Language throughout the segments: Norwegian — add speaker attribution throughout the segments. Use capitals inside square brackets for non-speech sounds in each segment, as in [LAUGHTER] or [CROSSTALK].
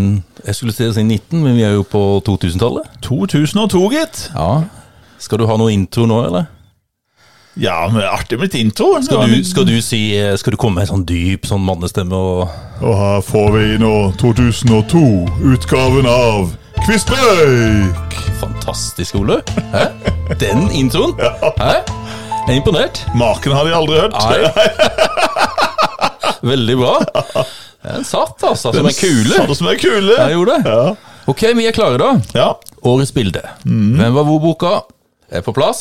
Speaker 1: Jeg skulle til å si 19, men vi er jo på 2000-tallet.
Speaker 2: 2002, gitt.
Speaker 1: Ja. Skal du ha noe intro nå, eller?
Speaker 2: Ja, men artig med litt intro.
Speaker 1: Skal du, skal du, si, eh, skal du komme med en sånn dyp sånn mannestemme og
Speaker 2: Og her får vi nå 2002-utgaven av Kvistpreik!
Speaker 1: Fantastisk, Ole. Hæ? Den introen? Hæ? Jeg er imponert.
Speaker 2: Maken har de aldri hørt.
Speaker 1: Nei. Veldig bra. Den satt, altså, som en
Speaker 2: [LAUGHS]
Speaker 1: kule.
Speaker 2: Satt som en kule.
Speaker 1: Jeg gjorde det.
Speaker 2: Ja.
Speaker 1: Ok, vi er klare, da.
Speaker 2: ja.
Speaker 1: Årets bilde. Hvem var hvor-boka? Er på plass.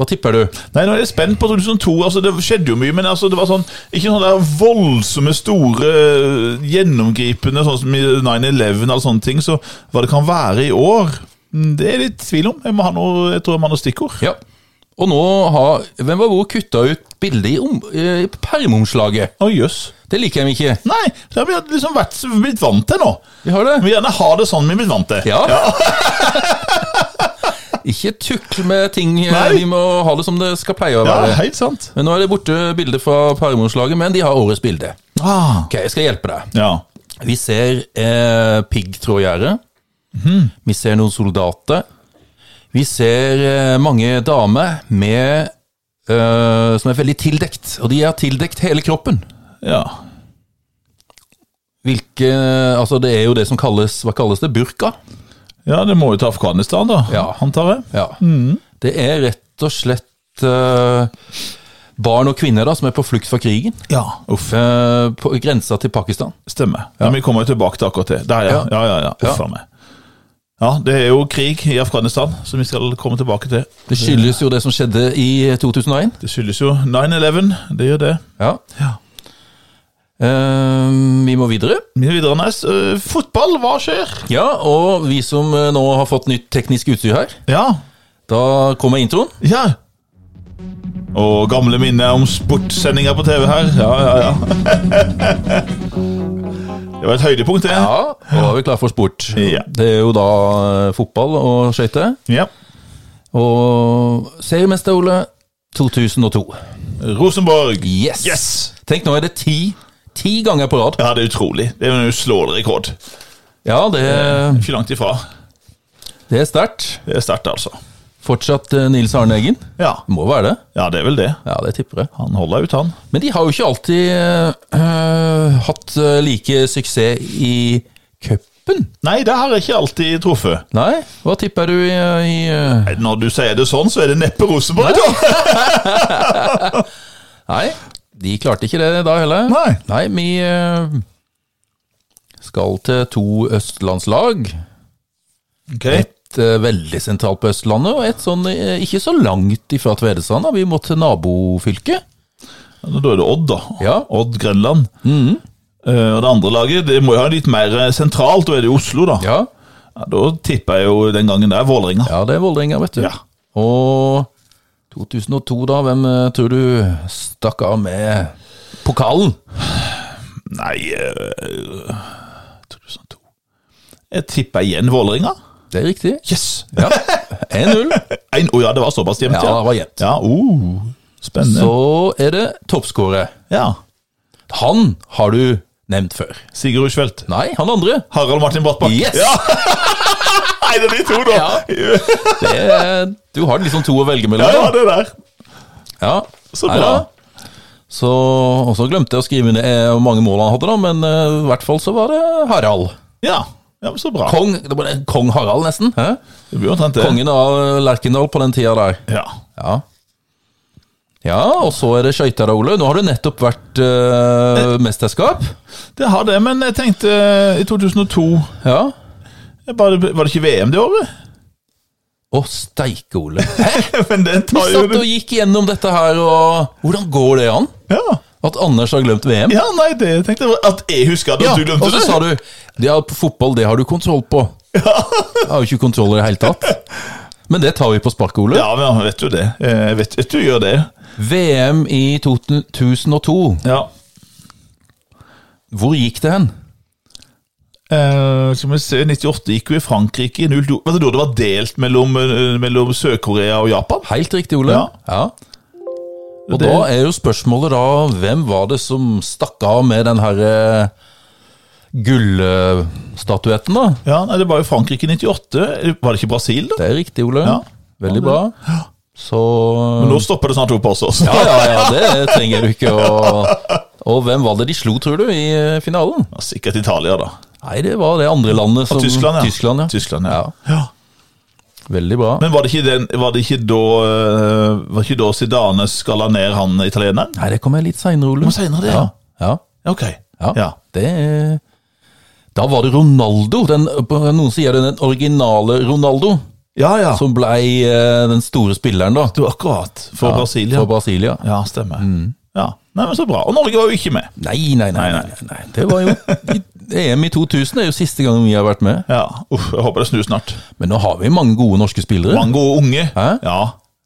Speaker 1: Hva tipper du?
Speaker 2: Nei, nå er jeg spent på 2002. Altså, det skjedde jo mye, men altså, det var sånn Ikke sånne der voldsomme, store, gjennomgripende, sånn som i 9-11 eller sånne ting. Så hva det kan være i år, mm, det er litt tvil om. Jeg, må ha noe, jeg tror jeg må ha noe stikkord.
Speaker 1: Ja. Og nå har Hvem var hvor kutta ut bildet i, om, eh, i permomslaget?
Speaker 2: Å, jøss.
Speaker 1: Det liker jeg ikke.
Speaker 2: Nei, det har vi liksom vært, blitt vant til nå.
Speaker 1: Vi har
Speaker 2: Vi
Speaker 1: det.
Speaker 2: vil gjerne ha det sånn vi er blitt vant til.
Speaker 1: Ja. [LAUGHS] ikke tukl med ting. eh,
Speaker 2: Nei.
Speaker 1: Vi må ha det som det skal pleie å
Speaker 2: Ja,
Speaker 1: være.
Speaker 2: helt sant.
Speaker 1: Men nå er det borte bildet fra permomslaget, men de har årets bilde.
Speaker 2: Ah.
Speaker 1: Ok, jeg skal hjelpe deg.
Speaker 2: Ja.
Speaker 1: Vi ser eh, piggtrådgjerde.
Speaker 2: Mhm.
Speaker 1: Vi ser noen soldater. Vi ser eh, mange damer med eh, som er veldig tildekt, og de er tildekt hele kroppen.
Speaker 2: ja.
Speaker 1: Hvilke, altså Det er jo det som kalles hva kalles det, burka.
Speaker 2: Ja, det må jo til Afghanistan, da.
Speaker 1: Ja.
Speaker 2: Antar jeg.
Speaker 1: Ja. Det er rett og slett eh, barn og kvinner da, som er på flukt fra krigen.
Speaker 2: Ja. Uff.
Speaker 1: eh, på grensa til Pakistan.
Speaker 2: Stemmer. Men vi kommer jo tilbake til akkurat det. Der, ja.
Speaker 1: Ja.
Speaker 2: Ja, ja, ja. Uff a meg. Ja, det er jo krig i Afghanistan, som vi skal komme tilbake til.
Speaker 1: Det skyldes jo det som skjedde i 2001.
Speaker 2: Det skyldes jo 9-11. Det gjør det.
Speaker 1: Ja.
Speaker 2: Ja.
Speaker 1: Eh, vi må videre.
Speaker 2: Mye videre, Nes. Eh, fotball, hva skjer?
Speaker 1: Ja, og vi som eh, nå har fått nytt teknisk utstyr her,
Speaker 2: Ja.
Speaker 1: da kommer introen.
Speaker 2: Ja. Og gamle minner om sportssendinger på TV her. Ja, ja, ja. [LAUGHS] det var et høydepunkt, det.
Speaker 1: Ja, og da er vi klare for sport.
Speaker 2: Ja.
Speaker 1: Det er jo da eh, fotball og skøyter.
Speaker 2: ja.
Speaker 1: Og seriemester, Ole, 2002.
Speaker 2: Rosenborg.
Speaker 1: Yes!
Speaker 2: Yes!
Speaker 1: Tenk, nå er det ti, ti ganger på rad.
Speaker 2: Ja, det er utrolig. Det er en uslåelig rekord.
Speaker 1: Ja, det,
Speaker 2: Ikke langt ifra.
Speaker 1: det er sterkt.
Speaker 2: Det er sterkt, altså.
Speaker 1: Fortsatt eh, Nils Arne Eggen.
Speaker 2: Ja.
Speaker 1: Det Må være det.
Speaker 2: ja, det er vel det.
Speaker 1: Ja, det tipper jeg.
Speaker 2: Han holder ut, han.
Speaker 1: Men de har jo ikke alltid eh, hatt eh, like suksess i cupen.
Speaker 2: Nei, det har jeg ikke alltid truffet.
Speaker 1: Nei, hva tipper du i, i eh,
Speaker 2: Nei, Når du sier det sånn, så er det neppe Rosenborg, da.
Speaker 1: Nei, de klarte ikke det da heller.
Speaker 2: Nei.
Speaker 1: vi eh, skal til to østlandslag.
Speaker 2: Ok,
Speaker 1: Et eh, veldig sentralt på Østlandet, og et sånn eh, ikke så langt ifra Tvedestrand. da. Vi må til nabofylket.
Speaker 2: Da er det Odd, da.
Speaker 1: Ja.
Speaker 2: Odd Grenland. Eh, og det andre laget det må jo ha litt mer eh, sentralt, da er det jo Oslo, da.
Speaker 1: Ja,
Speaker 2: Ja, da tipper jeg jo den gangen der Vålerenga.
Speaker 1: ja det er Vålerenga, vet du.
Speaker 2: Ja.
Speaker 1: Og 2002, da. Hvem eh, tror du stakk av med pokalen?
Speaker 2: Nei eh, 2002 Jeg tipper igjen Vålerenga.
Speaker 1: Det er riktig.
Speaker 2: Yes!
Speaker 1: Ja.
Speaker 2: [LAUGHS]
Speaker 1: 1-0.
Speaker 2: Å ja, det var såpass jevnt,
Speaker 1: Ja, det var jevnt.
Speaker 2: Ja, oh, spennende.
Speaker 1: Så er det toppskårer.
Speaker 2: Ja.
Speaker 1: Han har du nevnt før.
Speaker 2: Sigurd Rushfeldt.
Speaker 1: Nei, han andre.
Speaker 2: Harald Martin Brattbakk.
Speaker 1: Yes!
Speaker 2: Ja. Nei, det er de to, da.
Speaker 1: Ja. Det er, du har liksom to å velge mellom.
Speaker 2: Ja, ja,
Speaker 1: da.
Speaker 2: det der.
Speaker 1: Ja,
Speaker 2: Så
Speaker 1: Nei
Speaker 2: bra.
Speaker 1: da. Så, og så glemte jeg å skrive ned eh, hvor mange mål han hadde, da, men eh, i hvert fall så var det Harald.
Speaker 2: Ja, ja men så bra.
Speaker 1: Kong, det var det, Kong Harald, nesten. Hæ?
Speaker 2: Det blir jo omtrent det.
Speaker 1: Kongen av Lerkendal på den tida der.
Speaker 2: Ja.
Speaker 1: Ja, ja og så er det skøyter, da, Ole. Nå har du nettopp vært eh, mesterskap.
Speaker 2: Det har det, men jeg tenkte eh, i 2002
Speaker 1: Ja.
Speaker 2: jeg bare, Var det ikke VM det
Speaker 1: [LAUGHS]
Speaker 2: året?
Speaker 1: Å, steike, [LAUGHS] Ole. Hæ?
Speaker 2: men den
Speaker 1: Vi
Speaker 2: tar jo
Speaker 1: satt og gikk gjennom dette her, og hvordan går det an?
Speaker 2: ja.
Speaker 1: At Anders har glemt VM?
Speaker 2: ja, nei, det tenkte jeg at jeg husker at
Speaker 1: Ja,
Speaker 2: du glemte
Speaker 1: og så
Speaker 2: det.
Speaker 1: sa du ja, på fotball, det har du kontroll på. Ja. Jeg har jo ikke kontroll i det hele [LAUGHS] tatt. Men det tar vi på sparket, Ole.
Speaker 2: Ja, men jeg vet jo det. Eh, Jeg vet, vet du gjør det.
Speaker 1: VM i 2002,
Speaker 2: Ja.
Speaker 1: hvor gikk det hen?
Speaker 2: Eh, skal vi se, 98 gikk jo i Frankrike i 02. Var det da det var delt mellom, eh, mellom Sør-Korea og Japan?
Speaker 1: Helt riktig, Ole.
Speaker 2: Ja.
Speaker 1: Og
Speaker 2: Det-
Speaker 1: da er jo spørsmålet da, hvem var det som stakk av med den her eh, gullstatuetten, da.
Speaker 2: Ja, nei, Det var jo Frankrike i 98. Var det ikke Brasil, da?
Speaker 1: Det er riktig, Ole.
Speaker 2: Ja.
Speaker 1: Veldig bra. Så
Speaker 2: Men nå stopper det snart opp også.
Speaker 1: Ja, ja, ja, det trenger du ikke å Og hvem var det de slo, tror du, i eh, finalen?
Speaker 2: Ja, Sikkert Italia, da.
Speaker 1: Nei, det var det andre landet som
Speaker 2: Tyskland, ja.
Speaker 1: Tyskland, ja.
Speaker 2: Tyskland, ja.
Speaker 1: Veldig bra.
Speaker 2: Men var det ikke, den, var det ikke da eh, Var ikke da Zidane skalla ned han italieneren?
Speaker 1: Nei, det kommer litt seinere, Ole.
Speaker 2: Kommer senere, det, ja.
Speaker 1: Ja,
Speaker 2: Ok.
Speaker 1: ja.
Speaker 2: Ja.
Speaker 1: Det er Da var det Ronaldo. Den, noen sier det er den originale Ronaldo,
Speaker 2: ja, ja.
Speaker 1: som blei eh, den store spilleren, da.
Speaker 2: Du, akkurat. For Brasil, ja.
Speaker 1: For Brasilia.
Speaker 2: Ja, stemmer. Ja. Nei, men Så bra. Og Norge var jo ikke med.
Speaker 1: Nei, nei, nei. nei, nei, nei. Det var jo i- EM i 2000 er jo siste gangen vi har vært med.
Speaker 2: Ja, Uff, Jeg håper det snur snart.
Speaker 1: Men nå har vi mange gode norske spillere.
Speaker 2: Mange gode unge.
Speaker 1: Hæ?
Speaker 2: Ja.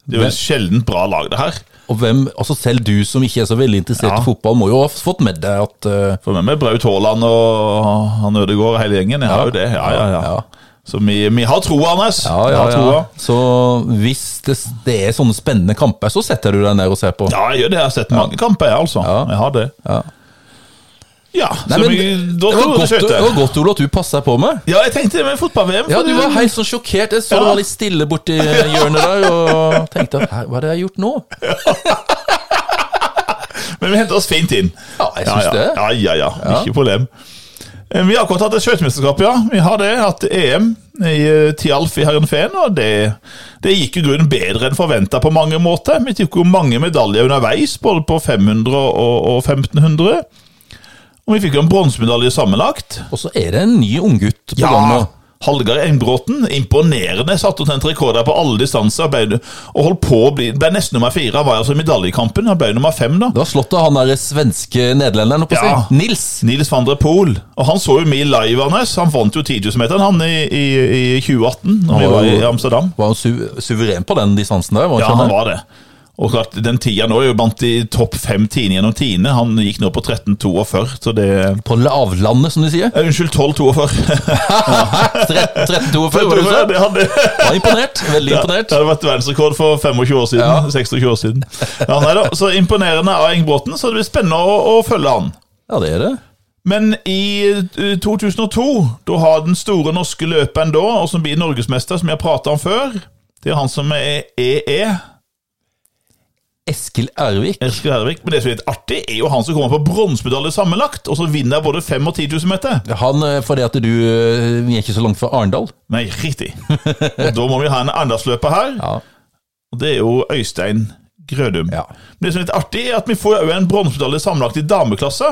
Speaker 2: Det er jo et sjeldent bra lag, det her.
Speaker 1: Og hvem, altså Selv du som ikke er så veldig interessert
Speaker 2: Ja.
Speaker 1: i fotball, må jo ha fått med deg at eh,
Speaker 2: For med meg Braut Haaland og han Ødegaard og hele gjengen. Jeg har jo det. Ja, ja, ja.
Speaker 1: Ja.
Speaker 2: Så vi, vi har troa, Anders.
Speaker 1: Ja,
Speaker 2: Vi
Speaker 1: ja,
Speaker 2: har
Speaker 1: ja.
Speaker 2: troa.
Speaker 1: Så hvis det, det er sånne spennende kamper, så setter du deg ned og ser på.
Speaker 2: Ja, jeg gjør det. Jeg har sett mange kamper, jeg, altså. Jeg har det.
Speaker 1: Ja.
Speaker 2: Ja,
Speaker 1: Nei,
Speaker 2: så
Speaker 1: men
Speaker 2: vi, da
Speaker 1: det,
Speaker 2: tror
Speaker 1: var
Speaker 2: jeg det
Speaker 1: godt, det
Speaker 2: skøyter.
Speaker 1: var godt, Ole, at du passa på meg.
Speaker 2: Ja, jeg tenkte det med fotball-VM.
Speaker 1: Ja,
Speaker 2: for
Speaker 1: du
Speaker 2: det-
Speaker 1: var helt sånn sjokkert. Jeg så du var litt stille borti hjørnet der og tenkte at "Hæ, hva er det jeg har gjort nå?
Speaker 2: Men vi henter oss fint inn.
Speaker 1: Ja, jeg syns
Speaker 2: ja.
Speaker 1: det.
Speaker 2: Ja, ja, ja. Ikke problem. Eh, Vi har akkurat hatt et skøytemesterskap, ja. Vi har det. Hatt EM i eh, Tialf i Herrenfeen, og det, det gikk i grunnen bedre enn forventa på mange måter. Vi tok jo mange medaljer underveis, både på 500 og, og 1500. Og vi fikk jo en bronsemedalje sammenlagt.
Speaker 1: Og så er det en ny unggutt på gang nå.
Speaker 2: Hallgeir Engbråten, imponerende, satte opp en rekord der på alle distanser. ble- Og holdt på å bli Ble nesten nummer fire, han var altså i medaljekampen. Han ble nummer fem, da.
Speaker 1: Det var slått av han der svenske nederlenderen, holdt på å
Speaker 2: Ja.
Speaker 1: si. Nils.
Speaker 2: Nils van der Poel. Og han så jo vi live, Anders. Han vant jo 10 000-meteren, han, i, i, i 2018, når vi
Speaker 1: var
Speaker 2: var i
Speaker 1: jo-
Speaker 2: Amsterdam.
Speaker 1: Var han su suveren på den distansen der? Var
Speaker 2: Ja,
Speaker 1: ikke
Speaker 2: han
Speaker 1: det?
Speaker 2: var det. Og klart, den tida nå er jo blant de topp fem tiende gjennom tiende. Han gikk nå på 13,42, så det
Speaker 1: På lavlandet, som de sier.
Speaker 2: Eh, Unnskyld, 12,42.
Speaker 1: 13-42, var [LAUGHS] det du sa?
Speaker 2: det hadde
Speaker 1: Var imponert. Veldig imponert.
Speaker 2: Det hadde vært verdensrekord for 25 år siden. 26 år siden. Ja, nei da. Så imponerende av Engbråten, så det blir spennende å, å følge han.
Speaker 1: Ja, det er det.
Speaker 2: Men i eh, 2002, da har den store norske løperen da, og som blir norgesmester, som jeg har prata om før, det er han som er E EE,
Speaker 1: Eskil Ervik.
Speaker 2: Eskil Hervik. Men det som er litt artig, er jo han som kommer på bronsemedalje sammenlagt, og så vinner både 5 og 10 000 meter.
Speaker 1: Han, eh, fordi at du eh, Vi er ikke så langt fra Arendal.
Speaker 2: Nei, riktig.
Speaker 1: [LAUGHS]
Speaker 2: Og da må vi ha en Arendalsløper her,
Speaker 1: Ja.
Speaker 2: og det er jo Øystein Grødum.
Speaker 1: Ja.
Speaker 2: Men det som er litt artig, er at vi får jo en bronsemedalje sammenlagt i dameklasse,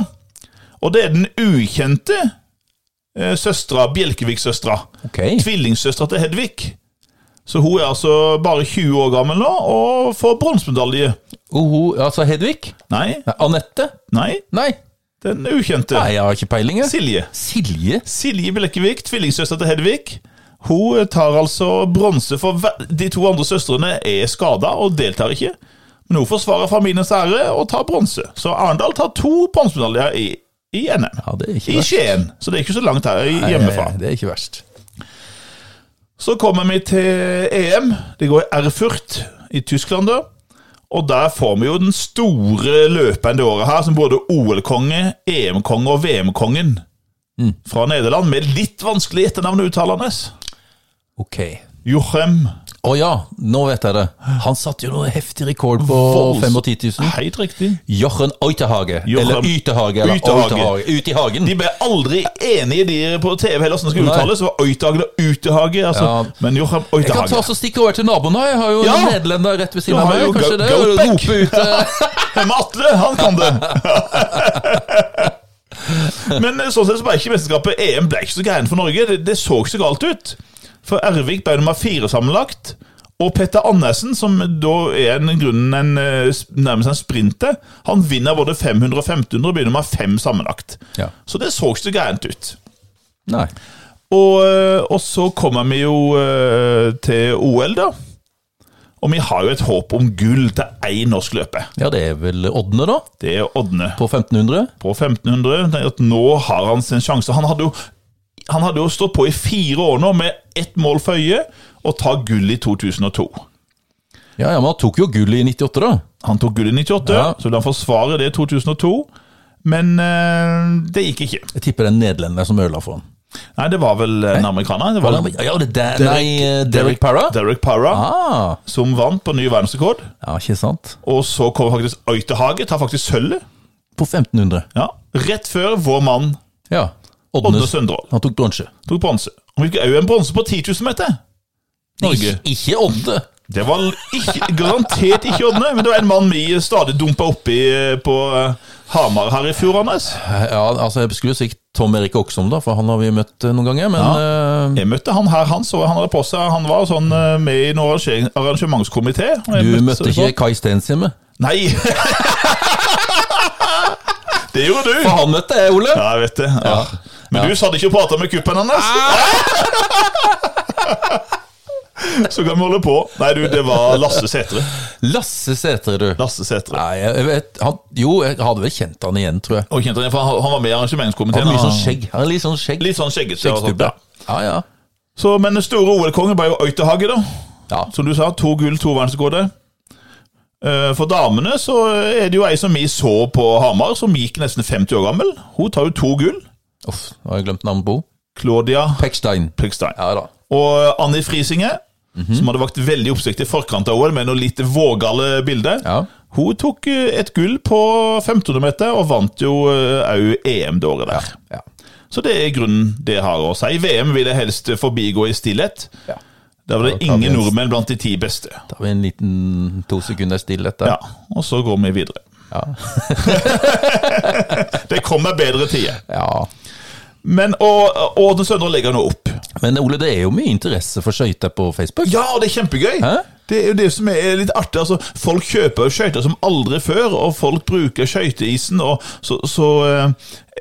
Speaker 2: og det er den ukjente eh, søstera, Bjelkevik-søstera.
Speaker 1: Ok.
Speaker 2: tvillingsøstera til Hedvig. Så hun er altså bare 20 år gammel nå, og får bronsemedalje.
Speaker 1: Og hun, altså Hedvig?
Speaker 2: Nei,
Speaker 1: Nei, Anette?
Speaker 2: nei,
Speaker 1: Nei.
Speaker 2: den ukjente.
Speaker 1: Nei, jeg har ikke peiling. jeg.
Speaker 2: Silje.
Speaker 1: Silje?
Speaker 2: Silje Blekkevik, tvillingsøster til Hedvig. Hun tar altså bronse for hver- De to andre søstrene er skada og deltar ikke. Men hun forsvarer familiens ære og tar bronse. Så Arendal tar to bronsemedaljer i, i NM.
Speaker 1: Ja, det er ikke
Speaker 2: I
Speaker 1: verst.
Speaker 2: Skien, så det er ikke så langt her i- hjemmefra.
Speaker 1: Nei, det er ikke verst.
Speaker 2: Så kommer vi til EM. Det går i Erfurt i Tyskland, da. Og der får vi jo den store løperen det året her, som både OL-konge, EM-konge og VM-kongen
Speaker 1: Mm.
Speaker 2: fra Nederland, med litt vanskelig etternavn å uttale hans.
Speaker 1: Ok. Å
Speaker 2: Jochem.
Speaker 1: ja, nå vet jeg det. Han satte jo noe heftig rekord på
Speaker 2: Volds-
Speaker 1: 5 og 10 000.
Speaker 2: Helt riktig.
Speaker 1: Jochen Oitehage.
Speaker 2: Jochen-
Speaker 1: Eller Ytehage. Eller
Speaker 2: Uitehage.
Speaker 1: Oitehage. Ut i hagen.
Speaker 2: De ble aldri enige, de på TV, heller hvordan det skal
Speaker 1: Nei.
Speaker 2: uttales. Det var Øytehage og Utehage. Altså.
Speaker 1: Ja.
Speaker 2: Men Jochem
Speaker 1: Jeg kan ta
Speaker 2: Øytehage
Speaker 1: oss og stikke over til naboen her. Jeg har jo
Speaker 2: Ja.
Speaker 1: en nederlender rett ved siden
Speaker 2: Du
Speaker 1: av
Speaker 2: har
Speaker 1: meg.
Speaker 2: jo
Speaker 1: Kanskje
Speaker 2: Go-
Speaker 1: det?
Speaker 2: Go Back.
Speaker 1: Rope ut eh,
Speaker 2: Hjemme Atle, han kan det. Men eh, sånn sett så ble ikke mesterskapet EM ble ikke så greien for Norge. Det, det så ikke så galt ut. For Ervik ble nummer fire sammenlagt. Og Petter Andersen, som da er en, i grunnen en, eh, s- nærmest en sprinter, han vinner både 500 og 1500 og blir nummer fem sammenlagt.
Speaker 1: Ja.
Speaker 2: Så det så ikke så greient ut.
Speaker 1: [LAUGHS] Nei.
Speaker 2: Og, eh, og så kommer vi jo eh, til OL, da. Og vi har jo et håp om gull til én norsk løper.
Speaker 1: Ja, det er vel Ådne, da?
Speaker 2: Det er Ådne.
Speaker 1: På 1500?
Speaker 2: på 1500. tenker At nå har han sin sjanse. Han hadde jo, han hadde jo stått på i fire år nå med ett mål for øye, og ta gull i 2002.
Speaker 1: Ja, ja, men han tok jo gull i 98, da.
Speaker 2: Han tok gull i 98,
Speaker 1: Ja.
Speaker 2: så ville han forsvare det i 2002. Men eh, det gikk ikke.
Speaker 1: Jeg tipper det er nederlenderen som ødela for ham.
Speaker 2: Nei, det var vel en amerikaner. Det var vel
Speaker 1: Ja, det er der, nei, eh, Derek Parra?
Speaker 2: Derek Parra,
Speaker 1: Ah,
Speaker 2: som vant på ny verdensrekord.
Speaker 1: ja, ikke sant?
Speaker 2: Og så kommer faktisk Øytehage, tar faktisk sølvet.
Speaker 1: På 1500.
Speaker 2: Ja. Rett før vår mann
Speaker 1: Ja.
Speaker 2: Odne
Speaker 1: Odnes.
Speaker 2: Søndrål
Speaker 1: Han tok bronse.
Speaker 2: tok bronse. Han fikk òg en bronse på 10 000 meter. Norge.
Speaker 1: Ik ikke Odde.
Speaker 2: Det var ikke, garantert ikke Odne, men det var en mann vi stadig dumpa oppi eh, på eh, Hamar her i fjor, Anders.
Speaker 1: Ja, altså, jeg skulle sikkert Tom Erik Oksom, da, for han har vi møtt eh, noen ganger. Men eh,
Speaker 2: Jeg møtte han her, han så han hadde på seg Han var sånn eh, med i en arrangering- arrangementskomité. og jeg Sånn.
Speaker 1: du møtte sånn. ikke Kai Stenshjemme?
Speaker 2: Nei! [LAUGHS] det gjorde du.
Speaker 1: For han møtte jeg, Ole!
Speaker 2: Ja, jeg vet det. Ja. Men du satt ikke og prata med kuppen hans!
Speaker 1: Ah!
Speaker 2: [LAUGHS] Så kan vi holde på. Nei, du, det var Lasse Sætre.
Speaker 1: Lasse Sætre, du.
Speaker 2: Lasse Sætre.
Speaker 1: Nei, jeg vet han, Jo, jeg hadde vel kjent han igjen, tror jeg.
Speaker 2: Og kjente han, igjen, for han han var med i arrangementskomiteen.
Speaker 1: Han har mye sånn
Speaker 2: han-
Speaker 1: skjegg. Han er litt sånn skjegg.
Speaker 2: Litt sånn skjeggete. og sånt,
Speaker 1: Skjeggstubbe.
Speaker 2: ja.
Speaker 1: Ja, ja.
Speaker 2: Så, men den store OL-kongen ble jo Øytehage, da.
Speaker 1: Ja.
Speaker 2: Som du sa, to gull, to verdensrekorder. Eh, For damene så er det jo ei som vi så på Hamar, som gikk nesten 50 år gammel. Hun tar jo to gull.
Speaker 1: Uff, nå har jeg glemt navnet på henne.
Speaker 2: Claudia
Speaker 1: Pekstein.
Speaker 2: Plegstein.
Speaker 1: Ja Mhm. da.
Speaker 2: Og Anni Frisinge, som hadde vakt veldig oppsikt i forkant av OL med noen litt vågale bilder.
Speaker 1: Ja.
Speaker 2: Hun tok eh, et gull på 1500 meter, og vant jo eh, òg EM det året der.
Speaker 1: ja.
Speaker 2: Så det er grunnen det har å si. VM vil jeg helst forbigå i stillhet.
Speaker 1: ja.
Speaker 2: Der var det
Speaker 1: Da tar vi
Speaker 2: ingen
Speaker 1: en-
Speaker 2: nordmenn blant de ti beste.
Speaker 1: Da har vi en liten to sekunder stillhet der.
Speaker 2: Ja, Og så går vi videre.
Speaker 1: Ja.
Speaker 2: Det kommer bedre tider.
Speaker 1: Ja.
Speaker 2: Men og, og den søndre legger nå opp.
Speaker 1: Men Ole, det er jo mye interesse for skøyter på Facebook.
Speaker 2: Ja, og det er kjempegøy!
Speaker 1: Hæ?
Speaker 2: Det er jo det som er litt artig. altså Folk kjøper jo skøyter som aldri før, og folk bruker skøyteisen, og så, så eh,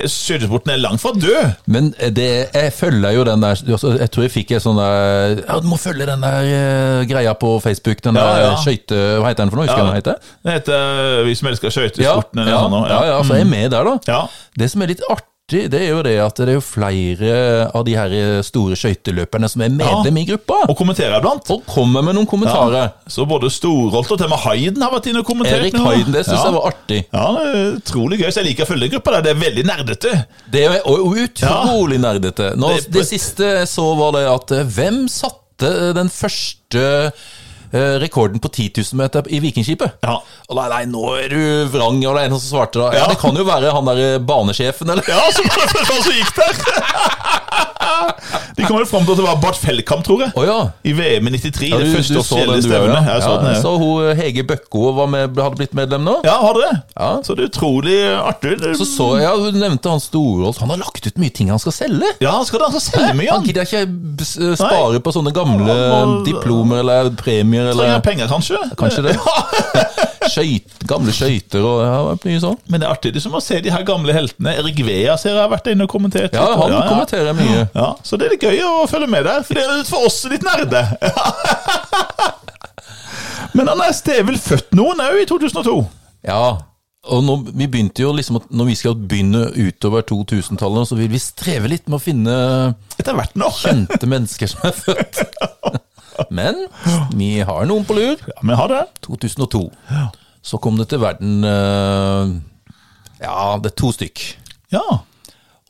Speaker 2: Skøytesporten er langt fra død.
Speaker 1: Men det, jeg følger jo den der Jeg tror jeg fikk en sånn der Ja, du må følge den der eh, greia på Facebook, den
Speaker 2: Ja,
Speaker 1: der eh,
Speaker 2: ja.
Speaker 1: skøyte... Hva heter den for noe? Husker du hva den heter?
Speaker 2: Det heter eh, Vi som elsker
Speaker 1: Ja,
Speaker 2: skøytesporten, eller
Speaker 1: ja,
Speaker 2: noe sånt.
Speaker 1: ja, ja, for jeg er med der, da.
Speaker 2: sånn Ja.
Speaker 1: Det som er litt artig, det er jo det at det er jo flere av de her eh, store skøyteløperne som er medlem i gruppa.
Speaker 2: Og kommenterer iblant.
Speaker 1: Og kommer med noen kommentarer.
Speaker 2: Så både Storholt og til og med Hayden har vært inne og kommentert.
Speaker 1: Erik
Speaker 2: nå.
Speaker 1: Hayden, det syns
Speaker 2: ja.
Speaker 1: jeg var artig.
Speaker 2: Ja, det er utrolig gøy. Så jeg liker å følge den gruppa der. Det er veldig nerdete.
Speaker 1: Det er og- og utrolig nerdete. Nå,
Speaker 2: Det-
Speaker 1: det, siste jeg så, var det at eh, hvem satte den første eh, rekorden på 10 000 meter i Vikingskipet?
Speaker 2: Ja.
Speaker 1: Og nei, nei, nå er du vrang, og det er en som svarte da. Ja,
Speaker 2: Ja.
Speaker 1: det kan jo være han der eh, banesjefen, eller?
Speaker 2: Ja, så var det hva som gikk der! De kom vel fram til at det var Bart Feldkamp, tror jeg.
Speaker 1: Å ja.
Speaker 2: I VM i 93.
Speaker 1: Ja,
Speaker 2: det første offisielle stevnet.
Speaker 1: ja.
Speaker 2: Jeg så den,
Speaker 1: ja,
Speaker 2: jeg.
Speaker 1: så hun eh, Hege Bøkko var med, hadde blitt medlem nå?
Speaker 2: Ja, har du det?
Speaker 1: Ja.
Speaker 2: Så det er utrolig artig. Det-
Speaker 1: Så så jeg, ja, Hun nevnte han Storholt. Han har lagt ut mye ting han skal selge.
Speaker 2: Ja, han skal da altså selge mye,
Speaker 1: Han
Speaker 2: han.
Speaker 1: gidder ikke b- s- eh, spare på sånne gamle
Speaker 2: Han må-
Speaker 1: diplomer eller premier
Speaker 2: Trenger
Speaker 1: eller
Speaker 2: penger, kanskje.
Speaker 1: Kanskje det. [LAUGHS] skøyt, gamle skøyter og ja, det blir mye sånn.
Speaker 2: Men det er artig liksom, å se de her gamle heltene. Erik Vea ser jeg har vært inne og kommentert.
Speaker 1: Ja,
Speaker 2: litt, og-
Speaker 1: han kommenterer mye.
Speaker 2: Ja, Så det er litt gøy å følge med der, for det er litt for oss litt nerde. [LAUGHS] Men Anders, det er vel født noen òg i 2002?
Speaker 1: Ja, og når vi begynte jo liksom at når vi skal begynne utover 2000-tallet, så vil vi streve litt med å finne
Speaker 2: Etter hvert nå.
Speaker 1: kjente mennesker som er født. [LAUGHS] Men vi har noen på lur.
Speaker 2: Ja, vi har det.
Speaker 1: 2002. Så kom det til verden eh, Ja, det er to stykk.
Speaker 2: Ja.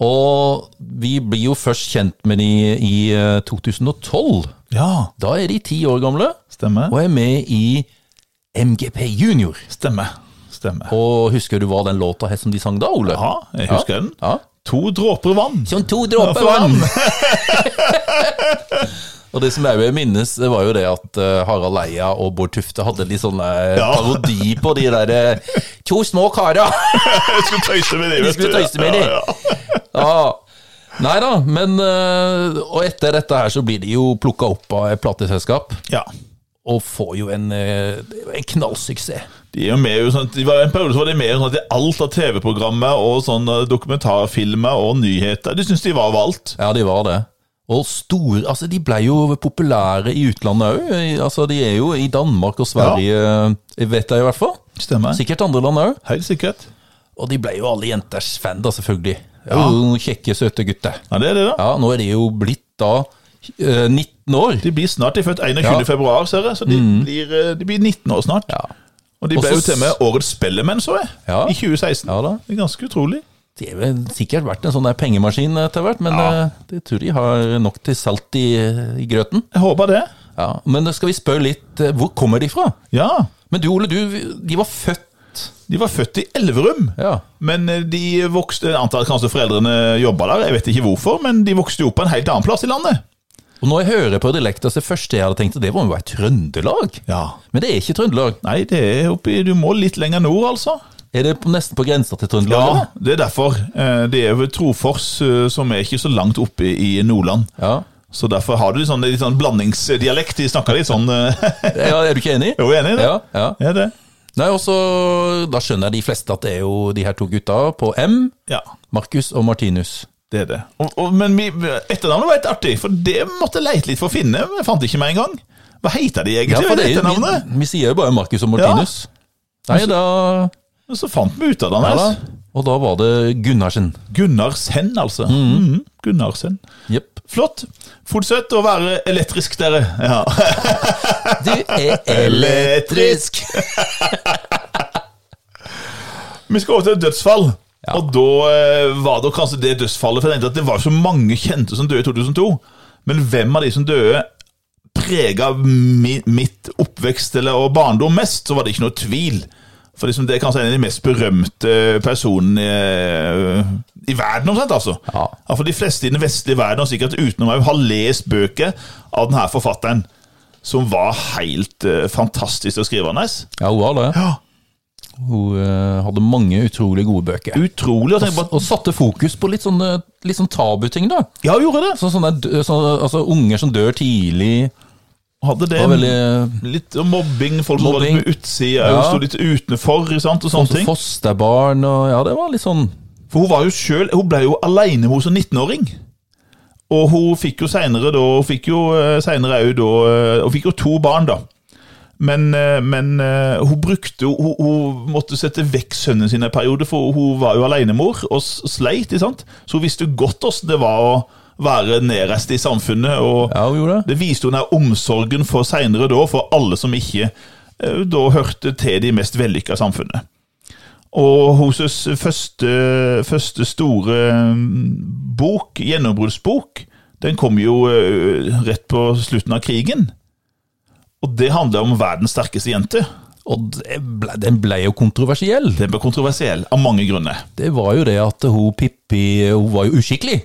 Speaker 1: Og vi blir jo først kjent med de i eh, 2012.
Speaker 2: ja.
Speaker 1: Da er de ti år gamle
Speaker 2: Stemmer.
Speaker 1: og er med i MGP Junior.
Speaker 2: Stemmer. Stemmer.
Speaker 1: Og husker du hva den låta het som de sang da, Ole?
Speaker 2: Ja, jeg husker den.
Speaker 1: Ja.
Speaker 2: To dråper vann.
Speaker 1: Som to dråper vann! [LAUGHS] Og det som jeg vil minnes, det var jo det at eh, Harald Eia og Bård Tufte hadde litt sånn eh,
Speaker 2: Ja.
Speaker 1: parodi på de derre To små karer!
Speaker 2: [LAUGHS]
Speaker 1: [LAUGHS]
Speaker 2: Jeg skulle tøyse med det.
Speaker 1: De
Speaker 2: vet
Speaker 1: skulle
Speaker 2: du.
Speaker 1: tøyse med det.
Speaker 2: Ja, ja.
Speaker 1: Ja. Nei da, men eh, Og etter dette her så blir de jo plukka opp av et plateselskap,
Speaker 2: Ja.
Speaker 1: og får jo en, eh, en knallsuksess.
Speaker 2: De er jo med, jo sånn, de var, en periode så var de med i sånn, at alt av TV-programmer og sånne dokumentarfilmer og nyheter. De syntes de var valgt.
Speaker 1: Ja, de var det. Og store Altså, de blei jo populære i utlandet òg. Altså, de er jo i Danmark og Sverige, eh, vet jeg i hvert fall.
Speaker 2: Stemmer.
Speaker 1: Sikkert andre land òg.
Speaker 2: Helt sikkert.
Speaker 1: Og de blei jo alle jenters fan, da, selvfølgelig. Ja. Noen kjekke, søte gutter.
Speaker 2: Ja, det er det, da.
Speaker 1: Ja, nå er de jo blitt da eh, 19 år.
Speaker 2: De blir snart, de er født 21.
Speaker 1: Ja. Mm.
Speaker 2: februar, ser jeg, så de, blir, eh, de blir 19 år snart.
Speaker 1: Ja.
Speaker 2: Og de
Speaker 1: Og
Speaker 2: ble
Speaker 1: så
Speaker 2: jo til og med årets spellemenn, så jeg.
Speaker 1: Ja.
Speaker 2: I 2016.
Speaker 1: Ja da.
Speaker 2: Det er ganske utrolig.
Speaker 1: Det har vel sikkert vært en sånn der pengemaskin etter hvert, men
Speaker 2: Ja.
Speaker 1: eh, det tror de har nok til salt i, i grøten.
Speaker 2: Jeg håper det.
Speaker 1: Ja, men da skal vi spørre litt, eh, hvor kommer de fra?
Speaker 2: Ja.
Speaker 1: Men du Ole, du, de var født
Speaker 2: De var født i Elverum,
Speaker 1: Ja,
Speaker 2: men eh, de vokste Jeg antar kanskje foreldrene jobba der, jeg vet ikke hvorfor, men de vokste jo opp på en helt annen plass i landet.
Speaker 1: og når jeg hører på dialekta, så det første jeg hadde tenkt, det var jo være Trøndelag.
Speaker 2: Ja.
Speaker 1: Men det er ikke Trøndelag.
Speaker 2: Nei, det er oppi Du må litt lenger nord, altså.
Speaker 1: Er det på, nesten på grensa til Trøndelag?
Speaker 2: Ja,
Speaker 1: eller?
Speaker 2: det er derfor. Eh, Det er jo Trofors, eh, som er ikke så langt oppe i Nordland.
Speaker 1: ja.
Speaker 2: Så derfor har du litt sånn, litt sånn blandingsdialekt. De snakker litt sånn eh, [LAUGHS]
Speaker 1: ja, er du ikke enig?
Speaker 2: Er du enig i det?
Speaker 1: Ja, ja.
Speaker 2: Er det?
Speaker 1: Nei, også, Da skjønner jeg de fleste at det er jo de her to gutta på M,
Speaker 2: Ja,
Speaker 1: Markus og Martinus.
Speaker 2: det er det. Og, og, men vi, etternavnet var litt artig, for det måtte jeg leite litt for å finne. men Jeg fant det ikke med en gang. Hva heter de egentlig?
Speaker 1: for det er-
Speaker 2: etternavnet?
Speaker 1: Vi, vi sier jo bare Markus og Martinus. Nei, da,
Speaker 2: Men Så fant vi ut av det.
Speaker 1: ja, da
Speaker 2: hans.
Speaker 1: Og da var det Gunnarsen.
Speaker 2: Gunnarsen, altså. Mhm, Gunnarsen.
Speaker 1: Jepp.
Speaker 2: Flott. Fortsett å være elektrisk, dere. Ja.
Speaker 1: Du er [LAUGHS]
Speaker 2: elektrisk. Vi skal over til et dødsfall. Og da eh, var det kanskje det dødsfallet. For jeg tenkte at det var så mange kjente som døde i 2002. Men hvem av de som døde, prega mi, mitt oppvekst eller, og barndom mest, så var det ikke noe tvil. For liksom, det er kanskje en av de mest berømte personene eh, i verden, omtrent. altså.
Speaker 1: Ja.
Speaker 2: For de fleste i den vestlige verden, og sikkert utenom meg, har lest bøker av denne forfatteren. Som var helt eh, fantastisk til å skrive, Nes.
Speaker 1: Ja, hun var det.
Speaker 2: Ja.
Speaker 1: Hun eh, hadde mange utrolig gode bøker.
Speaker 2: Utrolig. Og tenk på at
Speaker 1: Og satte fokus på litt sånne, litt sånn tabuting, da.
Speaker 2: Ja, hun gjorde det.
Speaker 1: Så, sånne, dø- sånne, altså unger som dør tidlig.
Speaker 2: Hadde det.
Speaker 1: Det var veldig
Speaker 2: Litt mobbing, folk som var
Speaker 1: Mobbing.
Speaker 2: litt på
Speaker 1: Ja.
Speaker 2: utsida,
Speaker 1: Sånn
Speaker 2: hun sto litt utenfor. ikke sant, og sånne
Speaker 1: også
Speaker 2: ting.
Speaker 1: Fosterbarn og Ja, det var litt sånn
Speaker 2: For hun var jo selv, hun ble jo alene hos en 19-åring. Og hun fikk jo senere da, hun fikk jo eh, senere også da, eh, hun fikk jo to barn da. Men, eh, men eh, hun brukte, jo- hun, hun måtte sette vekk sønnen sin en periode, for hun var jo alenemor og s- sleit, ikke sant? Så hun visste jo godt hvordan det var å være nærest i samfunnet, og
Speaker 1: Ja, hun gjorde det.
Speaker 2: det viste hun her omsorgen for senere da, for alle som ikke eh, da hørte til de mest vellykka samfunnet. Og hennes første, første store mm, bok, gjennombruddsbok, den kom jo eh, rett på slutten av krigen. Og det handler om verdens sterkeste jente.
Speaker 1: Og det ble, den ble jo kontroversiell.
Speaker 2: Den ble kontroversiell av mange grunner.
Speaker 1: Det var jo det at hun Pippi Hun var jo uskikkelig.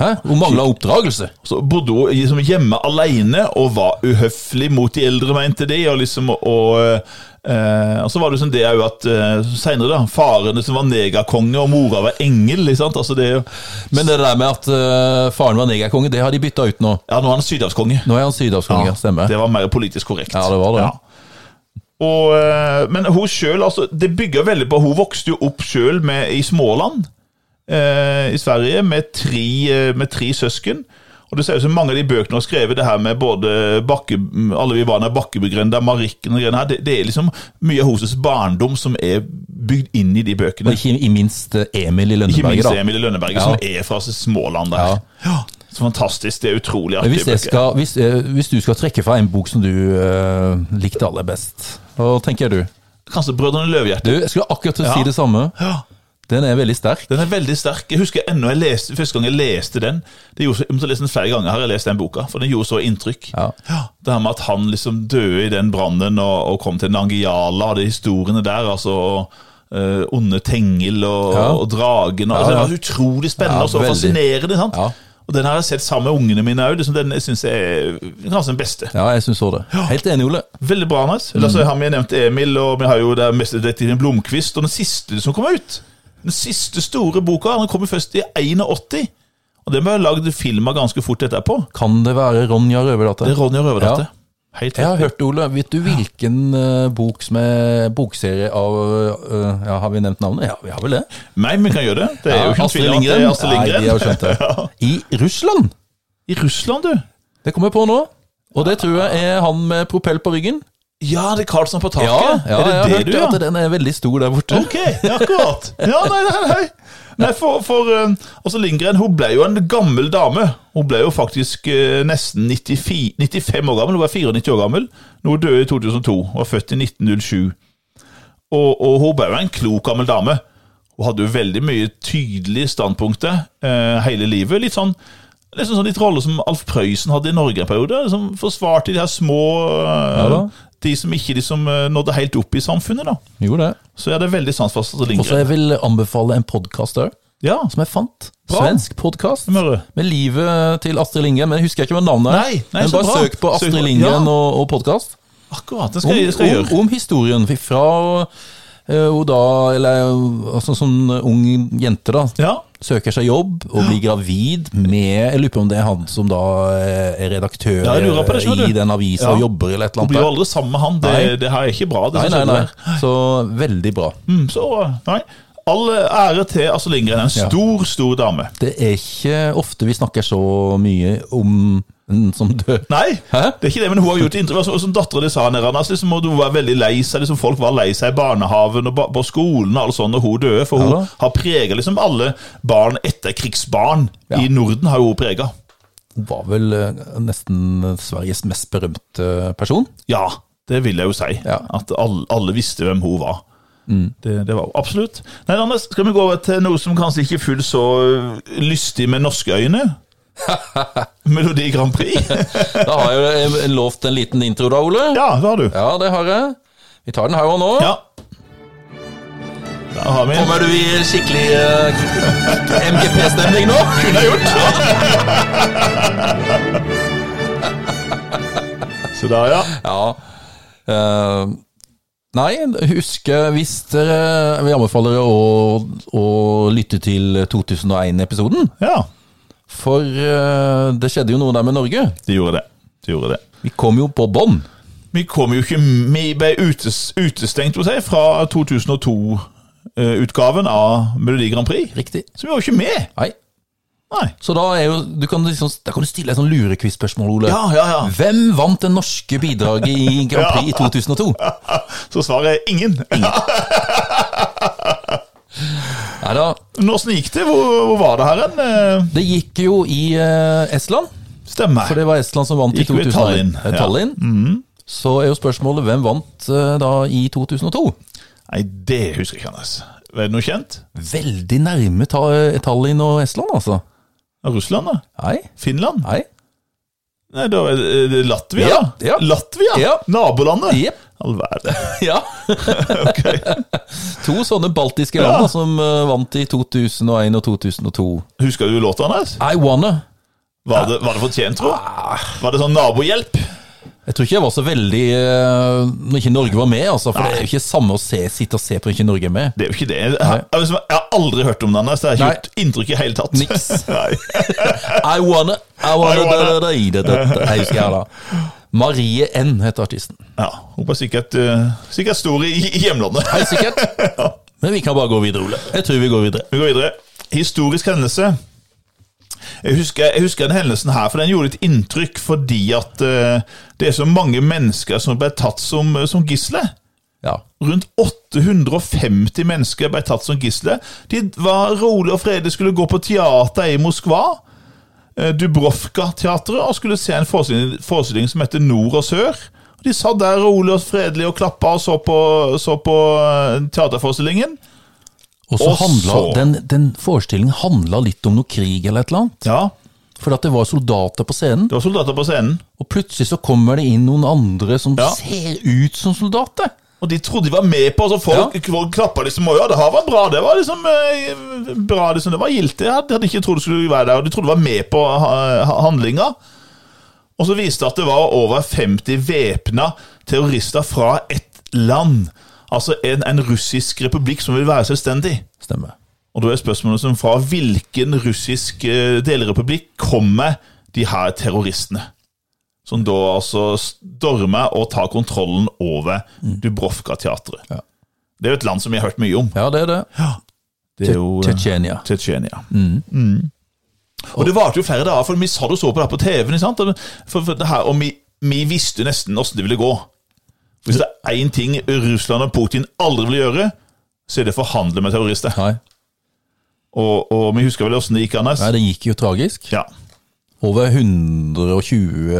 Speaker 1: Hæ? Hun mangla oppdragelse.
Speaker 2: Så bodde hun liksom hjemme alene og var uhøflig mot de eldre, mente de. Og, liksom, og, eh, og så var det sånn det òg at eh, seinere, da. Farene som var negerkonge, og mora var engel. Ikke sant? Altså det, er jo-
Speaker 1: Men det der med at eh, faren var negerkonge, det har de bytta ut nå.
Speaker 2: ja, nå er han sydhavskonge.
Speaker 1: Nå er han sydhavskonge, stemmer.
Speaker 2: Det var mer politisk korrekt.
Speaker 1: Ja, det var det.
Speaker 2: Og, eh, men hun sjøl, altså, det bygger veldig på Hun vokste jo opp sjøl i Småland eh, i Sverige med tre, eh, med tre søsken. Og det ser ut som mange av de bøkene har skrevet, det her med både bakke, alle vi barna er bakkebegrenda, Marikken og greiene her, det, det er liksom mye av hennes barndom som er bygd inn i de
Speaker 1: Og
Speaker 2: bøkene.
Speaker 1: ikke i minst eh, Emil i
Speaker 2: Ikke
Speaker 1: Lønneberget,
Speaker 2: minst
Speaker 1: da.
Speaker 2: Emilie Lønneberget,
Speaker 1: Ja.
Speaker 2: som er fra Småland der.
Speaker 1: Ja.
Speaker 2: Ja. Så fantastisk. Det er utrolig
Speaker 1: Men
Speaker 2: artige
Speaker 1: Hvis, jeg skal, hvis, eh, hvis du skal trekke fra en bok som du eh, likte aller best, hva tenker du?
Speaker 2: Kanskje Brødrene Løvhjerte.
Speaker 1: Du, Jeg skulle akkurat til å
Speaker 2: Ja.
Speaker 1: si det samme.
Speaker 2: Ja.
Speaker 1: Den er veldig sterk.
Speaker 2: Den er veldig sterk. Jeg husker ennå jeg leste, første gang jeg leste den. Det gjorde, så- jeg måtte lese den flere ganger har jeg lest den boka, for den gjorde så inntrykk.
Speaker 1: Ja.
Speaker 2: Det her med at han liksom døde i den brannen og, og kom til Nangiala, og de historiene der, altså og, eh, Onde Tengel og,
Speaker 1: Ja.
Speaker 2: og dragen og,
Speaker 1: Ja, ja.
Speaker 2: altså, Det var utrolig spennende
Speaker 1: Ja,
Speaker 2: og så
Speaker 1: veldig.
Speaker 2: fascinerende. sant?
Speaker 1: Ja.
Speaker 2: Og den har jeg sett sammen med ungene mine òg. Liksom, den syns jeg er kanskje den beste.
Speaker 1: Ja, jeg syns òg det. Helt enig, Ole.
Speaker 2: Veldig bra, Anders. Eller så har vi nevnt Emil, og vi har jo det mestedetektiven Blomkvist, og den siste som kom ut. Den siste store boka. Den kom jo først i 81. Og den ble lagd film av ganske fort etterpå.
Speaker 1: Kan det være Ronja Røverdatter?
Speaker 2: Det er Ronja Røverdatter.
Speaker 1: Ja.
Speaker 2: Helt
Speaker 1: Jeg har
Speaker 2: riktig.
Speaker 1: hørt, Ole. Vet du hvilken eh, bok som er bokserie av eh, Ja, har vi nevnt navnet? Ja, vi har vel det.
Speaker 2: Nei, men vi kan gjøre det. Det er jo ikke noen tvil om at det er Astrid
Speaker 1: Nei, de har jo
Speaker 2: Lindgren.
Speaker 1: skjønt det.
Speaker 2: [LAUGHS]
Speaker 1: I Russland!
Speaker 2: I Russland, du.
Speaker 1: Det kommer jeg på nå. Og det tror jeg er han med propell på ryggen.
Speaker 2: Ja, det er Karlsson på taket.
Speaker 1: Ja, ja
Speaker 2: er det
Speaker 1: jeg har
Speaker 2: det
Speaker 1: hørt
Speaker 2: du
Speaker 1: at den er veldig stor der borte.
Speaker 2: Ok, akkurat. Ja, nei, nei, nei. nei for, for eh, altså Lindgren hun ble jo en gammel dame. Hun ble jo faktisk eh, nesten 94, 95 år gammel. Hun var 94 år gammel. Nå døde i 2002. Hun var født i 1907. Og, og hun ble jo en klok gammel dame. Hun hadde jo veldig mye tydelige standpunkter eh, hele livet. Litt sånn Nesten sånn litt roller som Alf Prøysen hadde i Norge en periode. Som forsvarte de her små eh,
Speaker 1: Ja da.
Speaker 2: De som ikke liksom, eh, nådde helt opp i samfunnet. da.
Speaker 1: Jo, det.
Speaker 2: Så jeg hadde veldig sans for Astrid
Speaker 1: Og så
Speaker 2: Lindgren.
Speaker 1: jeg vil anbefale en podkast òg,
Speaker 2: Ja,
Speaker 1: som jeg fant.
Speaker 2: Bra.
Speaker 1: Svensk podkast.
Speaker 2: Hvem er det?
Speaker 1: Med livet til Astrid Lindgren, men jeg husker ikke hva navnet er.
Speaker 2: Nei, nei,
Speaker 1: men
Speaker 2: så
Speaker 1: bare
Speaker 2: bra.
Speaker 1: søk på Astrid
Speaker 2: Søk på-
Speaker 1: Lindgren
Speaker 2: ja.
Speaker 1: og, og podkast.
Speaker 2: akkurat. Det
Speaker 1: Om,
Speaker 2: skal jeg, det skal jeg
Speaker 1: om,
Speaker 2: gjøre.
Speaker 1: om historien. Fikk fra eh, hun da, eller altså sånn ung jente, da.
Speaker 2: Ja,
Speaker 1: Søker seg jobb og blir gravid med Jeg lurer på om det er han som da eh, er redaktør
Speaker 2: Ja, jeg lurer på det, skjønner
Speaker 1: i
Speaker 2: du.
Speaker 1: den avisa
Speaker 2: Ja.
Speaker 1: og jobber eller et
Speaker 2: Hun
Speaker 1: eller
Speaker 2: blir jo
Speaker 1: annet.
Speaker 2: aldri sammen med han.
Speaker 1: Nei.
Speaker 2: Det, det her er ikke bra. det
Speaker 1: Nei,
Speaker 2: som
Speaker 1: nei,
Speaker 2: skjedde der.
Speaker 1: nei. Så veldig bra.
Speaker 2: Mm, så, nei. All eh, ære til Astrid Lindgren. En
Speaker 1: Ja.
Speaker 2: stor, stor dame.
Speaker 1: Det er ikke ofte vi snakker så mye om en som dør.
Speaker 2: Nei,
Speaker 1: Hæ?
Speaker 2: det er ikke det, men hun har gjort inntrykk. Som, som dattera di sa, nede, Anders, liksom, må du være veldig lei seg. Liksom, folk var lei seg i barnehaven og ba, på skolen og alt sånt når hun døde. For hun
Speaker 1: Ja da.
Speaker 2: har prega liksom, alle barn etter krigsbarn
Speaker 1: Ja.
Speaker 2: i Norden. har jo hun prega.
Speaker 1: Hun var vel eh, nesten Sveriges mest berømte eh, person.
Speaker 2: Ja, det vil jeg jo si.
Speaker 1: Ja. Mm.
Speaker 2: At alle, alle visste hvem hun var. Det, det var hun absolutt. Nei, Anders, skal vi gå over til noe som kanskje ikke er fullt så øh, lystig med norske
Speaker 1: [LAUGHS]
Speaker 2: øyne? Melodi Grand Prix?
Speaker 1: Da har jeg jo eh, lovt en liten intro da, Ole.
Speaker 2: Ja, det har du.
Speaker 1: Ja, det har jeg. Vi tar den her og nå.
Speaker 2: Ja. Der har vi en.
Speaker 1: Kommer du i skikkelig eh, MGP-stemning nå? [LAUGHS] Kunne jeg gjort.
Speaker 2: Så der, ja.
Speaker 1: Ja. Eh, nei, husk eh, hvis dere eh, Vi anbefaler dere å, å lytte til 2001-episoden.
Speaker 2: ja.
Speaker 1: For eh, det skjedde jo noe der med Norge.
Speaker 2: De gjorde det. De gjorde det.
Speaker 1: Vi kom jo på bånn.
Speaker 2: Vi kom jo ikke Vi ble utes, utestengt må jeg si, fra 2002-utgaven eh, av Melodi Grand Prix.
Speaker 1: Riktig.
Speaker 2: Så vi var jo ikke med!
Speaker 1: Nei.
Speaker 2: Nei.
Speaker 1: Så da er jo du kan liksom, Da kan du stille et sånn lurekvistspørsmål, Ole.
Speaker 2: Ja, ja, ja.
Speaker 1: Hvem vant det norske bidraget i
Speaker 2: [LAUGHS]
Speaker 1: Grand Prix i 2002?
Speaker 2: Så svaret er ingen.
Speaker 1: Nei da.
Speaker 2: Åssen gikk det? Hvor, hvor var det her hen? Eh,
Speaker 1: Det gikk jo i eh, Estland. For
Speaker 2: Stemmer.
Speaker 1: det var Estland som vant i
Speaker 2: Gikk jo i
Speaker 1: 2001.
Speaker 2: Tallinn,
Speaker 1: Eh,
Speaker 2: ja. Mhm.
Speaker 1: Tallinn. Så er jo spørsmålet hvem vant eh, da i 2002?
Speaker 2: Nei, det husker jeg ikke, Anders. Er det noe kjent?
Speaker 1: Veldig nærme ta eh, Tallinn og Estland, altså.
Speaker 2: Russland, da?
Speaker 1: Nei.
Speaker 2: Finland?
Speaker 1: Nei.
Speaker 2: Nei, da er det- er det Latvia?
Speaker 1: Ja,
Speaker 2: da?
Speaker 1: ja.
Speaker 2: Latvia?
Speaker 1: Ja.
Speaker 2: Nabolandet?
Speaker 1: Jep.
Speaker 2: [LAUGHS] All verden.
Speaker 1: Ja. [LAUGHS]
Speaker 2: Ok.
Speaker 1: To sånne baltiske
Speaker 2: Ja.
Speaker 1: land da, som eh, vant i 2001 og 2002.
Speaker 2: Husker du låta hans?
Speaker 1: I wanna.
Speaker 2: Var det, var det fortjent, tro?
Speaker 1: Ah.
Speaker 2: Var det sånn nabohjelp?
Speaker 1: Jeg tror ikke jeg var så veldig eh, Når ikke Norge var med, altså. For det er jo ikke samme å se, sitte og se på når ikke Norge er
Speaker 2: [LAUGHS]
Speaker 1: med.
Speaker 2: Det er jo ikke det. Jeg, jeg, jeg, har aldri hørt om den. altså. Jeg
Speaker 1: Nei.
Speaker 2: har ikke gjort inntrykk i hele tatt.
Speaker 1: Niks.
Speaker 2: [LAUGHS] Nei.
Speaker 1: I wanna, I wanna,
Speaker 2: I wanna.
Speaker 1: Da, da, da, i det, det, det. Jeg husker jeg da. Marie N heter artisten.
Speaker 2: Ja, hun var sikkert, eh, sikkert stor i, i hjemlandet.
Speaker 1: Helt
Speaker 2: [LAUGHS]
Speaker 1: sikkert. Men vi kan bare gå videre, Ole. Jeg tror vi går videre.
Speaker 2: Vi går videre. Historisk hendelse. Jeg husker, jeg husker den hendelsen her, for den gjorde et inntrykk fordi at eh, det er så mange mennesker som ble tatt som, som gisler.
Speaker 1: Ja.
Speaker 2: Rundt 850 mennesker ble tatt som gisler. De var rolig og fredelig, skulle gå på teater i Moskva. eh, Dubrovka-teatret og skulle se en forestilling, forestilling som heter Nord og Sør. Og De satt der rolig og fredelig og klappa og så på, så på eh, teaterforestillingen.
Speaker 1: Og så
Speaker 2: Og
Speaker 1: handla
Speaker 2: så-
Speaker 1: den, den forestillingen handla litt om noe krig eller et eller annet.
Speaker 2: Ja,
Speaker 1: For at det var soldater på scenen,
Speaker 2: det var soldater på scenen.
Speaker 1: og plutselig så kommer det inn noen andre som
Speaker 2: Ja.
Speaker 1: ser ut som soldater.
Speaker 2: Og de trodde de var med på, så folk, folk klappa liksom «Å Ja, det her var bra. Det var liksom eh, bra, liksom, det var gildt. Jeg hadde hadde ikke trodd det skulle være der, og de trodde de var med på eh, handlinga. Og så viste det at det var over 50 væpna terrorister fra ett land. Altså en, en russisk republikk som vil være selvstendig.
Speaker 1: Stemmer.
Speaker 2: Og da er spørsmålet som fra hvilken russisk eh, delrepublikk kommer de her terroristene? Som da altså stormer og tar kontrollen over Dubrovka-teatret.
Speaker 1: Ja.
Speaker 2: Det er jo et land som jeg har hørt mye om.
Speaker 1: Ja, det er det.
Speaker 2: Det er jo eh,
Speaker 1: Tsjetsjenia.
Speaker 2: Tsjetsjenia. Mm. Og det varte jo flere dager, for vi sa det og så på det her på TV-en. ikke sant? Og For, for det her, og vi, vi visste jo nesten åssen det ville gå. Hvis det er én ting Russland og Putin aldri vil gjøre, så er det forhandle med terrorister.
Speaker 1: Nei.
Speaker 2: Og, og vi husker vel åssen det gikk, Anders?
Speaker 1: Nei, det gikk jo tragisk.
Speaker 2: Ja.
Speaker 1: Over 120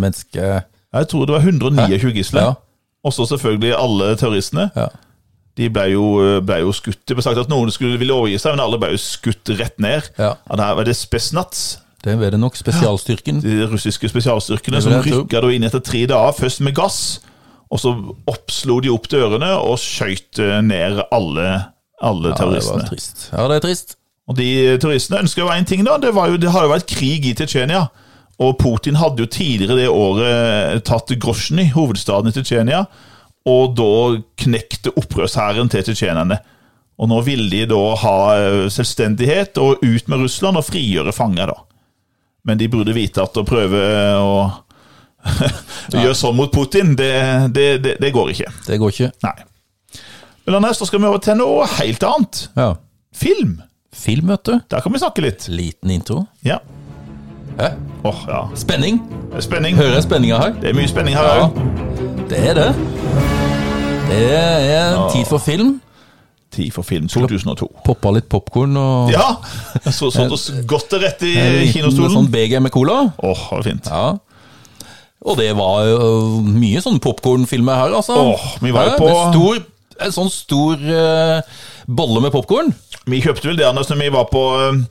Speaker 1: mennesker
Speaker 2: Jeg tror det var 129 gisler.
Speaker 1: Ja.
Speaker 2: Også selvfølgelig alle terroristene.
Speaker 1: Ja.
Speaker 2: de ble jo, eh, ble jo skutt. Det ble sagt at noen skulle ville overgi seg, men alle ble jo skutt rett ned.
Speaker 1: Ja.
Speaker 2: det her var det Spesnaz,
Speaker 1: Det er det nok. Spesialstyrken.
Speaker 2: de russiske spesialstyrkene,
Speaker 1: Det
Speaker 2: som
Speaker 1: vil jeg tro.
Speaker 2: rykka da inn etter tre dager, først med gass, og så oppslo de opp dørene og skøyt eh, ned alle, alle
Speaker 1: Ja, det
Speaker 2: terroristene.
Speaker 1: var trist. Ja, det er trist.
Speaker 2: Og de eh, turistene ønsker jo én ting, da. Det, var jo, det har jo vært krig i Tsjetsjenia. Og Putin hadde jo tidligere det året eh, tatt Grosjny, hovedstaden i Tsjetsjenia, og da knekte opprørshæren til tsjetsjenerne. Og nå ville de da ha eh, selvstendighet og ut med Russland og frigjøre fanger, da. Men de burde vite at å prøve eh, å [LAUGHS] gjøre sånn mot Putin, det, det, det, det går ikke.
Speaker 1: Det går ikke.
Speaker 2: Nei. Men Anders, da skal vi over til noe helt annet.
Speaker 1: Ja.
Speaker 2: Film.
Speaker 1: Film, vet du.
Speaker 2: Der kan vi snakke litt.
Speaker 1: Liten intro.
Speaker 2: Ja.
Speaker 1: Hæ?
Speaker 2: Åh, ja.
Speaker 1: Spenning.
Speaker 2: Det er Spenning.
Speaker 1: Hører jeg spenninga her?
Speaker 2: Det er mye spenning her
Speaker 1: Ja.
Speaker 2: òg.
Speaker 1: Det er det. Det er tid for film.
Speaker 2: Tid for film 2002.
Speaker 1: Poppa litt popkorn og
Speaker 2: Ja! Så satt oss godt til rette
Speaker 1: en
Speaker 2: i
Speaker 1: liten
Speaker 2: kinostolen.
Speaker 1: sånn BG med cola.
Speaker 2: Åh, det var fint.
Speaker 1: Ja. Og det var jo mye sånn popkornfilmer her, altså.
Speaker 2: Åh, vi var jo
Speaker 1: Ja,
Speaker 2: på-
Speaker 1: en stor, En sånn stor eh, bolle med popkorn.
Speaker 2: Vi kjøpte vel det Anders, når vi var på, eh,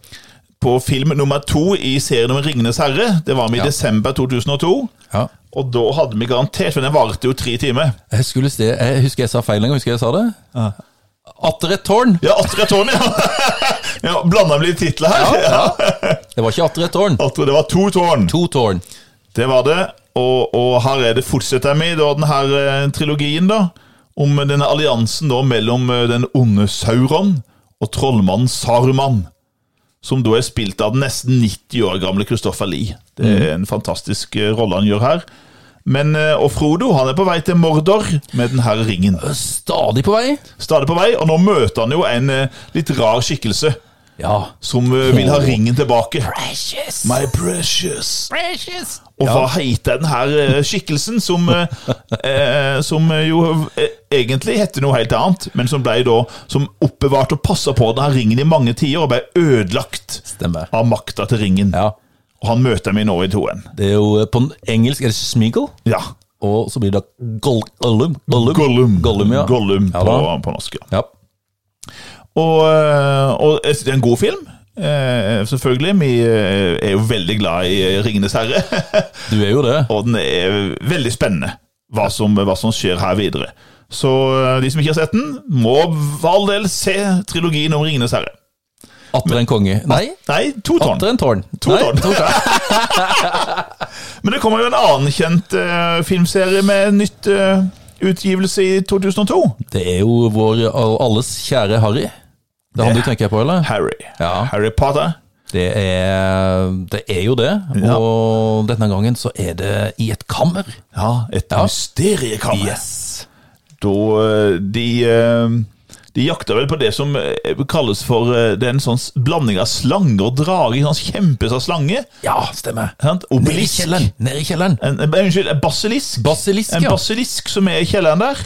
Speaker 2: på film nummer to i serien om 'Ringenes herre'. Det var vi i
Speaker 1: Ja.
Speaker 2: desember 2002.
Speaker 1: Ja.
Speaker 2: Og da hadde vi garantert, for den varte jo tre timer
Speaker 1: Jeg, skulle se, jeg husker jeg sa feil en gang. Husker jeg sa det? Atter et tårn.
Speaker 2: Ja, Atter et tårn, ja! [LAUGHS] ja Blanda med litt titler her. Ja,
Speaker 1: Det var ikke atter et tårn.
Speaker 2: Atter, det var to tårn.
Speaker 1: To tårn.
Speaker 2: Det var det. Og, og her er det fortsetter med da, den her eh, trilogien, da. Om denne alliansen da mellom eh, den onde Sauron og trollmannen Saruman. Som da er spilt av den nesten 90 år gamle Christopher Lee. Det er en fantastisk eh, rolle han gjør her. Men, eh, og Frodo han er på vei til Mordor med den her ringen.
Speaker 1: Stadig på vei.
Speaker 2: Stadig på vei, og nå møter han jo en eh, litt rar skikkelse
Speaker 1: Ja.
Speaker 2: som eh, vil ha ringen tilbake.
Speaker 1: Precious.
Speaker 2: My precious.
Speaker 1: precious.
Speaker 2: Og hva heter den her eh, skikkelsen, som, eh, eh, som eh, jo eh, egentlig heter noe helt annet, men som ble da som oppbevarte og passa på den her ringen i mange tider, og ble ødelagt
Speaker 1: Stemmer.
Speaker 2: av makta til ringen.
Speaker 1: Ja.
Speaker 2: Og han møter vi nå i toen.
Speaker 1: Det er jo eh, på engelsk er det Smeagol,
Speaker 2: Ja.
Speaker 1: og så blir det Gol- Gollum. Gollum.
Speaker 2: Gollum.
Speaker 1: Gollum, ja.
Speaker 2: Gollum
Speaker 1: Ja
Speaker 2: på,
Speaker 1: da.
Speaker 2: på norsk. Ja.
Speaker 1: Ja.
Speaker 2: Og, eh, og jeg synes det er en god film. Eh, selvfølgelig. Vi eh, er jo veldig glad i eh, 'Ringenes herre'. [LAUGHS]
Speaker 1: Du er jo det.
Speaker 2: og den er veldig spennende hva som, hva som skjer her videre. Så eh, de som ikke har sett den, må for all del se trilogien om Ringenes herre.
Speaker 1: Atter en konge. Nei,
Speaker 2: Nei, to tonn.
Speaker 1: atter en tårn.
Speaker 2: To
Speaker 1: Nei,
Speaker 2: tårn. Men det kommer jo en annen kjent eh, filmserie med nytt eh, utgivelse i 2002.
Speaker 1: Det er jo vår alles kjære Harry. Det er han du tenker på, eller?
Speaker 2: Harry.
Speaker 1: Ja.
Speaker 2: Harry Potter.
Speaker 1: Det er, det er jo det.
Speaker 2: Ja.
Speaker 1: Og denne gangen så er det i et kammer.
Speaker 2: Ja, et mysteriekammer.
Speaker 1: Yes.
Speaker 2: Da eh, de eh, de jakter vel på det som eh, kalles for eh, Det er en sånn s- blanding av slange og drage. En sånn kjempesvær slange.
Speaker 1: Ja, stemmer.
Speaker 2: Sant?
Speaker 1: Nede i
Speaker 2: Obelisk.
Speaker 1: kjelleren. Nede i kjelleren.
Speaker 2: En, en, unnskyld, en basilisk.
Speaker 1: Basilisk,
Speaker 2: en
Speaker 1: ja.
Speaker 2: basilisk som er i kjelleren der.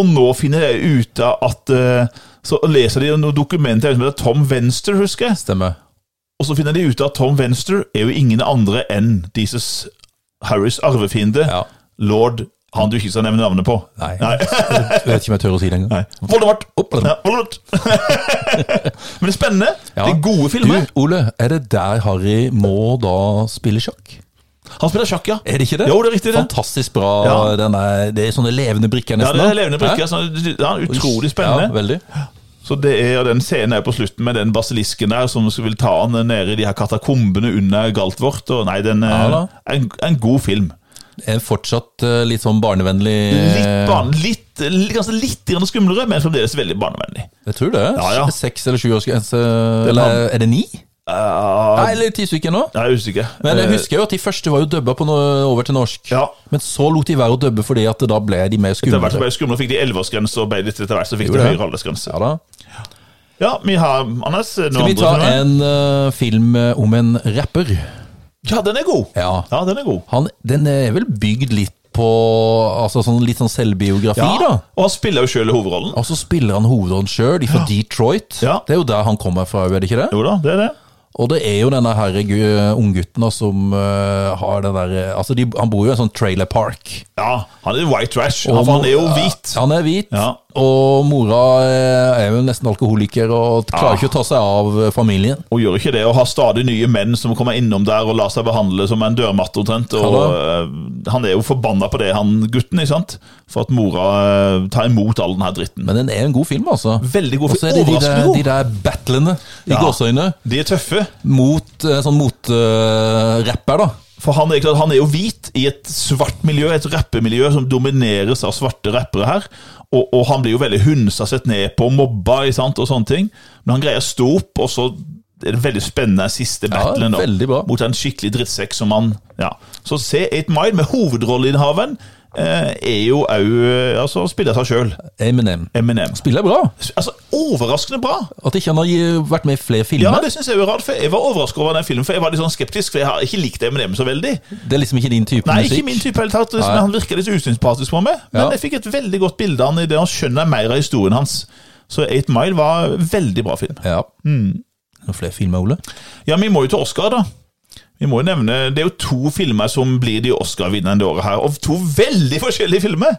Speaker 2: Og nå finner jeg ut av at eh, Så leser de noen dokumenter som heter Tom Venster, husker jeg.
Speaker 1: Stemmer.
Speaker 2: Og så finner de ut av at Tom Venster er jo ingen andre enn dieses Harrys arvefiende,
Speaker 1: Ja.
Speaker 2: lord han du ikke skal nevne navnet på.
Speaker 1: Nei. [LAUGHS] Jeg vet ikke om jeg tør å si det engang.
Speaker 2: Nei. Voldemort!
Speaker 1: Opp, eller?
Speaker 2: Ja, Voldemort. [LAUGHS] Men det er spennende.
Speaker 1: Ja.
Speaker 2: Det er gode filmer.
Speaker 1: Du, Ole, er det der Harry må da spille sjakk?
Speaker 2: Han spiller sjakk, ja.
Speaker 1: Er det ikke det?
Speaker 2: Jo, det er riktig, det.
Speaker 1: Fantastisk bra.
Speaker 2: Ja.
Speaker 1: Den er, det er sånne levende brikker,
Speaker 2: Ja,
Speaker 1: nesten.
Speaker 2: det er
Speaker 1: da.
Speaker 2: levende brikker. så det er utrolig spennende.
Speaker 1: Ja, veldig.
Speaker 2: Så det er og den scenen er på slutten med den basilisken der som vil ta han nede i de her katakombene under Galtvort. Og nei, den eh, er
Speaker 1: Ja da.
Speaker 2: en, en god film.
Speaker 1: Det Er fortsatt eh, litt sånn barnevennlig
Speaker 2: Litt, barn, litt, litt, ganske litt grann skumlere, men fremdeles veldig barnevennlig.
Speaker 1: Jeg tror det.
Speaker 2: Ja, ja.
Speaker 1: Seks eller sju års grense Eller er det ni?
Speaker 2: Uh,
Speaker 1: Nei, eller ti stykker nå?
Speaker 2: jeg er usikker.
Speaker 1: Men jeg
Speaker 2: Eh,
Speaker 1: husker jo at de første var jo dubba på no over til norsk.
Speaker 2: Ja.
Speaker 1: Men så lot de være å dubbe fordi at da ble de mer
Speaker 2: Etter hvert
Speaker 1: skumle.
Speaker 2: så ble det skumlere, fikk de 11-årsgrense, og ble litt etter hvert så fikk
Speaker 1: Gjorde
Speaker 2: de
Speaker 1: det.
Speaker 2: høyere aldersgrense.
Speaker 1: Ja da.
Speaker 2: Ja, vi har Anders noen
Speaker 1: Skal vi
Speaker 2: andre
Speaker 1: ta
Speaker 2: filmer?
Speaker 1: en eh, film eh, om en rapper?
Speaker 2: Ja, den er god!
Speaker 1: Ja.
Speaker 2: Ja, den er god.
Speaker 1: Han, den er vel bygd litt på altså sånn, litt sånn selvbiografi,
Speaker 2: Ja,
Speaker 1: da.
Speaker 2: og han spiller jo sjøl hovedrollen.
Speaker 1: Og så spiller han hovedrollen sjøl, fra Detroit.
Speaker 2: Ja.
Speaker 1: Det er jo der han kommer fra, er det ikke det?
Speaker 2: Jo da, det er det.
Speaker 1: Og det er jo denne her gu- unggutten da, som eh, har den der eh, Altså, de, han bor jo i en sånn trailer park.
Speaker 2: Ja, han er white trash. Han, han er jo hvit.
Speaker 1: Han er hvit.
Speaker 2: Ja.
Speaker 1: Og mora eh, er jo nesten alkoholiker og klarer ikke å ta seg av eh, familien.
Speaker 2: Hun gjør ikke det, og har stadig nye menn som kommer innom der og lar seg behandle som en dørmatte omtrent. Og eh, han er jo forbanna på det, han gutten, ikke sant? for at mora eh, tar imot all den her dritten.
Speaker 1: Men den er en god film, altså.
Speaker 2: Veldig god
Speaker 1: Og så er det
Speaker 2: film.
Speaker 1: de der, de
Speaker 2: Overraskende god.
Speaker 1: der battlene i
Speaker 2: Ja.
Speaker 1: gåseøyne
Speaker 2: De er tøffe,
Speaker 1: mot eh, sånn motrapper, da.
Speaker 2: for han er, ikke- han er jo hvit i et svart miljø, et rappemiljø som domineres av svarte rappere her. Og, og han blir jo veldig hunsa, sett ned på, mobba ikke sant? og sånne ting. Men han greier å stå opp, og så er det veldig spennende siste
Speaker 1: Ja,
Speaker 2: battlen. da.
Speaker 1: veldig bra.
Speaker 2: mot en skikkelig drittsekk som han ja. Så se 8 Mile med hovedrolleinnehaveren eh, er jo òg eh, altså, spiller seg sjøl,
Speaker 1: Eminem.
Speaker 2: Eminem.
Speaker 1: Spiller bra.
Speaker 2: Altså, Overraskende bra!
Speaker 1: At ikke han har gi- vært med i flere
Speaker 2: Ja,
Speaker 1: filmer.
Speaker 2: det synes Jeg er rart, for jeg var overraska over den filmen, for jeg var litt sånn skeptisk, for jeg har ikke likt Eminem så veldig.
Speaker 1: det... er liksom ikke din type
Speaker 2: Nei,
Speaker 1: musikk.
Speaker 2: ikke min type helt tatt,
Speaker 1: Nei.
Speaker 2: men Han virker litt usympatisk på meg, men
Speaker 1: Ja.
Speaker 2: jeg fikk et veldig godt bilde av han i det, og skjønner mer av historien hans. Så 8 Mile var veldig bra film.
Speaker 1: Ja.
Speaker 2: Mm.
Speaker 1: Noen flere filmer, Ole?
Speaker 2: Ja, vi må jo til Oscar, da. Vi må jo nevne, Det er jo to filmer som blir de Oscar-vinnerne det året her. Og to veldig forskjellige filmer!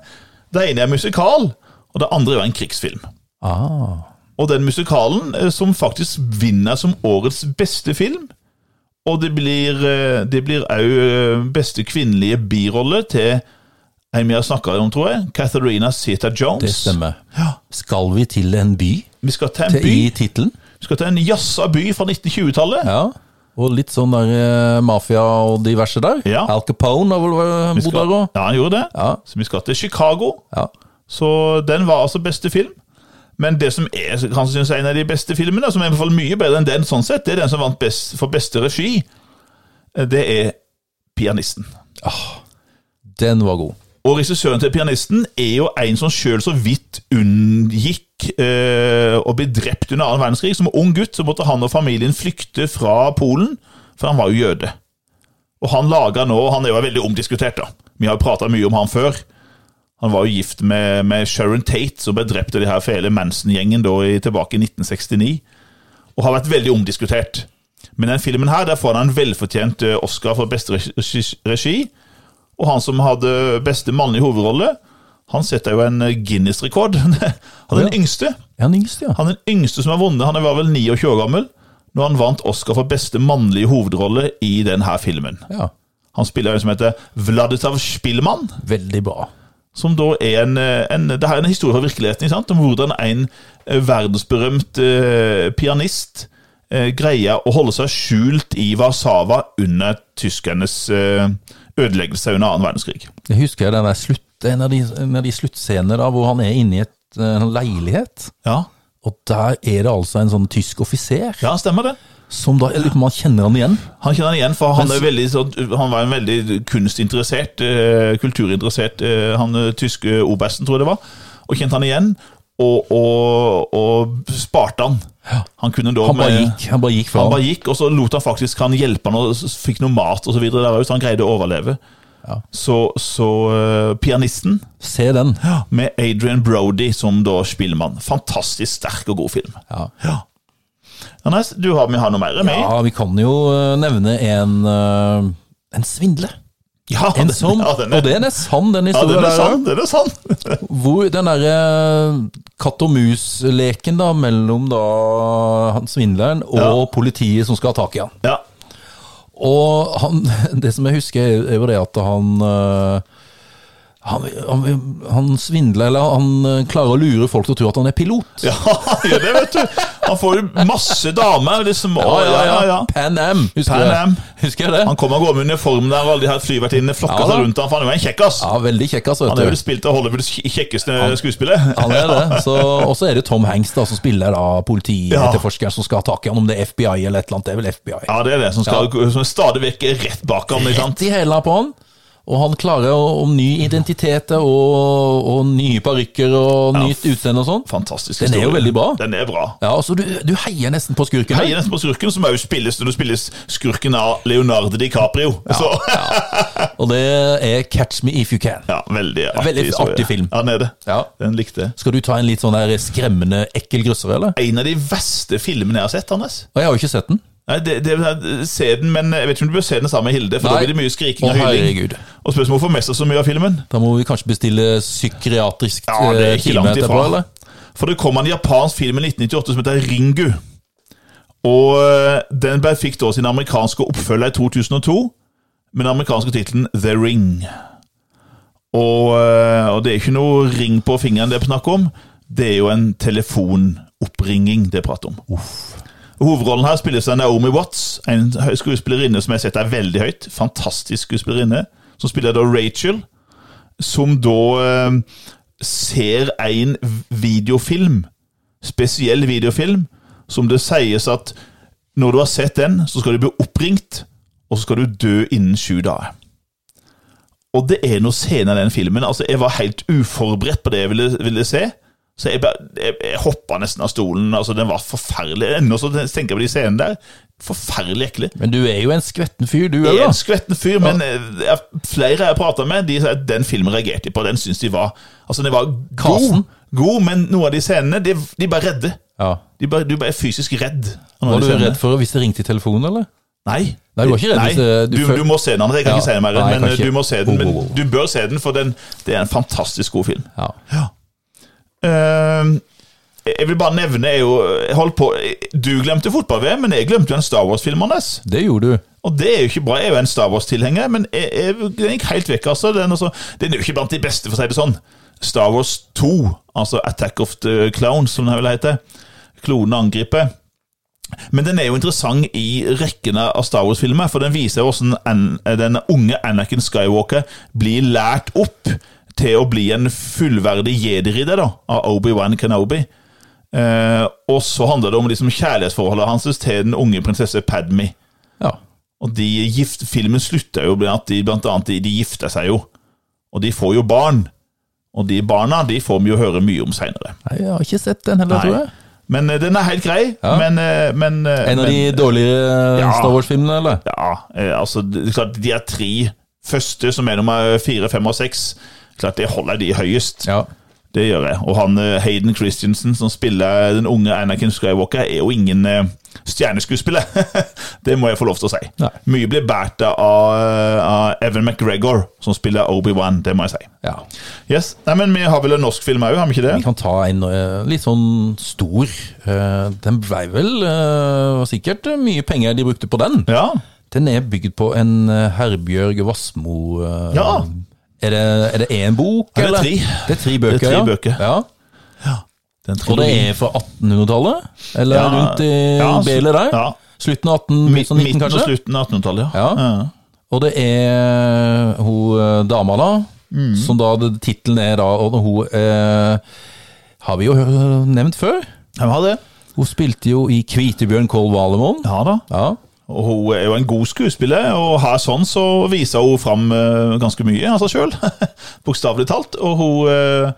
Speaker 2: Det ene er musikal, og det andre er jo en krigsfilm.
Speaker 1: Ah.
Speaker 2: Og den musikalen eh, som faktisk vinner som årets beste film, og det blir eh, det blir òg eh, beste kvinnelige birolle til en vi har snakka om, tror jeg, Catharina Zeta Jones.
Speaker 1: Det stemmer.
Speaker 2: Ja,
Speaker 1: Skal vi til en by?
Speaker 2: vi skal til en
Speaker 1: Til,
Speaker 2: by,
Speaker 1: I tittelen.
Speaker 2: vi skal til en jazza by fra 1920-tallet.
Speaker 1: Ja. Og litt sånn der eh, mafia og diverse der.
Speaker 2: Ja.
Speaker 1: Al Capone har vel vært-
Speaker 2: Vi
Speaker 1: bodd
Speaker 2: skal-
Speaker 1: der òg.
Speaker 2: Ja, han gjorde det.
Speaker 1: Ja.
Speaker 2: Så vi skal til Chicago.
Speaker 1: Ja.
Speaker 2: Så den var altså beste film. Men det som er kanskje synes jeg, en av de beste filmene, som er i hvert fall mye bedre enn den, sånn sett, det er den som vant best, for beste regi, Eh, det er Pianisten.
Speaker 1: Den var god.
Speaker 2: Og regissøren til Pianisten er jo en som sjøl så vidt unngikk eh, å bli drept under annen verdenskrig. Som ung gutt så måtte han og familien flykte fra Polen, for han var jo jøde. Og han lager nå Han er jo veldig omdiskutert, da. Vi har jo prata mye om han før. Han var jo gift med, med Sharon Tate, som ble drept av de her fæle Manson-gjengen da i, tilbake i 1969. Og har vært veldig omdiskutert. Men den filmen her, der får han en velfortjent eh, Oscar for beste regi. regi og han som hadde beste mannlige hovedrolle, han setter jo en eh, Guinness-rekord. [LAUGHS] Han er den yngste.
Speaker 1: Er han yngst, ja?
Speaker 2: Han er den yngste som har vunnet. Han var vel 29 år gammel når han vant Oscar for beste mannlige hovedrolle i denne filmen.
Speaker 1: ja.
Speaker 2: Han spiller en som heter Vladislav Spillmann,
Speaker 1: Veldig bra.
Speaker 2: som da er en, eh, en Det her er en historie fra virkeligheten ikke sant? om hvordan en eh, verdensberømt eh, pianist eh, greier å holde seg skjult i Warszawa under tyskernes eh, ødeleggelse under annen verdenskrig.
Speaker 1: Jeg husker den der slutt, en, av de, en av de sluttscener da, hvor han er inne i et, eh, en leilighet.
Speaker 2: Ja,
Speaker 1: Og der er det altså en sånn tysk offiser,
Speaker 2: Ja, stemmer det.
Speaker 1: som da, jeg lurer på om han kjenner han igjen.
Speaker 2: Han kjenner han igjen, for han,
Speaker 1: Men-
Speaker 2: er veldig, sånn- han var en veldig kunstinteressert, eh, kulturinteressert, eh, han eh, tyske obersten, tror jeg det var, og kjente han igjen, og, og, og sparte han. Han kunne da
Speaker 1: Han bare
Speaker 2: med-
Speaker 1: gikk, han bare gikk fra
Speaker 2: Han
Speaker 1: han.
Speaker 2: bare gikk, og så lot han faktisk han hjelpe han, og s- fikk noe mat og så videre der også, så sånn han greide å overleve.
Speaker 1: Ja.
Speaker 2: Så, så eh, pianisten,
Speaker 1: Se den.
Speaker 2: med Adrian Brody som da spillmann. Fantastisk sterk og god film.
Speaker 1: Ja.
Speaker 2: Ja, nei, du har, vi har noe mer med?
Speaker 1: ja, vi kan jo eh, nevne en, eh, en svindler.
Speaker 2: Ja,
Speaker 1: En
Speaker 2: den-
Speaker 1: som,
Speaker 2: [LAUGHS] ja, den er-
Speaker 1: og den er sann, den
Speaker 2: Ja, den
Speaker 1: historien
Speaker 2: er
Speaker 1: der.
Speaker 2: sann! Den er sann.
Speaker 1: Hvor den derre katt og mus-leken da, mellom da han svindleren og
Speaker 2: Ja.
Speaker 1: politiet som skal ha tak i han.
Speaker 2: Ja. [LAUGHS]
Speaker 1: Og han, [LAUGHS] det som jeg husker, er- er jo det at han øh, han, han, han svindler, eller han øh, klarer å lure folk til å tro at han er pilot.
Speaker 2: ja, han gjør det, vet du. Han får jo masse damer. Liksom. Å, ja, ja, ja.
Speaker 1: Pan Am, husker
Speaker 2: Pan
Speaker 1: jeg.
Speaker 2: Am.
Speaker 1: Husker jeg det?
Speaker 2: Han kommer og går med uniform der, og alle de her flyvertinnene flokker
Speaker 1: Ja, da.
Speaker 2: seg rundt ham. for Han er jo en kjekkass.
Speaker 1: Ja, veldig kjekk, altså.
Speaker 2: Han er
Speaker 1: Vet
Speaker 2: vel
Speaker 1: du.
Speaker 2: spilt av Hollywoods kje- kjekkeste skuespiller.
Speaker 1: Han er det. Så, og så er det Tom Hanks da, som spiller da politietterforskeren som skal ha tak i han, om det er FBI eller et eller annet. Det er vel FBI.
Speaker 2: [LAUGHS] Ja, det er det, som, skal, som stadig vekk er rett bak ham. Ikke sant?
Speaker 1: Rett i hæla på han. Og han klarer å, om ny identitet og, og nye parykker og nytt utseende og sånn.
Speaker 2: Fantastisk
Speaker 1: Den er jo veldig bra.
Speaker 2: Den er bra.
Speaker 1: Ja, altså du, du heier nesten på skurken.
Speaker 2: Heier nesten på skurken, som også spilles når du spilles skurken av Leonardo DiCaprio. Så, [LAUGHS]
Speaker 1: Og det er Catch Me If You Can.
Speaker 2: ja, veldig artig,
Speaker 1: Veldig
Speaker 2: historie.
Speaker 1: artig film.
Speaker 2: Ja, den er det.
Speaker 1: Ja.
Speaker 2: Den likte jeg.
Speaker 1: Skal du ta en litt sånn der skremmende, ekkel grøsser, eller?
Speaker 2: En av de verste filmene jeg har sett, Anders.
Speaker 1: Og jeg har jo ikke sett den.
Speaker 2: Nei, det, det, se den, men jeg vet ikke om du bør se den sammen med Hilde, for
Speaker 1: Nei.
Speaker 2: da blir det mye skriking
Speaker 1: Å,
Speaker 2: og hyling.
Speaker 1: herregud.
Speaker 2: Og spørs om hun får med seg så mye av filmen.
Speaker 1: Da må vi kanskje bestille psykiatrisk
Speaker 2: Ja, det er
Speaker 1: eh,
Speaker 2: ikke
Speaker 1: time
Speaker 2: langt
Speaker 1: etterpå,
Speaker 2: ifra.
Speaker 1: eller?
Speaker 2: For det kom en japansk film i 1998 som heter Ringu. Og eh, den ble- fikk da sin amerikanske oppfølger i 2002, med den amerikanske tittelen The Ring. Og, eh, og det er ikke noe ring på fingeren det er snakk om, det er jo en telefonoppringing det er prat om. Hovedrollen her spilles av Naomi Watts, en høy- skuespillerinne som jeg setter veldig høyt. Fantastisk skuespillerinne. Som spiller da Rachel, som da eh, ser en videofilm, spesiell videofilm, som det sies at når du har sett den, så skal du bli oppringt, og så skal du dø innen sju dager. Og det er noe scener i den filmen. altså Jeg var helt uforberedt på det jeg ville, ville se. Så jeg, bare- jeg, jeg hoppa nesten av stolen. altså Den var forferdelig. Ennå så tenker jeg på de scenene der. Forferdelig ekle.
Speaker 1: Men du er jo en skvetten fyr, du òg,
Speaker 2: Jeg er
Speaker 1: da.
Speaker 2: en skvetten fyr, men eh, jeg, flere jeg prata med, de sa at den filmen reagerte de på. Den syns de var Altså, den var god,
Speaker 1: Kasen.
Speaker 2: god men noen av de scenene, de, de bare redde.
Speaker 1: Ja.
Speaker 2: De bare, du bare er fysisk redd. av noen av
Speaker 1: Var
Speaker 2: de
Speaker 1: du
Speaker 2: scenene.
Speaker 1: redd for hvis det ringte i telefonen, eller?
Speaker 2: Nei.
Speaker 1: Nei, du var ikke redd hvis, eh,
Speaker 2: du,
Speaker 1: du
Speaker 2: du,
Speaker 1: føl-
Speaker 2: må se den, André. Jeg kan
Speaker 1: Ja.
Speaker 2: ikke si det mer,
Speaker 1: Nei, jeg kan
Speaker 2: men eh,
Speaker 1: ikke.
Speaker 2: du må se den.
Speaker 1: Ho, ho,
Speaker 2: Men
Speaker 1: ho.
Speaker 2: du bør se den, for den, det er en fantastisk god film.
Speaker 1: Ja.
Speaker 2: Ehm, jeg vil bare nevne jeg jo, jeg holdt på, Du glemte fotball-VM, men jeg glemte jo en Star Wars-film. Anders.
Speaker 1: Det gjorde du.
Speaker 2: Og det er jo ikke bra. Jeg er jo en Star Wars-tilhenger, men jeg, jeg, den gikk helt vekk. altså. Den, altså. den er jo ikke blant de beste, for å si det sånn. Star Wars 2, altså Attack of the Clowns, som den her vil hete. Klonene angriper. Men den er jo interessant i rekken av Star Wars-filmer, for den viser hvordan An den unge Anakin Skywalker blir lært opp til å bli en fullverdig jedi-ridder da, av Obi-Wan Kenobi. Eh, og så handler det om liksom kjærlighetsforholdet hans til den unge prinsesse Padme.
Speaker 1: Ja.
Speaker 2: Og de gift, filmen slutta jo med at de blant annet de, de gifta seg jo. Og de får jo barn. Og de barna de får vi jo høre mye om seinere.
Speaker 1: Nei, jeg har ikke sett den heller, tror jeg.
Speaker 2: Men eh, den er helt grei.
Speaker 1: Ja.
Speaker 2: Men, eh, men eh,
Speaker 1: En av
Speaker 2: men,
Speaker 1: de dårligere eh,
Speaker 2: Ja.
Speaker 1: Star Wars-filmene, eller?
Speaker 2: Ja, eh, altså det er klart, De er tre første, som er nummer fire, fem og seks. Klart, Det holder de høyest.
Speaker 1: Ja.
Speaker 2: Det gjør jeg. Og han eh, Hayden Christensen, som spiller den unge Anakin Skywalker, er jo ingen eh, stjerneskuespiller. [LAUGHS] det må jeg få lov til å si.
Speaker 1: Nei.
Speaker 2: Mye blir båret av, eh, av Evan McGregor, som spiller Obi-Wan. Det må jeg si.
Speaker 1: ja.
Speaker 2: Yes. Nei, men Vi har vel en norsk film òg, har vi ikke det?
Speaker 1: Vi kan ta en eh, litt sånn stor. Eh, Den blei vel eh, sikkert mye penger de brukte på den.
Speaker 2: Ja.
Speaker 1: Den er bygd på en eh, Herbjørg Wassmo eh,
Speaker 2: Ja.
Speaker 1: Er det, er det én bok,
Speaker 2: Ja, det er
Speaker 1: eller?
Speaker 2: tre.
Speaker 1: Det er tre bøker,
Speaker 2: Det er tre
Speaker 1: ja.
Speaker 2: bøker.
Speaker 1: ja.
Speaker 2: Den
Speaker 1: Og det er fra 1800-tallet? Eller
Speaker 2: Ja.
Speaker 1: rundt i
Speaker 2: Ja, så-
Speaker 1: Belet der?
Speaker 2: ja.
Speaker 1: Slutten av 18, midten av 19,
Speaker 2: Midten og
Speaker 1: kanskje?
Speaker 2: slutten av 1800-tallet,
Speaker 1: Ja. Og det er hun eh, dama da,
Speaker 2: Mm.
Speaker 1: som da det- tittelen er da, og hun eh, har vi jo hø- nevnt før.
Speaker 2: Hvem har det?
Speaker 1: Hun spilte jo i Kvitebjørn Kål Valemon.
Speaker 2: Ja da.
Speaker 1: Ja.
Speaker 2: Og Hun er jo en god skuespiller, og her sånn så viser hun fram eh, ganske mye av seg sjøl. [LAUGHS] Bokstavelig talt. Og hun, eh,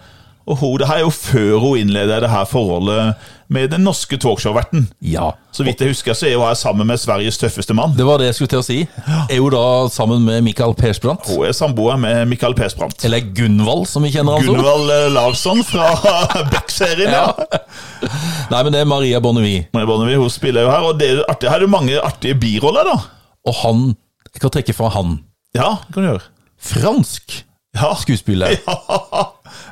Speaker 2: og hun Det her er jo før hun innleder det her forholdet med den norske talkshow-verten.
Speaker 1: ja.
Speaker 2: Så vidt jeg husker, så er hun her sammen med Sveriges tøffeste mann.
Speaker 1: Det var det jeg skulle til å si. Er hun da sammen med Mikael Persbrandt?
Speaker 2: Hun er samboer med Michael Persbrandt.
Speaker 1: Eller Gunvald, som vi kjenner han som.
Speaker 2: Gunvald eh, Larsson fra [LAUGHS] Beck-serien. ja.
Speaker 1: [LAUGHS] Nei, men det er Maria Bonnevie.
Speaker 2: Maria Bonnevie, hun spiller jo her, og det er artig. Her er det mange artige biroller, da.
Speaker 1: Og han Jeg kan trekke fra han.
Speaker 2: Ja, det kan du gjøre.
Speaker 1: Fransk
Speaker 2: Ja. [LAUGHS]
Speaker 1: skuespiller.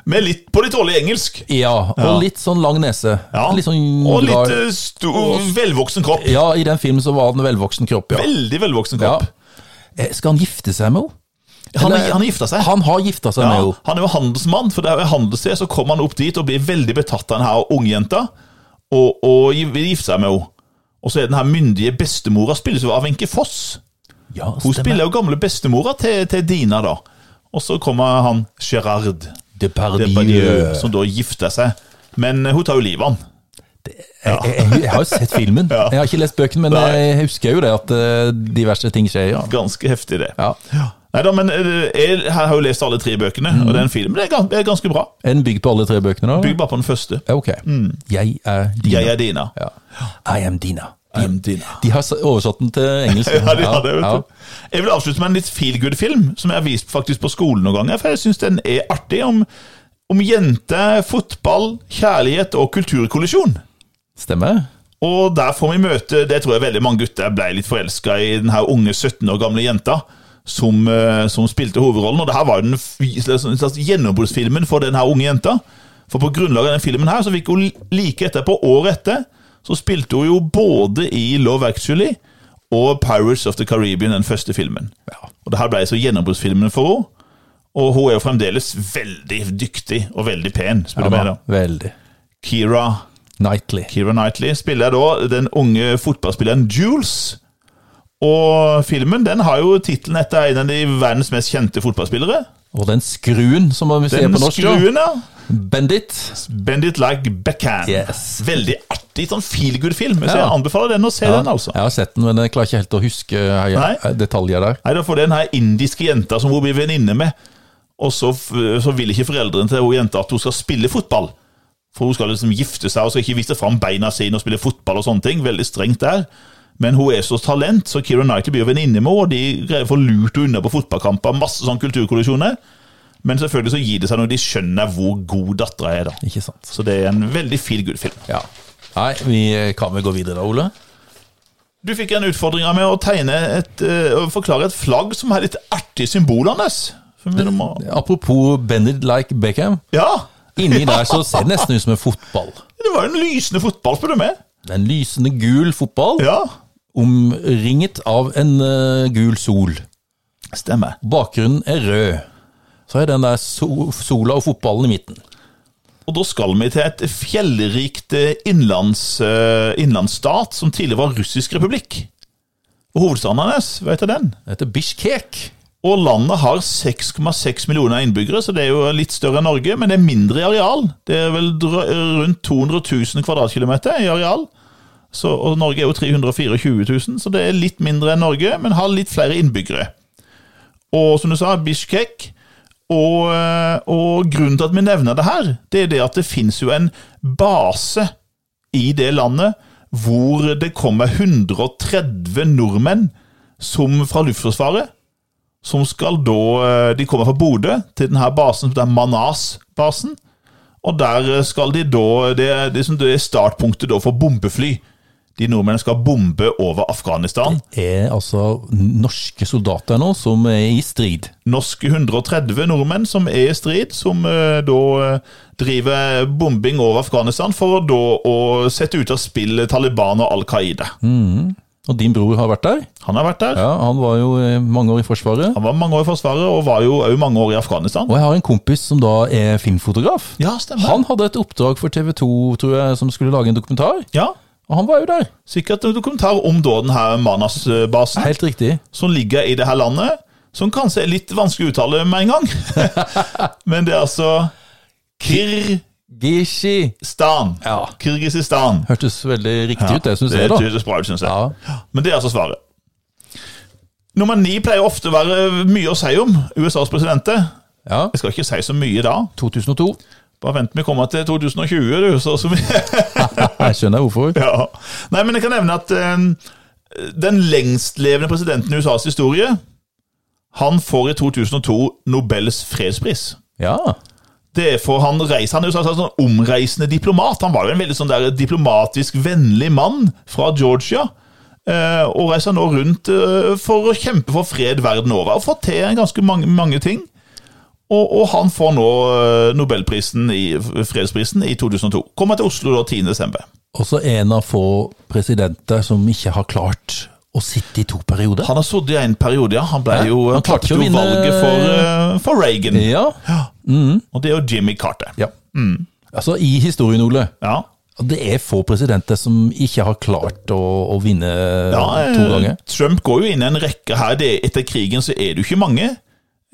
Speaker 2: Med litt på litt dårlig engelsk.
Speaker 1: Ja. Og litt sånn lang nese.
Speaker 2: Ja.
Speaker 1: Litt sånn
Speaker 2: og litt
Speaker 1: rar-
Speaker 2: eh, stor, velvoksen kropp.
Speaker 1: Ja, i den filmen så var han en velvoksen kropp, ja.
Speaker 2: Veldig velvoksen
Speaker 1: ja.
Speaker 2: kropp.
Speaker 1: Eh, Skal han gifte seg med henne?
Speaker 2: Han,
Speaker 1: Eller-
Speaker 2: eh, han gifta seg.
Speaker 1: Han har gifta seg
Speaker 2: ja,
Speaker 1: med henne.
Speaker 2: han er jo handelsmann, for det er jo handelssted. Så kom han opp dit og blir veldig betatt av den her ungjenta, og, og gi- vil gifte seg med henne. Og så er den her myndige bestemora spilles jo av Wenche Foss.
Speaker 1: Ja,
Speaker 2: Hun
Speaker 1: stemmer.
Speaker 2: spiller jo gamle bestemora til, til Dina, da. Og så kommer han Gerard Depardieu,
Speaker 1: Depardieu.
Speaker 2: som da gifter seg. Men eh, hun tar jo livet av han.
Speaker 1: Jeg, jeg, Eh, jeg har jo sett filmen.
Speaker 2: [LAUGHS] Ja.
Speaker 1: Jeg har ikke lest bøkene, men
Speaker 2: Nei.
Speaker 1: jeg husker jo det at eh, diverse ting skjer. Ja.
Speaker 2: Ganske heftig, det.
Speaker 1: Ja.
Speaker 2: Neida, men eh, jeg, her har jeg jo lest alle tre bøkene, og den filmen er gans- er ganske bra.
Speaker 1: Er den bygd på alle tre bøkene? da?
Speaker 2: Bygg bare på den første.
Speaker 1: Mm. Ja, ok. Jeg er Dina.
Speaker 2: Mm. Jeg er Dina.
Speaker 1: Ja. I am Dina.
Speaker 2: I am Dina.
Speaker 1: De har s- oversatt den til engelsk.
Speaker 2: [LAUGHS] Ja, de har det,
Speaker 1: Ja.
Speaker 2: vet du. Jeg vil avslutte med en litt feel good-film, som jeg har vist faktisk på skolen noen ganger. For jeg syns den er artig, om, om jenter, fotball, kjærlighet og kulturkollisjon.
Speaker 1: Stemmer.
Speaker 2: Og der får vi møte Det tror jeg veldig mange gutter ble litt forelska i den her unge 17 år gamle jenta. som, eh, som spilte hovedrollen. Og det her var jo den fi- slags- en slags gjennombruddsfilmen for den her unge jenta. For på grunnlag av den filmen her, så fikk hun like etterpå, året etter, så spilte hun jo både i Love Actually og Pirates of the Caribbean, den første filmen. Og det her ble så gjennombruddsfilmen for henne. Og hun er jo fremdeles veldig dyktig og veldig pen, spør du meg. da.
Speaker 1: Veldig.
Speaker 2: Kira
Speaker 1: Nightly.
Speaker 2: Keira Knightley spiller da den unge fotballspilleren Jules. Og filmen den har jo tittelen etter en av de verdens mest kjente fotballspillere.
Speaker 1: Og den skruen som vi ser
Speaker 2: Den
Speaker 1: på norsk, ja.
Speaker 2: skruen, ja.
Speaker 1: Bandit.
Speaker 2: Bend it like Beckham.
Speaker 1: Yes.
Speaker 2: Veldig artig sånn feel good-film. Så jeg
Speaker 1: Ja.
Speaker 2: anbefaler den å se den, altså.
Speaker 1: Jeg har sett den, men jeg klarer ikke helt å huske eh,
Speaker 2: Nei.
Speaker 1: detaljer der.
Speaker 2: Nei, da får den her indiske jenta som hun blir venninne med, og så, f- så vil ikke foreldrene til hun jenta at hun skal spille fotball. For hun skal liksom gifte seg og skal ikke vise fram beina sine og spille fotball og sånne ting. Veldig strengt der. Men hun er så talent, så Keira Knightley blir jo venninne med henne, og de greier å få lurt henne unna på fotballkamper. Masse sånne kulturkollisjoner. Men selvfølgelig så gir det seg når de skjønner hvor god dattera er, da.
Speaker 1: Ikke sant.
Speaker 2: Så det er en veldig feel good-film.
Speaker 1: Ja. Nei, vi eh, kan vel gå videre da, Ole?
Speaker 2: Du fikk en utfordring av meg å tegne et, eh, å forklare et flagg som har litt artige symboler. Anders. For vi må-
Speaker 1: Apropos Bended like Beckham.
Speaker 2: Ja,
Speaker 1: Inni der så ser det nesten ut som en fotball.
Speaker 2: det var en lysende fotball, spør du meg.
Speaker 1: Det er en lysende gul fotball
Speaker 2: Ja,
Speaker 1: omringet av en eh, gul sol.
Speaker 2: stemmer.
Speaker 1: Bakgrunnen er rød. Så er den der so sola og fotballen i midten.
Speaker 2: Og da skal vi til et fjellrikt eh, innlands, eh, innlandsstat som tidligere var russisk republikk. Og hovedstaden hans, vet du den?
Speaker 1: Den heter Bishkek.
Speaker 2: Og landet har 6,6 millioner innbyggere, så det er jo litt større enn Norge, men det er mindre i areal. Det er vel drø- rundt 200 000 kvadratkilometer i areal. Så, og Norge er jo 324 000, så det er litt mindre enn Norge, men har litt flere innbyggere. Og som du sa, Bishkek. Og, eh, og grunnen til at vi nevner det her, det er det at det finnes jo en base i det landet hvor det kommer 130 nordmenn som fra Luftforsvaret som skal da eh, De kommer fra Bodø til denne basen, det er Manas-basen. Og der eh, skal de da Det er, det er som- det er startpunktet da for bombefly. De nordmennene skal bombe over Afghanistan.
Speaker 1: Er altså norske soldater nå som er i strid.
Speaker 2: Norske 130 nordmenn som er i strid, som eh, da eh, driver bombing over Afghanistan for da å sette ut av spill Taliban og Al Qaida.
Speaker 1: Og din bror har vært der.
Speaker 2: Han har vært der.
Speaker 1: Ja, Han var jo eh, mange år i Forsvaret.
Speaker 2: Han var mange år i Forsvaret, og var jo òg mange år i Afghanistan.
Speaker 1: Og jeg har en kompis som da er filmfotograf.
Speaker 2: Ja, stemmer.
Speaker 1: Han hadde et oppdrag for TV 2, tror jeg, som skulle lage en dokumentar.
Speaker 2: Ja,
Speaker 1: Og han var jo der.
Speaker 2: Sikkert en dokumentar om da denne Manas-basen.
Speaker 1: Helt riktig.
Speaker 2: som ligger i det her landet, som kanskje er litt vanskelig å uttale med en
Speaker 1: [LAUGHS]
Speaker 2: gang. Men det er altså Kirgistan.
Speaker 1: Gishi. Ja.
Speaker 2: Kirgisistan.
Speaker 1: Hørtes veldig riktig ut, det syns jeg,
Speaker 2: det
Speaker 1: da.
Speaker 2: høres bra ut, synes jeg.
Speaker 1: Ja.
Speaker 2: Men det er altså svaret. Nummer ni pleier ofte å være mye å si om USAs presidenter.
Speaker 1: ja.
Speaker 2: Jeg skal ikke si så mye da.
Speaker 1: 2002.
Speaker 2: Bare vent til vi kommer til 2020, du. Så, så mye.
Speaker 1: Jeg skjønner hvorfor.
Speaker 2: [LAUGHS] Ja. Nei, men jeg kan nevne at eh, den lengstlevende presidenten i USAs historie, han får i 2002 Nobels fredspris.
Speaker 1: Ja.
Speaker 2: Det er for han reiser, han er jo sånn, sånn omreisende diplomat. Han var jo en veldig sånn der diplomatisk vennlig mann fra Georgia. eh, Og reiser nå rundt eh, for å kjempe for fred verden over. Og fått til ganske mange, mange ting. Og, og han får nå eh, Nobelprisen i, fredsprisen i 2002. Kommer til Oslo da 10. desember.
Speaker 1: Også en av få presidenter som ikke har klart å sitte i to perioder.
Speaker 2: Han har sittet i en periode, ja. Han ble jo
Speaker 1: han
Speaker 2: Han
Speaker 1: klarte
Speaker 2: tapte
Speaker 1: jo å
Speaker 2: jo
Speaker 1: vinne-
Speaker 2: valget for, eh, for Reagan.
Speaker 1: Ja.
Speaker 2: Og det er jo Jimmy Carter.
Speaker 1: ja. Altså, i historien, Ole,
Speaker 2: Ja.
Speaker 1: det er få presidenter som ikke har klart å, å vinne
Speaker 2: Ja,
Speaker 1: to
Speaker 2: eh,
Speaker 1: ganger.
Speaker 2: Trump går jo inn i en rekke her. Det, etter krigen så er det jo ikke mange.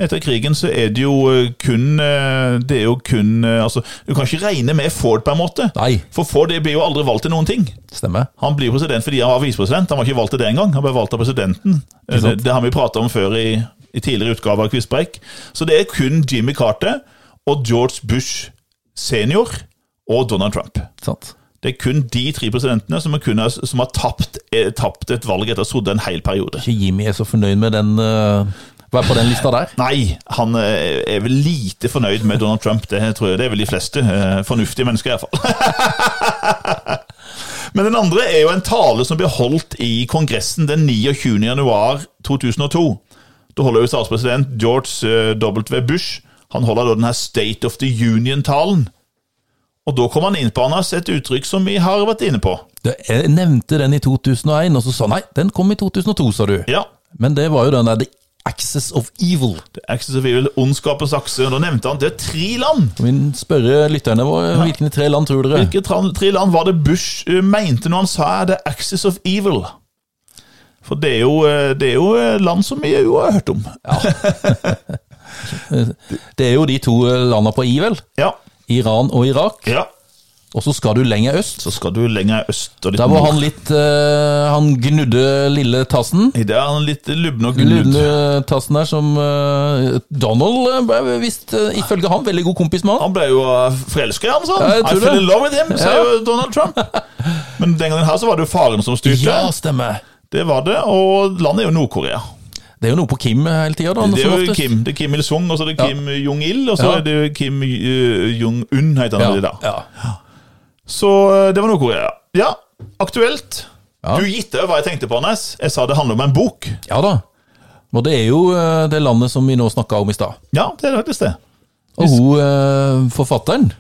Speaker 2: Etter krigen så er det jo eh, kun eh, Det er jo kun eh, Altså, du kan ikke regne med Ford, på en måte.
Speaker 1: Nei,
Speaker 2: For Ford det blir jo aldri valgt til noen ting.
Speaker 1: stemmer.
Speaker 2: Han blir jo president fordi han var visepresident. Han var ikke valgt til det engang. Han ble valgt av presidenten. Eh,
Speaker 1: Ikke
Speaker 2: Det,
Speaker 1: sant?
Speaker 2: det har vi prata om før i, i tidligere utgaver av Quizbreak. Så det er kun Jimmy Carter og George Bush senior og Donald Trump.
Speaker 1: Sant?
Speaker 2: Det er kun de tre presidentene som, er kun, som har tapt, eh, tapt et valg etter å ha sittet en hel periode.
Speaker 1: Ikke Jimmy er så fornøyd med den eh, Hva er på den lista der?
Speaker 2: Nei, han eh, er vel lite fornøyd med Donald Trump. Det tror jeg det er vel de fleste eh, fornuftige mennesker, iallfall. [LAUGHS] Men den andre er jo en tale som ble holdt i Kongressen den 29. januar 2002. Da holder jo statspresident George eh, W. Bush Han holder da denne State of the Union-talen. Og da kom han inn på Anders, et uttrykk som vi har vært inne på.
Speaker 1: Det- Jeg nevnte den i 2001, og så sa nei, den kom i 2002, sa du.
Speaker 2: Ja,
Speaker 1: Men det var jo den der The Axis of Evil.
Speaker 2: The Axis of Evil, Ondskapens akse. Og da nevnte han det er tre land.
Speaker 1: Vi spørre lytterne våre hvilke tre land tror dere?
Speaker 2: Hvilke tra- tre land var det Bush eh, mente når han sa The Axis of Evil? For det er jo, eh, det er jo eh, land som vi jo har hørt om.
Speaker 1: Det er jo de to eh, landene på I, vel?
Speaker 2: Ja,
Speaker 1: Iran og Irak.
Speaker 2: ja.
Speaker 1: Og så skal du lenger øst.
Speaker 2: Så skal du lenger øst og litt
Speaker 1: Der var
Speaker 2: nord.
Speaker 1: han litt eh, Han gnudde lille tassen.
Speaker 2: I det er han litt lubben og gullet.
Speaker 1: Lille tassen der som eh, Donald eh, ble visst, eh, ifølge han, veldig god kompis med han.
Speaker 2: Han ble jo forelska i han, sa
Speaker 1: Ja,
Speaker 2: han.
Speaker 1: jeg tror
Speaker 2: I fell
Speaker 1: det.
Speaker 2: in love with him, sa
Speaker 1: Ja.
Speaker 2: jo Donald Trump. Men den gangen her så var det jo faren som styrte.
Speaker 1: Ja, stemmer.
Speaker 2: Det var det, og landet er jo Nord-Korea.
Speaker 1: Det er jo noe på Kim hele tida, da.
Speaker 2: Det
Speaker 1: som
Speaker 2: er jo
Speaker 1: oftest.
Speaker 2: Kim det er Kim Il-sung, og så er det
Speaker 1: Ja.
Speaker 2: Kim Jong-il, og så
Speaker 1: Ja.
Speaker 2: er det jo Kim eh, Jong-un, heter han
Speaker 1: Ja,
Speaker 2: det der.
Speaker 1: ja.
Speaker 2: Så eh, det var Nord-Korea. Ja, aktuelt.
Speaker 1: Ja.
Speaker 2: Du gitt deg hva jeg tenkte på, Anders. Jeg sa det handler om en bok.
Speaker 1: ja da. Og det er jo eh, det landet som vi nå snakka om i stad.
Speaker 2: Ja, det er faktisk det.
Speaker 1: Og hun eh, forfatteren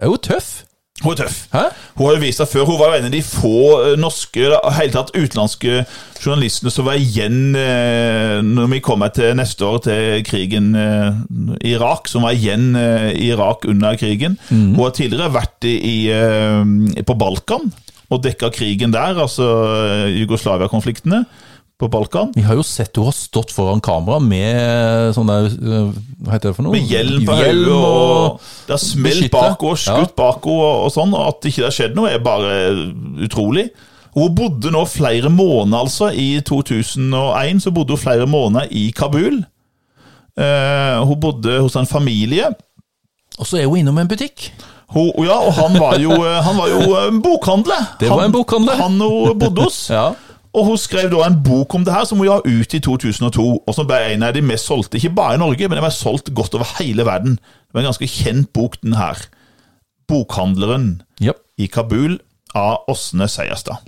Speaker 1: er jo tøff.
Speaker 2: Hun er tøff.
Speaker 1: Hæ?
Speaker 2: Hun har jo vist seg før. Hun var jo en av de få eh, norske, eller hele tatt utenlandske journalistene som var igjen eh, når vi kommer til neste år til krigen eh, Irak, som var igjen eh, i Irak under krigen. Hun har tidligere vært i, i, eh, på Balkan og dekka krigen der, altså eh, Jugoslavia-konfliktene på Balkan.
Speaker 1: Vi har jo sett hun har stått foran kamera med sånn der eh, Hva heter det for noe?
Speaker 2: Med hjelm på
Speaker 1: Hjelm
Speaker 2: hodet,
Speaker 1: og-
Speaker 2: og det har smelt
Speaker 1: beskytte.
Speaker 2: bak henne,
Speaker 1: Ja.
Speaker 2: skutt bak henne og, og sånn. Og at ikke det har skjedd noe, er bare utrolig. Hun bodde nå flere måneder, altså. I 2001 så bodde hun flere måneder i Kabul. Eh, hun bodde hos en familie.
Speaker 1: Og så er hun innom en butikk.
Speaker 2: Hun, ja, og han var jo, eh, han var jo en bokhandler.
Speaker 1: Det var
Speaker 2: Han-
Speaker 1: en bokhandler.
Speaker 2: Han hun bodde hos.
Speaker 1: [LAUGHS] Ja.
Speaker 2: Og hun skrev da en bok om det her, som hun ga ut i 2002, og som ble en av de mest solgte, ikke bare i Norge, men den ble solgt godt over hele verden. Det var en ganske kjent bok, den her. Bokhandleren
Speaker 1: Japp.
Speaker 2: i Kabul av Åsne Seierstad.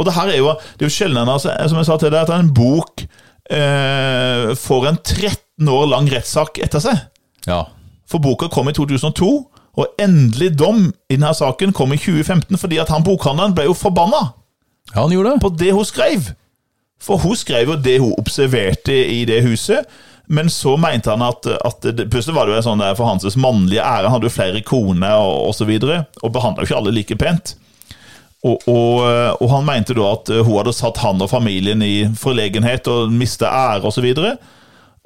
Speaker 2: Og det her er jo, det er jo sjelden, altså, som jeg sa til deg, at en bok eh, får en 13 år lang rettssak etter seg.
Speaker 1: Ja.
Speaker 2: For boka kom i 2002, og endelig dom i denne saken kom i 2015, fordi at han bokhandleren ble jo forbanna
Speaker 1: ja, han gjorde det.
Speaker 2: på det hun skrev. For hun skrev jo det hun observerte i det huset. Men så mente han at, at det, plutselig var det jo en sånn der for hans mannlige ære. Han hadde jo flere koner og, og så videre, og behandla jo ikke alle like pent. Og, og, og han mente da at hun hadde satt han og familien i forlegenhet og mista ære og så videre.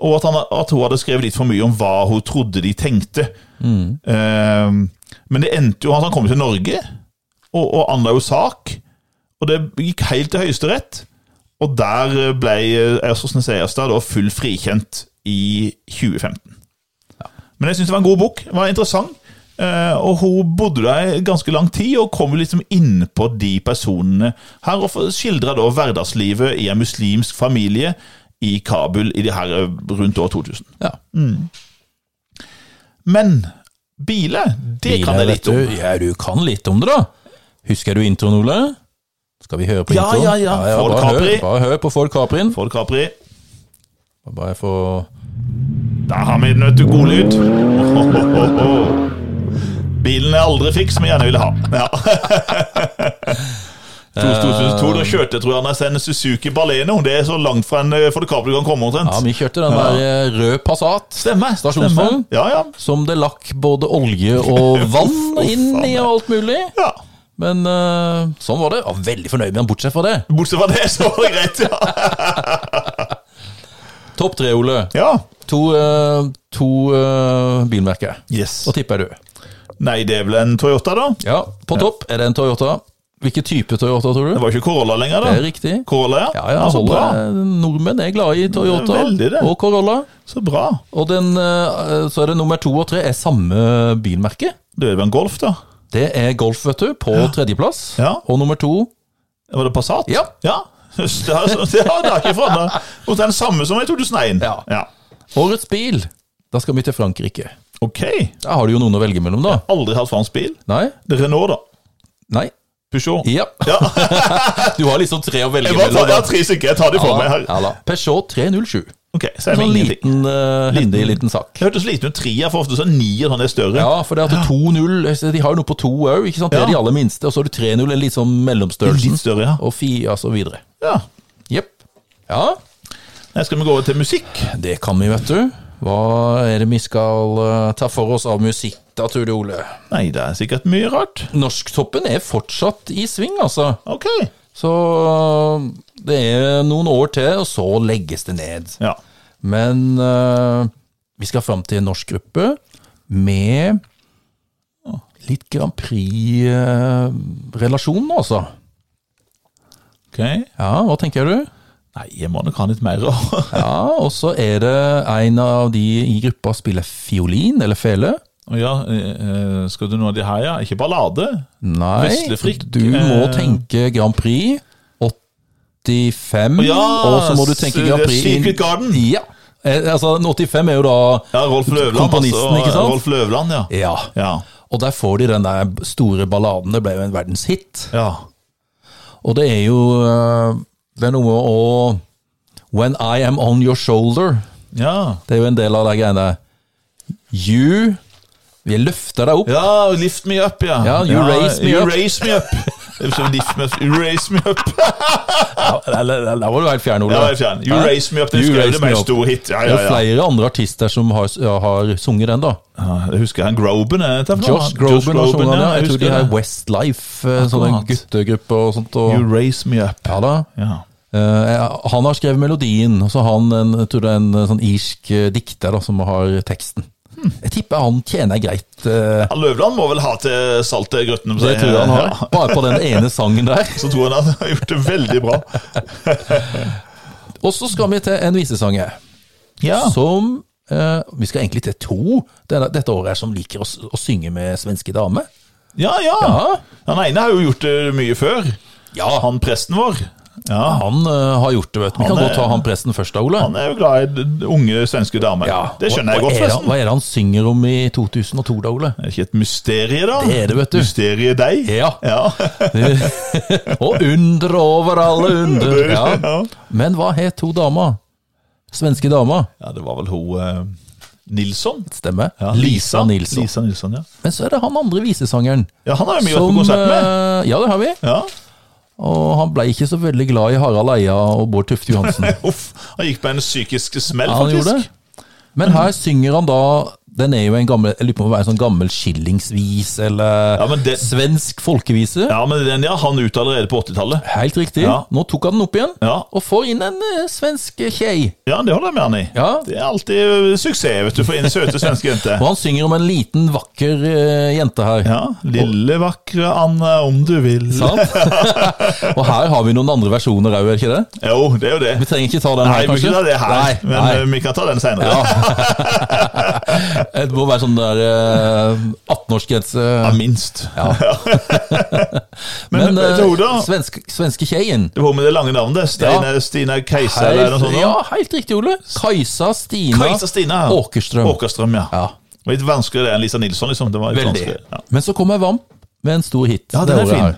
Speaker 2: Og at, han, at hun hadde skrevet litt for mye om hva hun trodde de tenkte. Eh, men det endte jo at han kom til Norge og, og anla jo sak. Og det gikk helt til Høyesterett. Og der ble Ersåsen Seierstad da full frikjent i 2015. Men jeg syns det var en god bok. Det var interessant. Eh, Og hun bodde der i ganske lang tid, og kom jo liksom inn på de personene her. Og skildra da hverdagslivet i en muslimsk familie i Kabul i de her eh, rundt år 2000.
Speaker 1: Ja.
Speaker 2: Men biler, det kan jeg
Speaker 1: Biler,
Speaker 2: litt
Speaker 1: vet
Speaker 2: om.
Speaker 1: Du. Ja, du kan litt om det, da. Husker du introen, Ole? Skal vi høre på
Speaker 2: Ja,
Speaker 1: introen?
Speaker 2: ja, ja. Ford
Speaker 1: bare, hør,
Speaker 2: Capri.
Speaker 1: bare hør på Ford Caprien.
Speaker 2: Ford Capri.
Speaker 1: Bare få
Speaker 2: Der har vi den, vet du. God lyd. Bilen jeg aldri fikk, som jeg gjerne ville ha.
Speaker 1: [LAUGHS]
Speaker 2: Ja. 2002,
Speaker 1: Eh.
Speaker 2: da kjørte jeg tror jeg Anders, en Suzuki Baleno. Det er så langt fra en eh, Ford Capri du kan komme, omtrent.
Speaker 1: Ja, vi kjørte den der eh, rød Passat.
Speaker 2: Stemmer.
Speaker 1: Stasjonsvogn.
Speaker 2: stemmer. Ja, ja.
Speaker 1: Som det lakk både olje
Speaker 2: [LAUGHS]
Speaker 1: og vann inn i og alt mulig.
Speaker 2: ja.
Speaker 1: Men eh, sånn var det. Jeg var veldig fornøyd med han, bortsett fra det.
Speaker 2: Bortsett fra det, så var det greit. Ja.
Speaker 1: Topp tre, Ole.
Speaker 2: ja.
Speaker 1: To, eh, to eh, bilmerker.
Speaker 2: Yes.
Speaker 1: Hva tipper du?
Speaker 2: Nei, det er vel en Toyota, da.
Speaker 1: Ja, På topp er det en Toyota. Hvilken type Toyota, tror
Speaker 2: Det
Speaker 1: du?
Speaker 2: var ikke Corolla lenger,
Speaker 1: Det er
Speaker 2: da.
Speaker 1: riktig.
Speaker 2: Corolla,
Speaker 1: Ja, ja,
Speaker 2: så
Speaker 1: holder.
Speaker 2: bra.
Speaker 1: Nordmenn er glade i Toyota
Speaker 2: Veldig det.
Speaker 1: og Corolla.
Speaker 2: Så bra.
Speaker 1: Og den, eh, så er det nummer to og tre er samme bilmerke.
Speaker 2: Da er det vel en Golf, da.
Speaker 1: Det er Golf, vet du, på tredjeplass.
Speaker 2: Ja.
Speaker 1: Og nummer to
Speaker 2: Var det Passat?
Speaker 1: Ja.
Speaker 2: ja. Just, Det har, det har det har ikke forandret. Og den samme som i 2001.
Speaker 1: Ja. Årets bil. Da skal vi til Frankrike.
Speaker 2: Ok.
Speaker 1: Der har du jo noen å velge mellom, da.
Speaker 2: Aldri hatt fransk bil.
Speaker 1: Nei?
Speaker 2: Det er Renault, da.
Speaker 1: Nei?
Speaker 2: Peugeot.
Speaker 1: Ja.
Speaker 2: Ja.
Speaker 1: [LAUGHS] Du har liksom tre å velge
Speaker 2: Jeg bare tar,
Speaker 1: mellom.
Speaker 2: jeg har tre stykker. Jeg tar de for meg her.
Speaker 1: Ja, da. Peugeot 307.
Speaker 2: Ok, så er
Speaker 1: En
Speaker 2: det
Speaker 1: sånn
Speaker 2: ingenting.
Speaker 1: liten, eh, hendig liten sak.
Speaker 2: Det hørtes liten ut. Tre er for ofte sånn ni og sånn er større.
Speaker 1: Ja, for det at 2-0 altså, De har jo noe på to òg, ikke sant? Det
Speaker 2: Ja.
Speaker 1: er de aller minste. Og så har du 3-0, en litt sånn mellomstørrelsen.
Speaker 2: Litt større, ja.
Speaker 1: Og 4, og så videre.
Speaker 2: ja.
Speaker 1: Jepp. Ja,
Speaker 2: Nei, skal vi gå over til musikk?
Speaker 1: det kan vi, vet du. Hva er det vi skal eh, ta for oss av musikk da, Tude Ole?
Speaker 2: Nei, det er sikkert mye rart.
Speaker 1: Norsktoppen er fortsatt i sving, altså.
Speaker 2: Ok.
Speaker 1: Så eh, det er noen år til, og så legges det ned.
Speaker 2: Ja.
Speaker 1: Men eh, vi skal fram til en norsk gruppe med øh, litt Grand Prix-relasjon nå, altså.
Speaker 2: Ok. Nei,
Speaker 1: Ja, hva tenker
Speaker 2: [LAUGHS]
Speaker 1: du?
Speaker 2: jeg må nok ha litt mer. Å [LAUGHS]
Speaker 1: Ja, og så er det en av de i gruppa spiller fiolin, eller fele.
Speaker 2: ja, eh, eh, skal du noe av de her, ja? Ikke ballade?
Speaker 1: Nei,
Speaker 2: Vesle Frikk,
Speaker 1: du må
Speaker 2: eh,
Speaker 1: tenke Grand Prix 85,
Speaker 2: ja,
Speaker 1: og så må du tenke
Speaker 2: s-
Speaker 1: Grand
Speaker 2: det er
Speaker 1: Prix
Speaker 2: Secret Garden.
Speaker 1: Ja, eh, altså en 85 er jo da
Speaker 2: Ja, Rolf Løvland. altså.
Speaker 1: Komponisten, ikke sant?
Speaker 2: Rolf Løvland, ja.
Speaker 1: Ja,
Speaker 2: Ja.
Speaker 1: og der får de den der store balladen, det ble jo en verdenshit.
Speaker 2: ja.
Speaker 1: Og det er jo øh, Det er noe med å When I am on your shoulder.
Speaker 2: Ja,
Speaker 1: Det er jo en del av de greiene. You Vi løfter deg opp.
Speaker 2: ja lift me up, ja.
Speaker 1: Ja, you raise me
Speaker 2: you
Speaker 1: up.
Speaker 2: Raise me up. Det er som lift me up. You raise me up.
Speaker 1: Der der var du helt fjern, Ole.
Speaker 2: Ja, jeg fjern. You
Speaker 1: Hæ?
Speaker 2: raise me up. Den
Speaker 1: You
Speaker 2: skrev
Speaker 1: raise
Speaker 2: det med
Speaker 1: me
Speaker 2: en
Speaker 1: up.
Speaker 2: stor hit. Ja,
Speaker 1: Det
Speaker 2: ja,
Speaker 1: er
Speaker 2: ja.
Speaker 1: flere andre artister som har, har sunget den, da.
Speaker 2: Ja, Jeg husker han Groben. er dette for noe?
Speaker 1: Josh Groban har sunget den. ja. Jeg tror
Speaker 2: husker
Speaker 1: de har
Speaker 2: det.
Speaker 1: Westlife, eh, sånne
Speaker 2: Akkurat.
Speaker 1: guttegrupper og sånt. Og,
Speaker 2: You raise me up.
Speaker 1: ja da.
Speaker 2: Ja.
Speaker 1: Eh, han har skrevet melodien, og så har han en, jeg tror det er en eh, sånn irsk eh, dikter da, som har teksten. Jeg tipper han tjener greit. eh,
Speaker 2: Hmm. Ja, Løvland må vel ha til eh, saltet i grøttene på
Speaker 1: det
Speaker 2: seg.
Speaker 1: tror jeg han har.
Speaker 2: Ja,
Speaker 1: Bare på den ene sangen der.
Speaker 2: Så tror jeg han har gjort det veldig bra.
Speaker 1: Og så skal vi til en visesang her,
Speaker 2: Ja.
Speaker 1: som eh, Vi skal egentlig til to denne, dette året her som liker å, s- å synge med svenske damer.
Speaker 2: ja, ja.
Speaker 1: Ja.
Speaker 2: Han ene har jo gjort det mye før.
Speaker 1: Ja, han,
Speaker 2: Han presten vår. Ja,
Speaker 1: eh, har gjort det, vet du. Vi
Speaker 2: Han
Speaker 1: kan
Speaker 2: er-
Speaker 1: godt ta han presten først da, Ole.
Speaker 2: Han er jo glad i d- unge svenske damer.
Speaker 1: Ja.
Speaker 2: Det skjønner
Speaker 1: Hva-
Speaker 2: jeg godt,
Speaker 1: hva er det-
Speaker 2: forresten.
Speaker 1: Hva er det han synger om i 2002 da, Ole? [LAUGHS]
Speaker 2: Er det ikke et mysterie, da?
Speaker 1: Det er det, vet du.
Speaker 2: Mysteriet deg?
Speaker 1: Ja.
Speaker 2: Ja.
Speaker 1: og under over alle under. [LAUGHS]
Speaker 2: Det-
Speaker 1: Ja.
Speaker 2: ja.
Speaker 1: Men hva het hun dama? Svenske dama,
Speaker 2: ja, det var vel hun eh, Nilsson?
Speaker 1: stemmer.
Speaker 2: Ja,
Speaker 1: Lisa Nilsson.
Speaker 2: Lisa Nilsson, ja.
Speaker 1: Men så er det han andre visesangeren.
Speaker 2: ja han har jo mye vært på konsert med.
Speaker 1: eh, Ja, det har vi.
Speaker 2: Ja. [LAUGHS]
Speaker 1: Og han ble ikke så veldig glad i Harald Eia og Bård Tufte
Speaker 2: [LAUGHS]
Speaker 1: Johansen.
Speaker 2: Uff, han gikk på en psykisk smell,
Speaker 1: Ja, han gjorde
Speaker 2: faktisk.
Speaker 1: det. Men her synger han da Den er jo en gammel Jeg lurer på om det er en sånn gammel skillingsvis eller
Speaker 2: Ja, men det-
Speaker 1: svensk folkevise.
Speaker 2: Ja, men den ja, han ut allerede på 80-tallet.
Speaker 1: Helt riktig.
Speaker 2: Ja.
Speaker 1: Nå tok han den opp igjen,
Speaker 2: Ja.
Speaker 1: og får inn en eh, svensk kjei.
Speaker 2: ja, det holder jeg med han i.
Speaker 1: Ja.
Speaker 2: Det er alltid eh, suksess, vet du, for en søte svenske
Speaker 1: [LAUGHS]
Speaker 2: jente.
Speaker 1: Og han synger om en liten, vakker eh, jente her.
Speaker 2: Ja, lille vakre Anne, om du vil.
Speaker 1: Sant? [LAUGHS] og her har vi noen andre versjoner òg, er det ikke det?
Speaker 2: Jo, det er jo det.
Speaker 1: Vi trenger ikke ta den
Speaker 2: Nei,
Speaker 1: her,
Speaker 2: vi må ikke
Speaker 1: kanskje?
Speaker 2: ta det her,
Speaker 1: Nei,
Speaker 2: men eh,
Speaker 1: nei.
Speaker 2: vi kan ta den senere. Ja.
Speaker 1: Det må være sånn der eh, 18-årsgrense.
Speaker 2: minst.
Speaker 1: Men,
Speaker 2: [LAUGHS] men,
Speaker 1: eh,
Speaker 2: Tore, da?
Speaker 1: svensk, svenske kjeien
Speaker 2: Det var med det lange navnet. Stine,
Speaker 1: Ja.
Speaker 2: Stina Kajsa eller noe
Speaker 1: Helt-
Speaker 2: sånt.
Speaker 1: Ja,
Speaker 2: da.
Speaker 1: helt riktig, Ole. Kajsa Stina,
Speaker 2: Kajsa Stina.
Speaker 1: Åkerstrøm.
Speaker 2: Åkerstrøm, ja.
Speaker 1: Ja,
Speaker 2: Det var Litt vanskeligere det enn Lisa Nilsson, liksom. Det var litt
Speaker 1: veldig.
Speaker 2: vanskeligere. Ja.
Speaker 1: Men så kommer Vamp med en stor hit.
Speaker 2: Ja,
Speaker 1: det
Speaker 2: den er
Speaker 1: året
Speaker 2: fin.
Speaker 1: her.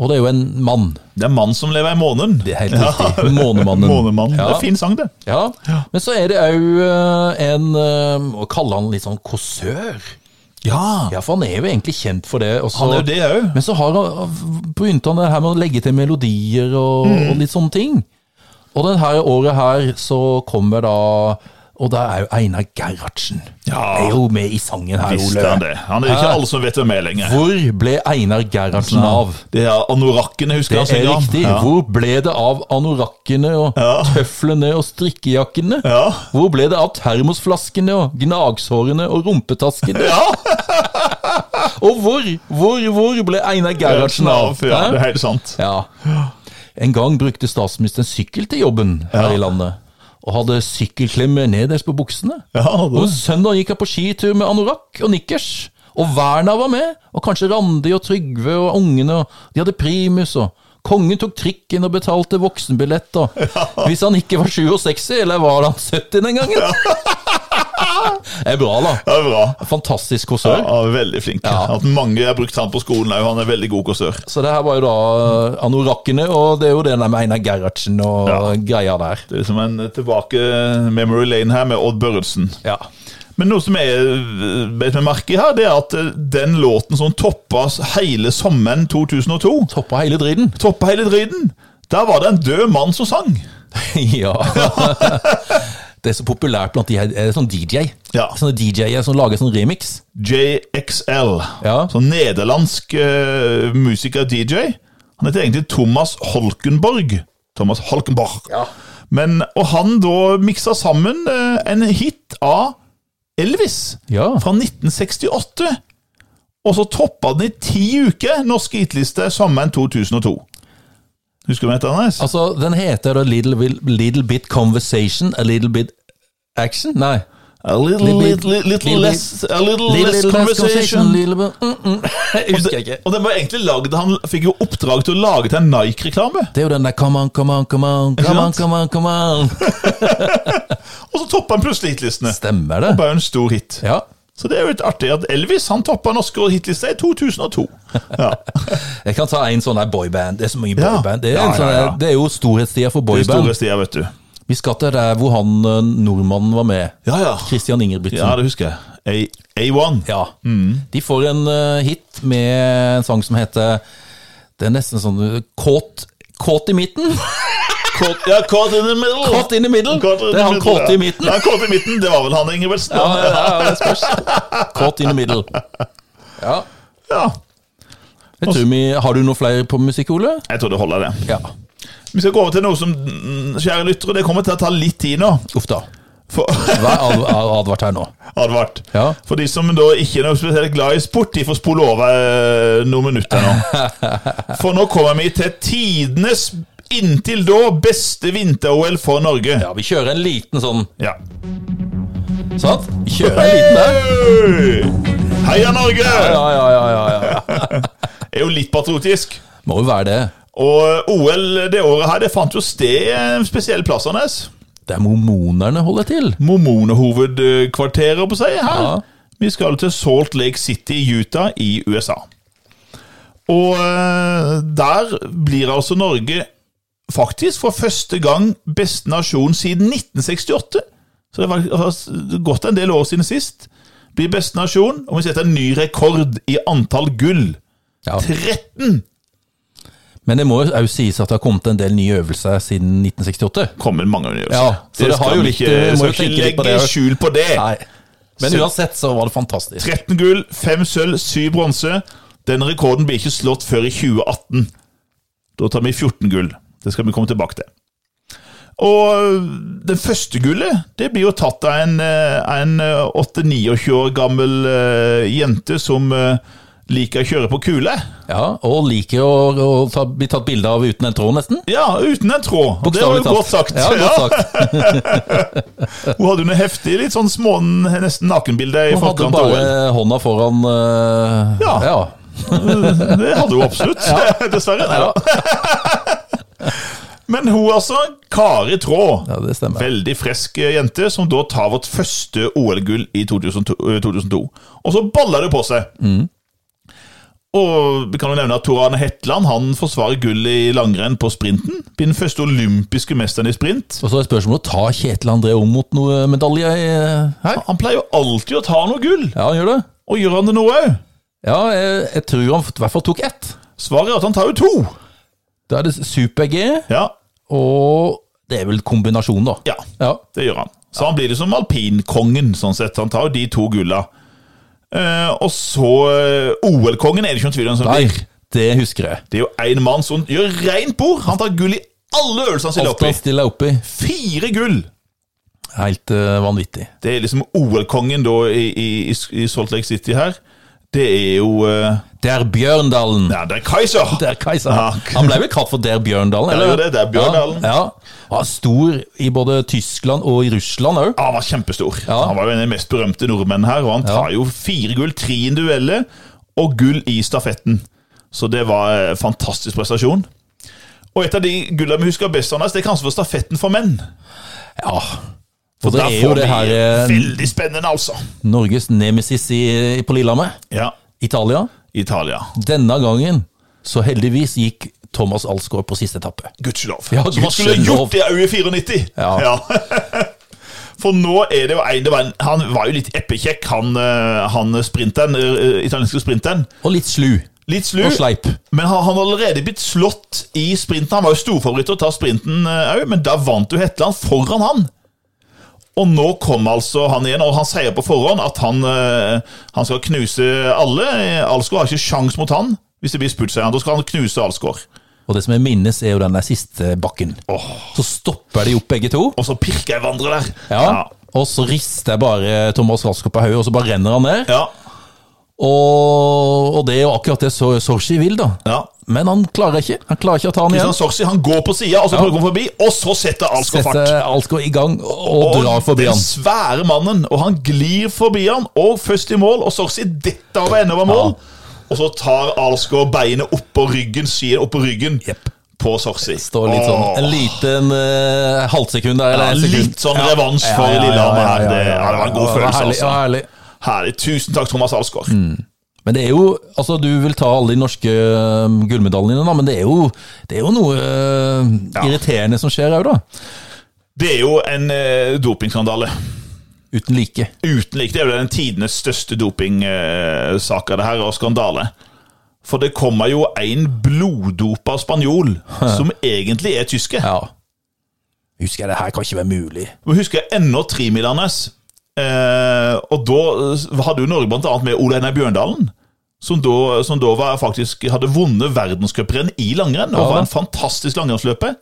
Speaker 1: Og det er jo en mann.
Speaker 2: Det er mann som lever i månen.
Speaker 1: Det er helt
Speaker 2: [LAUGHS]
Speaker 1: riktig. Månemannen.
Speaker 2: Månemannen.
Speaker 1: Ja.
Speaker 2: Det er fin sang, det.
Speaker 1: Ja. Men så er det òg en eh, Å kalle han litt sånn kåsør.
Speaker 2: Ja,
Speaker 1: Ja, for han er jo egentlig kjent for det. og så-
Speaker 2: han er jo det òg.
Speaker 1: Men så har han, begynte han det her med å legge til melodier og,
Speaker 2: Mm.
Speaker 1: og litt sånne ting. Og det her året her så kommer da Og da er jo Einar Gerhardsen
Speaker 2: Ja.
Speaker 1: er jo med i sangen her,
Speaker 2: Visste han det. Han er jo ikke alle som vet hvem er lenger.
Speaker 1: eh, Hvor ble Einar Gerhardsen av?
Speaker 2: Det er anorakkene, husker
Speaker 1: Det
Speaker 2: jeg
Speaker 1: er
Speaker 2: han synger om.
Speaker 1: riktig.
Speaker 2: Ja.
Speaker 1: Hvor ble det av anorakkene og
Speaker 2: Ja.
Speaker 1: tøflene og strikkejakkene?
Speaker 2: Ja.
Speaker 1: Hvor ble det av termosflaskene og gnagsårene og rumpetaskene?
Speaker 2: Ja,
Speaker 1: [LAUGHS] Og hvor, hvor, hvor ble Einar Gerhardsen av?
Speaker 2: Ja,
Speaker 1: Hæ?
Speaker 2: det er helt sant.
Speaker 1: Ja. En gang brukte statsministeren sykkel til jobben her i landet, og hadde sykkelklemmer nederst på buksene.
Speaker 2: Ja,
Speaker 1: Og
Speaker 2: det.
Speaker 1: søndag gikk jeg på skitur med anorakk og nikkers, og Verna var med, og kanskje Randi og Trygve og ungene, og de hadde primus, og kongen tok trikken og betalte voksenbillett, og hvis han ikke var 67, eller var han 70 den gangen? er bra, da.
Speaker 2: Det er bra.
Speaker 1: Fantastisk
Speaker 2: Ja,
Speaker 1: kåsør.
Speaker 2: ja, veldig flink. At mange har brukt han på skolen òg. Han er veldig god kåsør.
Speaker 1: Så det her var jo da eh, anorakkene, og det er jo det der med Einar Gerhardsen og
Speaker 2: Ja.
Speaker 1: greia der.
Speaker 2: Det er liksom en tilbake eh, memory lane her med Odd Børredsen.
Speaker 1: Ja.
Speaker 2: Men noe som jeg øh, bet meg merke i her, det er at øh, den låten som toppa hele sommeren 2002
Speaker 1: Toppa hele driten.
Speaker 2: Toppa hele driten! Der var det en død mann som sang.
Speaker 1: ja. [LAUGHS] det er så populært blant de her, er det sånn DJ.
Speaker 2: Ja.
Speaker 1: Sånne DJ-er som lager sånn remix.
Speaker 2: JXL.
Speaker 1: Ja.
Speaker 2: Sånn nederlandsk øh, musiker og DJ. Han heter egentlig Thomas Holkenborg. Thomas Holkenborg. Men, og han da miksa sammen øh, en hit av Elvis
Speaker 1: Ja.
Speaker 2: fra 1968. Og så toppa den i ti uker norske hitliste sommeren 2002. Husker du hva den heter, Anders?
Speaker 1: Altså, den heter da Little, Will- little Bit Conversation, A Little Bit Action? Nei.
Speaker 2: A little,
Speaker 1: Little bit-
Speaker 2: little, little,
Speaker 1: little
Speaker 2: less, a little,
Speaker 1: Little
Speaker 2: less
Speaker 1: Less
Speaker 2: conversation.
Speaker 1: little bit, mm,
Speaker 2: [LAUGHS]
Speaker 1: mm. Jeg husker jeg ikke.
Speaker 2: Og den var egentlig laget, Han fikk jo oppdrag til å lage til en Nike-reklame.
Speaker 1: Det er jo den der Come on, come on, come on, come on,
Speaker 2: sant?
Speaker 1: come on, come on.
Speaker 2: Og så toppa han plutselig hitlistene.
Speaker 1: Stemmer det?
Speaker 2: [LAUGHS] Det var jo en stor hit.
Speaker 1: Ja.
Speaker 2: Så det er jo litt artig at Elvis han toppa norske hitlister i 2002. Ja.
Speaker 1: Jeg kan ta en sånn der boyband. Det er så mange
Speaker 2: Ja.
Speaker 1: boyband. Det er,
Speaker 2: Ja,
Speaker 1: en
Speaker 2: ja,
Speaker 1: sånn der,
Speaker 2: ja.
Speaker 1: det er jo storhetstida for
Speaker 2: De
Speaker 1: boyband.
Speaker 2: store stier, vet du.
Speaker 1: Vi skal til der hvor han eh, nordmannen var med.
Speaker 2: Ja, ja.
Speaker 1: Christian Ingebrigtsen.
Speaker 2: Ja, det husker jeg. A A1.
Speaker 1: Ja. De får en eh, hit med en sang som heter Det er nesten sånn eh, Kåt, kåt i midten. [LAUGHS]
Speaker 2: Caught, ja, caught in the middle.
Speaker 1: Kåt in the middle.
Speaker 2: Caught
Speaker 1: Det
Speaker 2: in
Speaker 1: er
Speaker 2: the
Speaker 1: han
Speaker 2: middle,
Speaker 1: kåte
Speaker 2: ja.
Speaker 1: i midten.
Speaker 2: Ja, kåt i midten. Det var vel han Ingebrigtsen.
Speaker 1: Ja,
Speaker 2: da.
Speaker 1: ja, ja, det spørs. [LAUGHS] Kåt in the middle. Ja.
Speaker 2: Ja.
Speaker 1: Jeg tror vi, har du noe flere på musikk, Ole?
Speaker 2: Jeg tror det holder, det.
Speaker 1: Ja.
Speaker 2: Vi skal gå over til noe som mm, Kjære lyttere, det kommer til å ta litt tid nå.
Speaker 1: Uff da.
Speaker 2: For, [LAUGHS]
Speaker 1: Vær [LAUGHS] ad- ad- advart her nå.
Speaker 2: advart.
Speaker 1: Ja.
Speaker 2: For de som da ikke er noe spesielt glad i sport, de får spole over eh, noen
Speaker 1: [LAUGHS]
Speaker 2: minutter nå. For nå kommer vi til tidenes inntil da beste vinter-OL for Norge.
Speaker 1: Ja, vi kjører en liten sånn,
Speaker 2: Ja.
Speaker 1: sant? Vi kjører en liten der.
Speaker 2: Hei! Heia Norge!
Speaker 1: Ja, ja, ja, ja, ja.
Speaker 2: Er jo litt patriotisk.
Speaker 1: Må jo være det.
Speaker 2: Og OL det året her, det fant jo sted i en spesiell plass, Anders.
Speaker 1: Det er mormonerne holder til.
Speaker 2: Mormonehovedkvarteret, på seg her.
Speaker 1: Ja.
Speaker 2: Vi skal til Salt Lake City i Utah i USA. Og eh, der blir altså Norge faktisk for første gang beste nasjon siden 1968. Så det var- det har gått en del år siden sist. Blir beste nasjon, og vi setter en ny rekord i antall gull.
Speaker 1: Ja.
Speaker 2: 13!
Speaker 1: Men det må jo også sies at det har kommet en del nye øvelser siden 1968.
Speaker 2: Kommer mange undergjørelser.
Speaker 1: Ja, så det har
Speaker 2: skal
Speaker 1: jo
Speaker 2: vi
Speaker 1: litt-
Speaker 2: ikke,
Speaker 1: vi må jo
Speaker 2: skal ikke
Speaker 1: tenke litt på
Speaker 2: legge
Speaker 1: det.
Speaker 2: skjul på det.
Speaker 1: Nei. Men
Speaker 2: Så-
Speaker 1: uansett så var det fantastisk.
Speaker 2: 13 gull, 5 sølv, 7 bronse. Denne rekorden blir ikke slått før i 2018. Da tar vi 14 gull. Det skal vi komme tilbake til. Og eh, det første gullet det blir jo tatt av en, eh, en eh, 8-29 år gammel eh, jente som eh, liker å kjøre på kule.
Speaker 1: Ja, Og liker å, å ta, bli tatt bilde av uten en tråd, nesten.
Speaker 2: Ja, uten en tråd. Og det var
Speaker 1: Bokstavelig
Speaker 2: jo godt sagt.
Speaker 1: Ja,
Speaker 2: Ja.
Speaker 1: godt sagt.
Speaker 2: Hun hadde jo noe heftig, litt sånn små, nesten nakenbilde [LAUGHS] i
Speaker 1: Hun hadde
Speaker 2: forkant av
Speaker 1: bare
Speaker 2: OL.
Speaker 1: hånda foran eh,
Speaker 2: Ja.
Speaker 1: ja.
Speaker 2: Det hadde hun absolutt, [LAUGHS] dessverre. Neida. Men hun altså, Kari Traa.
Speaker 1: Ja, det stemmer.
Speaker 2: Veldig frisk jente, som da tar vårt første OL-gull i 2002. eh, 2002. Og så baller det på seg. Og vi kan jo nevne at Tor Arne Hetland han forsvarer gull i langrenn på sprinten. Blir den første olympiske mesteren i sprint.
Speaker 1: Og så er spørsmålet ta Kjetil André om mot noe eh, medalje i, eh, her.
Speaker 2: Han pleier jo alltid å ta noe gull,
Speaker 1: Ja, han gjør det.
Speaker 2: og gjør han det nå òg?
Speaker 1: Ja, jeg, jeg tror han i hvert fall tok ett.
Speaker 2: Svaret er at han tar jo to.
Speaker 1: Da er det super-G,
Speaker 2: Ja,
Speaker 1: og det er vel kombinasjonen, da.
Speaker 2: ja.
Speaker 1: Ja.
Speaker 2: Det gjør han. Så han blir liksom alpinkongen, sånn sett. Han tar jo de to gulla. Eh, og så eh, OL-kongen er det ikke noen tvil om. som
Speaker 1: Nei,
Speaker 2: blir.
Speaker 1: det husker jeg.
Speaker 2: Det er jo én mann som gjør rent bord! Han tar gull i alle øvelsene han stiller opp
Speaker 1: Ofte
Speaker 2: i.
Speaker 1: han stiller opp i.
Speaker 2: Fire gull!
Speaker 1: Helt eh, vanvittig.
Speaker 2: Det er liksom OL-kongen da i, i, i, i Salt Lake City her. Det er jo eh,
Speaker 1: Det er Bjørndalen.
Speaker 2: Ja, det er Kaiser!
Speaker 1: Der Kaiser.
Speaker 2: Ja.
Speaker 1: Han ble vel kalt for Der Bjørndalen?
Speaker 2: Ja, det er Der Bjørndalen.
Speaker 1: Ja, ja. Han var stor i både Tyskland og i Russland òg.
Speaker 2: Ja, han var kjempestor.
Speaker 1: Ja.
Speaker 2: Han var jo en av de mest berømte nordmennene her, og han tar jo fire gull, tre dueller og gull i stafetten. Så det var eh, fantastisk prestasjon. Og et av de gullene vi husker best, Anders, det er kanskje for stafetten for menn.
Speaker 1: Ja. For det
Speaker 2: Der
Speaker 1: er jo
Speaker 2: får
Speaker 1: det
Speaker 2: vi
Speaker 1: her eh,
Speaker 2: Veldig spennende, altså!
Speaker 1: Norges nemesis i, på Lillehammer.
Speaker 2: Ja,
Speaker 1: Italia.
Speaker 2: Italia.
Speaker 1: Denne gangen, så heldigvis, gikk Thomas Alsgaard på siste etappe.
Speaker 2: Gudskjelov.
Speaker 1: Ja,
Speaker 2: Så man skulle
Speaker 1: gudskjelov.
Speaker 2: gjort det òg i 94!
Speaker 1: Ja.
Speaker 2: [LAUGHS] For nå er det jo en, det var en Han var jo litt eppekjekk, han, eh, han sprinteren, eh, italienske sprinteren.
Speaker 1: Og litt slu.
Speaker 2: Litt slu,
Speaker 1: Og sleip.
Speaker 2: men har han allerede blitt slått i sprinten? Han var jo storfavoritt til å ta sprinten òg, men da vant jo Hetland foran han. Og nå kom altså han igjen, og han sier på forhånd at han, eh, han skal knuse alle. Alsgaard har ikke sjans mot han. Hvis det blir spurt, sier han. Da skal han knuse Alsgaard.
Speaker 1: Og det som jeg minnes, er jo den der siste bakken. Så stopper de opp begge to.
Speaker 2: Og så pirker jeg hverandre der.
Speaker 1: Ja. Og så rister jeg bare Thomas Alsgaard på hodet, og så bare renner han ned.
Speaker 2: Ja.
Speaker 1: Og, og det er jo akkurat det So- Sochi vil, da.
Speaker 2: ja.
Speaker 1: Men han klarer ikke. Han klarer ikke å ta han
Speaker 2: Kristian
Speaker 1: igjen.
Speaker 2: Sorsi han går på sida, og så prøver han å komme forbi, og så setter Alsgaard fart.
Speaker 1: Setter Alsgaard i gang og, og drar forbi
Speaker 2: den
Speaker 1: han.
Speaker 2: svære mannen, og han glir forbi han, og først i mål, og Sorsi detter over ende over mål. Og så tar Alsgaard beinet oppå ryggen, skien oppå ryggen
Speaker 1: Jepp.
Speaker 2: på Sorsi.
Speaker 1: Står litt sånn
Speaker 2: Åh.
Speaker 1: en liten eh, halvsekund der,
Speaker 2: Ja,
Speaker 1: eller en sekund.
Speaker 2: litt sånn revansj for Lillehammer her. Det- ja, det var en god følelse,
Speaker 1: herlig,
Speaker 2: altså.
Speaker 1: Ja, Mm. herlig.
Speaker 2: Herlig. Tusen takk, Thomas Alsgaard.
Speaker 1: Men det er jo Altså, du vil ta alle de norske øhm, gullmedaljene, da, men det er jo, det er jo noe øhm, irriterende som skjer òg, da.
Speaker 2: Det er jo en eh, dopingskandale.
Speaker 1: Uten like.
Speaker 2: uten like. Det er jo den tidenes største dopingsaka, det her, og skandale. For det kommer jo en bloddopa spanjol, som egentlig er tysker.
Speaker 1: Ja. Husker jeg, det her kan ikke være mulig.
Speaker 2: Og husker jeg ennå Trimilanes. Eh, og da eh, hadde jo Norge blant annet med Ole Einar Bjørndalen. Som da, som da var faktisk hadde vunnet verdenscuprenn i langrenn, og
Speaker 1: Ja,
Speaker 2: var
Speaker 1: da.
Speaker 2: en fantastisk langrennsløper.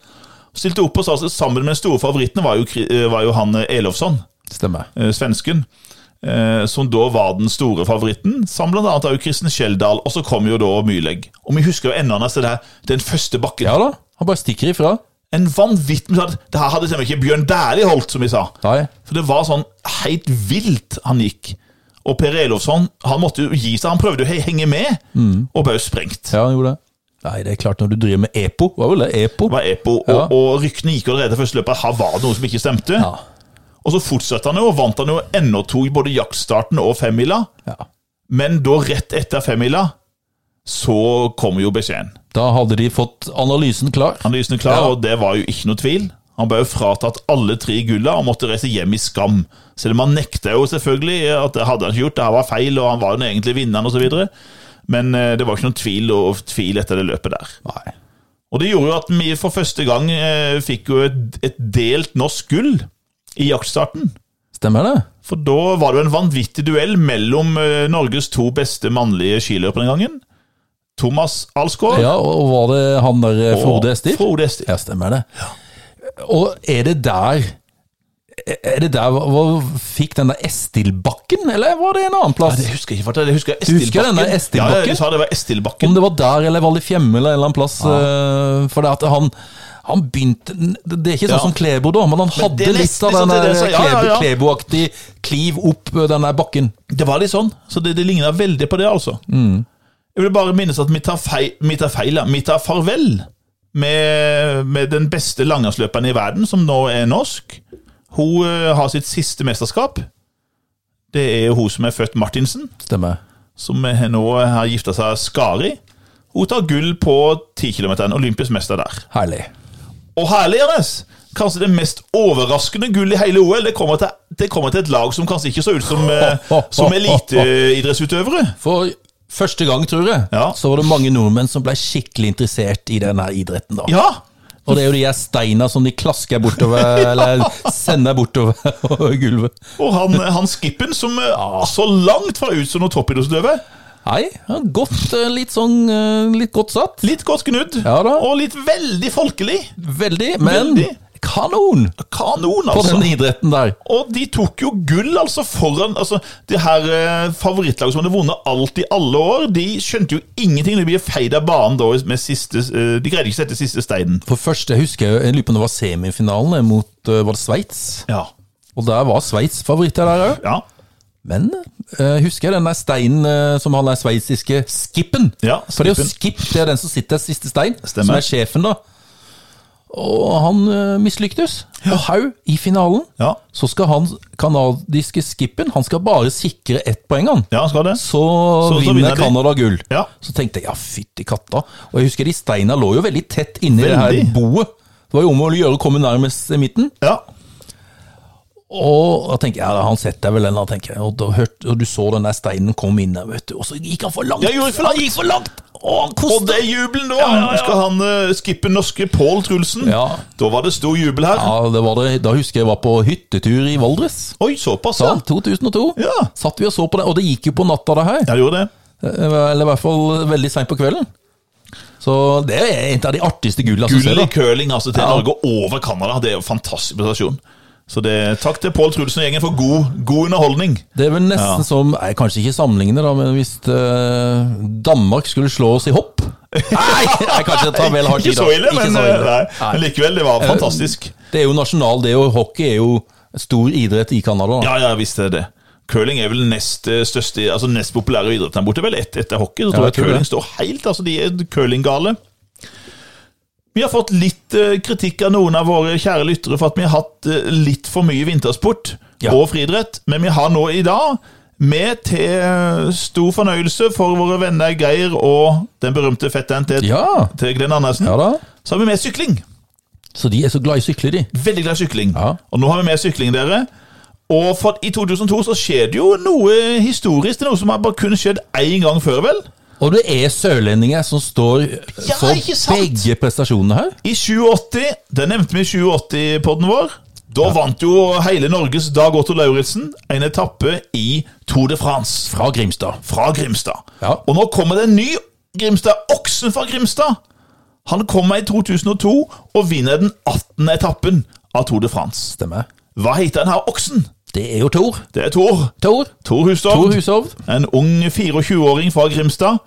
Speaker 2: Stilte opp og sa at sammen med den store favoritten var jo, Kri- eh, var jo han eh, Elofsson.
Speaker 1: Stemmer.
Speaker 2: eh, svensken, eh, som da var den store favoritten, sammen blant annet av Kristen Skjeldal, og så kom jo da Myrlegg. Og vi husker jo ennå nesten det her, den første bakken.
Speaker 1: Ja da. Han bare stikker ifra.
Speaker 2: En vanvittig Det her hadde til og med ikke Bjørn Dæhlie holdt, som vi sa.
Speaker 1: Nei.
Speaker 2: For det var sånn helt vilt han gikk. Og Per Elofsson, han måtte jo gi seg, han prøvde jo å he- henge med,
Speaker 1: Mm.
Speaker 2: og ble jo sprengt.
Speaker 1: Ja, han gjorde det. Nei, det er klart, når du driver med E EPO, var vel det? EPO?
Speaker 2: Det var epo,
Speaker 1: Ja.
Speaker 2: og, og ryktene gikk allerede første løpet. Her var det noe som ikke stemte.
Speaker 1: Ja.
Speaker 2: Og så fortsatte han jo, og vant han jo ennå to i både jaktstarten og femmila.
Speaker 1: ja.
Speaker 2: Men da rett etter femmila, så kom jo beskjeden.
Speaker 1: Da hadde de fått analysen klar.
Speaker 2: Analysen er klar,
Speaker 1: Ja.
Speaker 2: og det var jo ikke noe tvil. Han ble jo fratatt alle tre gulla og måtte reise hjem i skam. Selv om han nekta jo selvfølgelig at det hadde han ikke gjort, det her var feil, og han var jo den egentlige vinneren osv. Men eh, det var ikke noen tvil, og tvil etter det løpet der.
Speaker 1: Nei.
Speaker 2: Og det gjorde jo at vi for første gang eh, fikk jo et, et delt norsk gull i jaktstarten.
Speaker 1: Stemmer det?
Speaker 2: For da var det jo en vanvittig duell mellom eh, Norges to beste mannlige skiløpere den gangen. Thomas Alsgaard
Speaker 1: Ja, og og var det han der eh, Frode Estil?
Speaker 2: Frode Estil.
Speaker 1: Ja, stemmer det. Og er det der Er det der hva, hva- Fikk den der Estilbakken, eller var det en annen plass?
Speaker 2: Det husker jeg ikke. for Det husker jeg
Speaker 1: Du husker den der Estilbakken?
Speaker 2: Ja, ja, de sa det var Estilbakken.
Speaker 1: Om det var der eller Val di Fiemme eller en eller annen plass. eh, For det at han han begynte Det er ikke sånn
Speaker 2: Ja.
Speaker 1: som Klebo, da, men han hadde
Speaker 2: det er
Speaker 1: litt
Speaker 2: nesten
Speaker 1: av den
Speaker 2: sånn
Speaker 1: der
Speaker 2: det er, så- ja, ja,
Speaker 1: Klebo-
Speaker 2: ja.
Speaker 1: Klebo-aktig kliv opp eh, den der bakken.
Speaker 2: Det var litt sånn, så det, det ligna veldig på det, altså. Jeg vil bare minnes at vi tar feil, vi tar, feil, ja. vi tar farvel med, med den beste langrennsløperen i verden, som nå er norsk. Hun eh, har sitt siste mesterskap. Det er jo hun som er født Martinsen.
Speaker 1: Stemmer.
Speaker 2: som er nå har gifta seg Skari. Hun tar gull på 10 km, olympisk mester der.
Speaker 1: Herlig.
Speaker 2: Og herlig, Anders! Kanskje det mest overraskende gullet i hele OL. Det kommer, til, det kommer til et lag som kanskje ikke så ut som,
Speaker 1: [LAUGHS]
Speaker 2: eh, som eliteidrettsutøvere.
Speaker 1: For første gang, tror jeg,
Speaker 2: Ja.
Speaker 1: så var det mange nordmenn som ble skikkelig interessert i denne idretten. da.
Speaker 2: Ja!
Speaker 1: Og det er jo de her steina som de klasker
Speaker 2: [LAUGHS]
Speaker 1: bortover, eller sender bortover over gulvet.
Speaker 2: Og han, han Skippen, som eh, så langt fra ut som noen toppidrettsutøver.
Speaker 1: Nei, ja, godt, eh, litt sånn, eh, litt godt satt.
Speaker 2: Litt godt gnudd,
Speaker 1: Ja da.
Speaker 2: og litt veldig folkelig.
Speaker 1: Veldig, men
Speaker 2: Veldig.
Speaker 1: kanon
Speaker 2: Kanon,
Speaker 1: på
Speaker 2: altså!
Speaker 1: den idretten der.
Speaker 2: Og de tok jo gull, altså, foran altså, Det her eh, favorittlaget som hadde vunnet alt i alle år, de skjønte jo ingenting. De ble feid av banen da med siste eh, De greide ikke å sette siste steinen.
Speaker 1: For først, jeg husker jeg, jeg lurer på om det var semifinalen mot eh, var det Sveits.
Speaker 2: Ja.
Speaker 1: Og der var Sveits favoritter der òg.
Speaker 2: Ja.
Speaker 1: Men eh, husker jeg den der steinen eh, som han der sveitsiske Skippen?
Speaker 2: Ja,
Speaker 1: For det er jo
Speaker 2: Skippen.
Speaker 1: Skip, det er den som sitter sist i stein,
Speaker 2: Stemmer.
Speaker 1: som er sjefen, da. Og han eh, mislyktes. Og Haug i finalen.
Speaker 2: Ja,
Speaker 1: Så skal han kanadiske skippen Han skal bare sikre ett poeng, han.
Speaker 2: ja han skal det.
Speaker 1: Så,
Speaker 2: så vinner
Speaker 1: vinner
Speaker 2: de.
Speaker 1: Canada gull.
Speaker 2: Ja.
Speaker 1: Så tenkte jeg ja, fytti katta. Og jeg husker de steina lå jo veldig tett inni det her
Speaker 2: Veldig.
Speaker 1: boet. Det var jo om å gjøre å komme nærmest midten.
Speaker 2: Ja,
Speaker 1: Og da tenker jeg, ja, han setter vel den, da, tenker jeg. Og, da hørte, og du så den der steinen komme inn der, vet du. Og så gikk han for langt!
Speaker 2: Jeg gjorde for langt.
Speaker 1: Han gikk for langt! Å, han
Speaker 2: Og
Speaker 1: kosta!
Speaker 2: det er jubelen, da!
Speaker 1: Ja, ja, ja.
Speaker 2: Skal han eh, skippe norske Pål Trulsen?
Speaker 1: Ja.
Speaker 2: Da var det stor jubel her.
Speaker 1: Ja, det var det. Da husker jeg jeg var på hyttetur i Valdres.
Speaker 2: Oi, såpass,
Speaker 1: Da,
Speaker 2: ja.
Speaker 1: 2002.
Speaker 2: Ja.
Speaker 1: Satt vi og så på det, og det gikk jo på natta, det her. Eh,
Speaker 2: Ja, det gjorde det.
Speaker 1: Eller i hvert fall veldig seint på kvelden. Så det er et av de artigste gulla som ser
Speaker 2: Gull i
Speaker 1: da.
Speaker 2: curling altså, til
Speaker 1: Ja.
Speaker 2: Norge over Canada. Det er jo en fantastisk prestasjon. Så det, takk til Pål Trulsen og gjengen for god, god underholdning.
Speaker 1: Det er vel nesten
Speaker 2: Ja.
Speaker 1: som nei, Kanskje ikke sammenligne, da, men hvis eh, Danmark skulle slå oss i
Speaker 2: [LAUGHS]
Speaker 1: hopp Nei, jeg kanskje tar vel hardt i,
Speaker 2: Ikke
Speaker 1: da.
Speaker 2: så ille, men, eh,
Speaker 1: så ille.
Speaker 2: Nei, men
Speaker 1: Nei. Eh,
Speaker 2: likevel, det var fantastisk.
Speaker 1: Det er jo nasjonal, det er jo hockey er jo stor idrett i Canada. da.
Speaker 2: Ja, ja, visst er det det. Curling er vel nest eh, største, altså nest populære idretten her borte, vel ett etter hockey. Så
Speaker 1: Ja,
Speaker 2: tror
Speaker 1: jeg
Speaker 2: jeg
Speaker 1: tror
Speaker 2: curling
Speaker 1: det.
Speaker 2: står helt, altså de er curlinggale. Vi har fått litt eh, kritikk av noen av våre kjære lyttere for at vi har hatt eh, litt for mye vintersport
Speaker 1: Ja.
Speaker 2: og friidrett, men vi har nå i dag med til eh, stor fornøyelse for våre venner Geir og den berømte fetteren til,
Speaker 1: Ja.
Speaker 2: til Glenn Andersen,
Speaker 1: ja da.
Speaker 2: så har vi med sykling.
Speaker 1: Så de er så glad i å sykle, de.
Speaker 2: Veldig glad i sykling.
Speaker 1: Ja.
Speaker 2: Og nå har vi med sykling, dere. Og for, i 2002 så skjer det jo noe historisk. Det er noe som har bare kun skjedd én gang før, vel?
Speaker 1: Og det er sørlendinger som står
Speaker 2: Ja,
Speaker 1: for
Speaker 2: ikke sant?
Speaker 1: begge prestasjonene her.
Speaker 2: I 2080. Det nevnte vi i 2080-podden vår. Da vant jo hele Norges Dag Otto Lauritzen en etappe i Tour de France
Speaker 1: Fra Grimstad.
Speaker 2: fra Grimstad.
Speaker 1: Ja.
Speaker 2: Og nå kommer det en ny Grimstad, oksen fra Grimstad. Han kommer i 2002 og vinner den 18. etappen av Tour de France.
Speaker 1: Stemmer.
Speaker 2: Hva heter den her oksen?
Speaker 1: Det er jo Tor.
Speaker 2: Det er Tor.
Speaker 1: Tor.
Speaker 2: Tor Hustad.
Speaker 1: Tor Hushovd.
Speaker 2: En ung 24-åring fra Grimstad.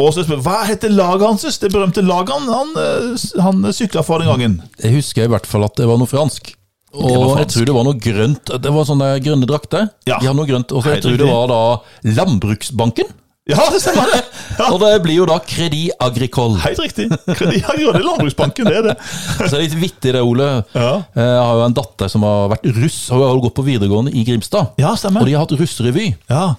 Speaker 2: Og så spør jeg, Hva heter laget hans? Det berømte laget han, han, eh, han sykla for den gangen.
Speaker 1: Jeg husker i hvert fall at det var noe fransk. Og
Speaker 2: var fransk.
Speaker 1: jeg tror det var noe grønt. Det var sånne grønne drakter.
Speaker 2: Ja.
Speaker 1: De har noe grønt. Og så
Speaker 2: Helt
Speaker 1: jeg tror det
Speaker 2: riktig.
Speaker 1: var da Landbruksbanken.
Speaker 2: Ja, det stemmer det! Ja,
Speaker 1: Og det blir jo da Crédit Agricole.
Speaker 2: helt riktig. Kredi- Ja, Grønne Landbruksbanken, det er det.
Speaker 1: [LAUGHS] Så det er litt vittig det, Ole. Eh,
Speaker 2: Ja.
Speaker 1: Jeg har jo en datter som har vært russ. Hun har jo gått på videregående i Grimstad.
Speaker 2: Ja, stemmer.
Speaker 1: Og de har hatt russrevy.
Speaker 2: Ja.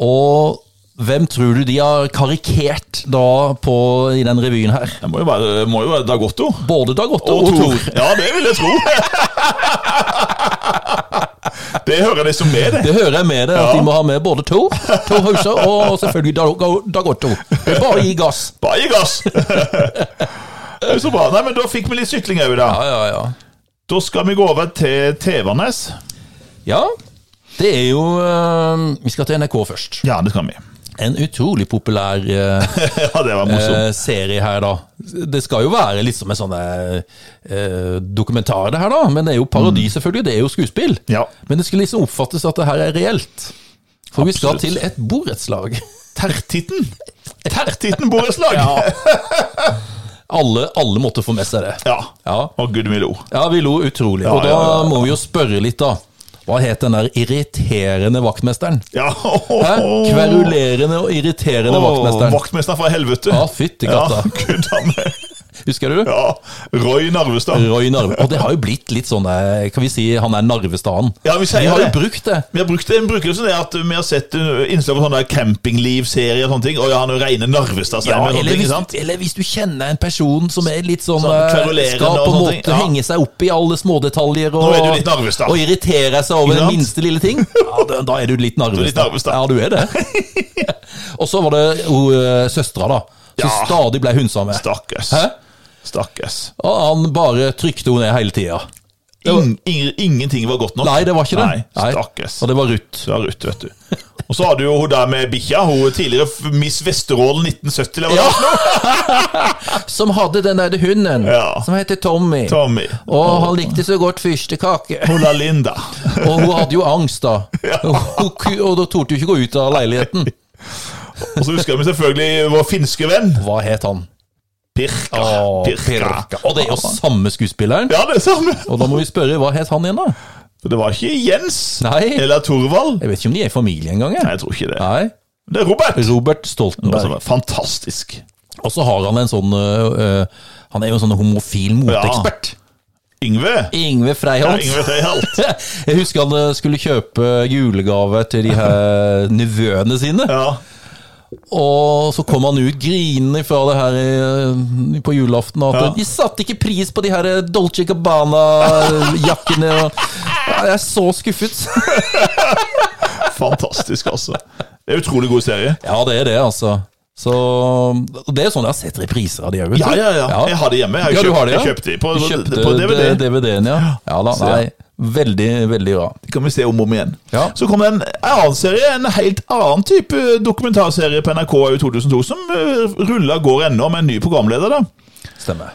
Speaker 1: Og hvem tror du de har karikert da på, i den revyen her?
Speaker 2: Det må jo være, må jo være Dag Otto.
Speaker 1: Både Dag Otto og, Tor.
Speaker 2: Ja, det vil jeg tro. Det hører liksom med, det.
Speaker 1: Det hører jeg med det, at de må ha med både Tor, Tor Hauser og selvfølgelig Dag- Dag Otto. Det er bare å gi gass.
Speaker 2: Bare gi gass! Det er Så bra. Nei, men da fikk vi litt sykling òg, da.
Speaker 1: Ja, ja, ja.
Speaker 2: Da skal vi gå over til Tvernes.
Speaker 1: Ja, det er jo eh, Vi skal til NRK først.
Speaker 2: Ja, det skal vi.
Speaker 1: En utrolig populær eh,
Speaker 2: Ja, det var morsomt.
Speaker 1: eh, serie her, da. Det skal jo være litt som en sånn eh, dokumentar, det her, da. Men det er jo parodi, selvfølgelig. Det er jo skuespill.
Speaker 2: Mm. Ja.
Speaker 1: Men det skal liksom oppfattes at det her er reelt. For vi skal
Speaker 2: Absolutt.
Speaker 1: til et
Speaker 2: [LAUGHS]
Speaker 1: borettslag.
Speaker 2: Tertitten. Tertitten borettslag.
Speaker 1: [LAUGHS] Ja.
Speaker 2: Ja.
Speaker 1: Alle, alle måtte få med seg det.
Speaker 2: ja.
Speaker 1: Ja,
Speaker 2: Å, gud, vi lo.
Speaker 1: ja vi lo utrolig. Og
Speaker 2: Ja,
Speaker 1: da
Speaker 2: ja, ja,
Speaker 1: må vi jo spørre litt, da. Hva het den der irriterende vaktmesteren?
Speaker 2: Ja.
Speaker 1: Hæ? Kverulerende og irriterende
Speaker 2: Åh,
Speaker 1: vaktmesteren.
Speaker 2: Vaktmesteren fra helvete.
Speaker 1: Ja, fytti katta.
Speaker 2: Ja, [LAUGHS] gud, han er-
Speaker 1: Husker du?
Speaker 2: ja. Roy Narvestad.
Speaker 1: Roy Narve. Og det har jo blitt litt sånn eh, Kan vi si han er Narvestaden?
Speaker 2: Ja, vi sier
Speaker 1: har jo
Speaker 2: det.
Speaker 1: brukt det.
Speaker 2: Vi har brukt en bruker som det at vi har sett uh, innslag på sånne der campingliv-serier og sånne ting. Og ja, han er jo reine
Speaker 1: Ja,
Speaker 2: Narvestad-stemmer.
Speaker 1: eller,
Speaker 2: ikke
Speaker 1: hvis,
Speaker 2: sant?
Speaker 1: eller hvis du kjenner en person som er litt sånn,
Speaker 2: Sånn
Speaker 1: eh,
Speaker 2: kverulerende
Speaker 1: Skal
Speaker 2: og
Speaker 1: på en
Speaker 2: sånne
Speaker 1: måte
Speaker 2: ting, ja.
Speaker 1: henge seg opp i alle smådetaljer og,
Speaker 2: Nå er du litt Narvestad.
Speaker 1: og irritere seg over
Speaker 2: Ikke
Speaker 1: den
Speaker 2: sant?
Speaker 1: minste lille
Speaker 2: [LAUGHS]
Speaker 1: ting. Ja, da, da er du litt Narvestad.
Speaker 2: litt Narvestad.
Speaker 1: Ja, du er det.
Speaker 2: [LAUGHS]
Speaker 1: og så var det jo eh, søstera, da. Som
Speaker 2: Ja.
Speaker 1: stadig ble hunsa med.
Speaker 2: Stakkars.
Speaker 1: Hæ?
Speaker 2: Stakkars.
Speaker 1: Og han bare trykte henne ned hele tida.
Speaker 2: Ing, ing, ingenting var godt nok.
Speaker 1: Nei, det var ikke det.
Speaker 2: Nei, stakkars.
Speaker 1: Og det var Ruth.
Speaker 2: Så er Ruth, vet du. Og så har du jo hun der med bikkja. Hun er tidligere f- Miss Vesterålen 1970. Eller hva det var.
Speaker 1: Som hadde den der hunden
Speaker 2: Ja.
Speaker 1: som heter Tommy.
Speaker 2: Tommy.
Speaker 1: Og han likte så godt fyrstekake.
Speaker 2: [LAUGHS] Hun er Linda.
Speaker 1: Og hun hadde jo angst, da. [LAUGHS] Hun, ku- og da torde hun ikke gå ut av leiligheten.
Speaker 2: Og så husker vi selvfølgelig vår finske venn.
Speaker 1: Hva het han?
Speaker 2: Pirka.
Speaker 1: Å, Pirka. Og det er jo samme skuespilleren.
Speaker 2: Ja, det er samme.
Speaker 1: Og da må vi spørre, hva het han igjen, da?
Speaker 2: For det var ikke Jens
Speaker 1: Nei.
Speaker 2: eller Torvald.
Speaker 1: Jeg vet ikke om de er i familie engang.
Speaker 2: Nei,
Speaker 1: jeg.
Speaker 2: jeg tror ikke det.
Speaker 1: Nei.
Speaker 2: Det er Robert.
Speaker 1: Robert
Speaker 2: Altså,
Speaker 1: Stoltenberg.
Speaker 2: fantastisk.
Speaker 1: Og så har han en sånn øh, øh, Han er jo en sånn homofil moteekspert.
Speaker 2: Yngve!
Speaker 1: Ingve
Speaker 2: Ja,
Speaker 1: Freiholt.
Speaker 2: Yngve Treholt.
Speaker 1: [LAUGHS] Jeg husker han øh, skulle kjøpe julegave til de her nevøene sine.
Speaker 2: Ja.
Speaker 1: Og så kom han ut grinende fra det her eh, på julaften at
Speaker 2: Ja.
Speaker 1: de satte ikke pris på de her eh, Dolce Gabbana-jakkene. og- Ja, Jeg er så skuffet. [LAUGHS]
Speaker 2: Fantastisk, altså. Det er utrolig god serie.
Speaker 1: Ja, det er det, altså. Så og Det er sånn jeg har sett repriser av de òg, vet
Speaker 2: Ja, ja, ja. Jeg har det hjemme. Jeg har
Speaker 1: ja, du
Speaker 2: kjøpt-
Speaker 1: har det, ja.
Speaker 2: jeg kjøpte de på-
Speaker 1: Du
Speaker 2: på
Speaker 1: kjøpte
Speaker 2: DVD.
Speaker 1: det- DVD-en, ja. Ja da,
Speaker 2: Så, ja.
Speaker 1: nei. Veldig, veldig bra.
Speaker 2: Det kan vi se om og om igjen.
Speaker 1: Ja.
Speaker 2: Så kom det en annen serie, en helt annen type dokumentarserie på NRK i 2002, som eh, ruller går ennå, med en ny programleder. da.
Speaker 1: Stemmer.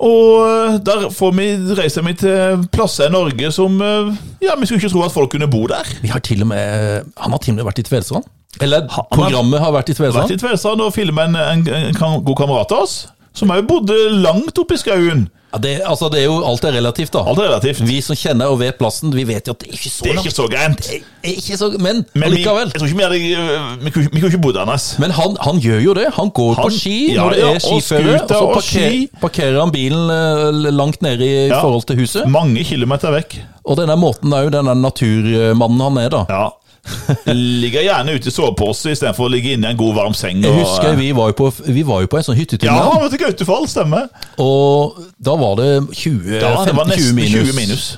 Speaker 2: Og eh, der får vi reiser vi til plasser i Norge som eh, Ja, vi skulle ikke tro at folk kunne bo der.
Speaker 1: Vi har til og med, han har til og med vært i Tvedestrand. Eller
Speaker 2: har-
Speaker 1: programmet har vært i
Speaker 2: Vært
Speaker 1: Tvedestrand.
Speaker 2: i Tvedestrand og filma en, en, en kan- god kamerat av oss, som òg bodde langt oppe i skauen.
Speaker 1: Ja, det, altså, det er jo, alt er relativt, da.
Speaker 2: Alt er relativt.
Speaker 1: Vi som kjenner og vet plassen, vi vet jo at det er ikke så
Speaker 2: Det er
Speaker 1: langt.
Speaker 2: ikke så gærent.
Speaker 1: Det er ikke så, men,
Speaker 2: Men vi,
Speaker 1: allikevel.
Speaker 2: jeg tror ikke vi, hadde, eh, vi, kunne, vi kunne ikke bodd der, Anders.
Speaker 1: Men han, han gjør jo det. Han går
Speaker 2: Han-
Speaker 1: på ski
Speaker 2: ja,
Speaker 1: når det
Speaker 2: ja,
Speaker 1: er
Speaker 2: og
Speaker 1: skiføre, og,
Speaker 2: scooter
Speaker 1: så
Speaker 2: og
Speaker 1: parker,
Speaker 2: ski.
Speaker 1: parkerer han bilen eh, langt nede i
Speaker 2: Ja.
Speaker 1: forhold til huset.
Speaker 2: Mange kilometer vekk.
Speaker 1: Og denne måten er jo denne naturmannen han er, da.
Speaker 2: Ja. [LAUGHS] Ligger gjerne ute i sovepose istedenfor å ligge inne i en god, varm seng.
Speaker 1: Jeg
Speaker 2: og- eh,
Speaker 1: husker vi var jo på, vi var jo på en sånn hyttetur,
Speaker 2: Ja,
Speaker 1: med han,
Speaker 2: vet du, Gautefall, stemmer.
Speaker 1: og da var det 20,
Speaker 2: Ja, det var
Speaker 1: 15-20
Speaker 2: nesten 20 minus.
Speaker 1: minus.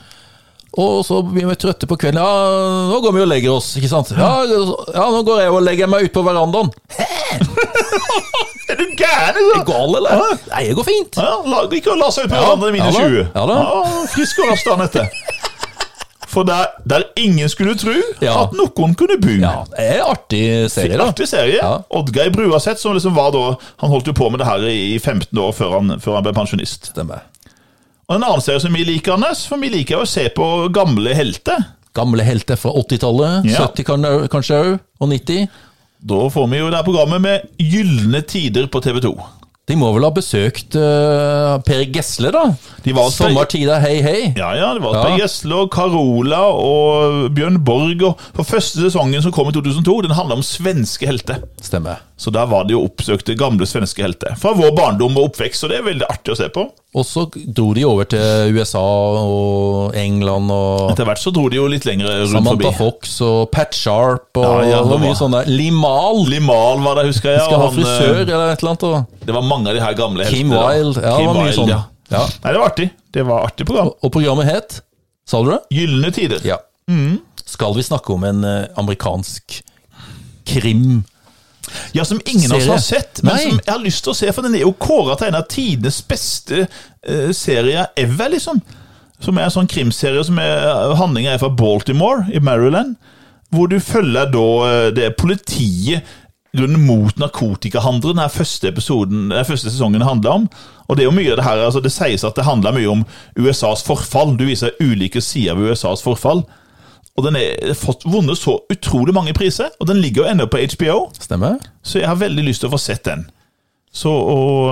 Speaker 1: Og så blir vi trøtte på kvelden. Ja, nå går vi og legger oss, ikke sant? Ja, ja nå går jeg og legger meg ut på verandaen.
Speaker 2: Er du gæren,
Speaker 1: Er du
Speaker 2: eller?
Speaker 1: gal, eller? Nei, det går fint.
Speaker 2: Ja, la, ikke la seg ut på
Speaker 1: Ja,
Speaker 2: hverandre i minus
Speaker 1: ja da,
Speaker 2: 20.
Speaker 1: ja da.
Speaker 2: frisk og rask dagen etter. For der, der ingen skulle tro
Speaker 1: Ja.
Speaker 2: at noen kunne bo.
Speaker 1: Ja, det er en artig serie, da.
Speaker 2: Artig serie.
Speaker 1: Ja.
Speaker 2: Oddgeir Bruaseth, som liksom var da Han holdt jo på med det her i 15 år før han, før han ble pensjonist.
Speaker 1: Stemmer.
Speaker 2: Og en annen serie som vi liker, Anders, for vi liker jo å se på gamle helter.
Speaker 1: Gamle helter fra 80-tallet,
Speaker 2: Ja.
Speaker 1: 70 kan, kanskje òg, og 90.
Speaker 2: Da får vi jo det her programmet med Gylne tider på TV 2.
Speaker 1: De må vel ha besøkt eh, Per Gessle, da?
Speaker 2: De var- altså-
Speaker 1: Sommertida, hei, hei.
Speaker 2: Ja, ja, det var
Speaker 1: Ja.
Speaker 2: Per Gjesle og Carola og Bjørn Borg. Og for første sesongen som kom i 2002, den handla om svenske helter.
Speaker 1: Stemmer.
Speaker 2: Så der var det jo oppsøkte gamle svenske helter. Fra vår barndom og oppvekst, så det er veldig artig å se på.
Speaker 1: Og så dro de over til USA og England og
Speaker 2: Etter hvert så dro de jo litt lenger rundt
Speaker 1: Samantha
Speaker 2: forbi.
Speaker 1: Fox og Pat Sharp og
Speaker 2: Ja, ja, det
Speaker 1: det var
Speaker 2: var-
Speaker 1: mye sånne Limal
Speaker 2: Limal var der, husker jeg.
Speaker 1: skal
Speaker 2: og
Speaker 1: ha
Speaker 2: han,
Speaker 1: frisør
Speaker 2: eh,
Speaker 1: eller et eller annet. Og,
Speaker 2: Det var mange av de her gamle heltene.
Speaker 1: Kim
Speaker 2: da.
Speaker 1: Wilde. Ja, det var mye sånn. Ja.
Speaker 2: Nei, det var artig. Det var artig program.
Speaker 1: og programmet het Sa du det?
Speaker 2: Gylne tider.
Speaker 1: Ja.
Speaker 2: Mm.
Speaker 1: Skal vi snakke om en eh, amerikansk krim?
Speaker 2: Ja, som ingen av oss
Speaker 1: Serie.
Speaker 2: har sett, men
Speaker 1: Nei.
Speaker 2: som jeg har lyst til å se. For den er jo kåra til en av tidenes beste eh, serier ever, liksom. Som er en sånn krimserie som er handlinga er fra Baltimore i Maryland. Hvor du følger da eh, det er politiet grunnen mot narkotikahandelen den første, episoden, den første sesongen handler om. Og det er jo mye av det her, altså det sies at det handler mye om USAs forfall. Du viser ulike sider ved USAs forfall. Og den har fått vunnet så utrolig mange priser, og den ligger jo ennå på HBO.
Speaker 1: Stemmer?
Speaker 2: Så jeg har veldig lyst til å få sett den. Så, og,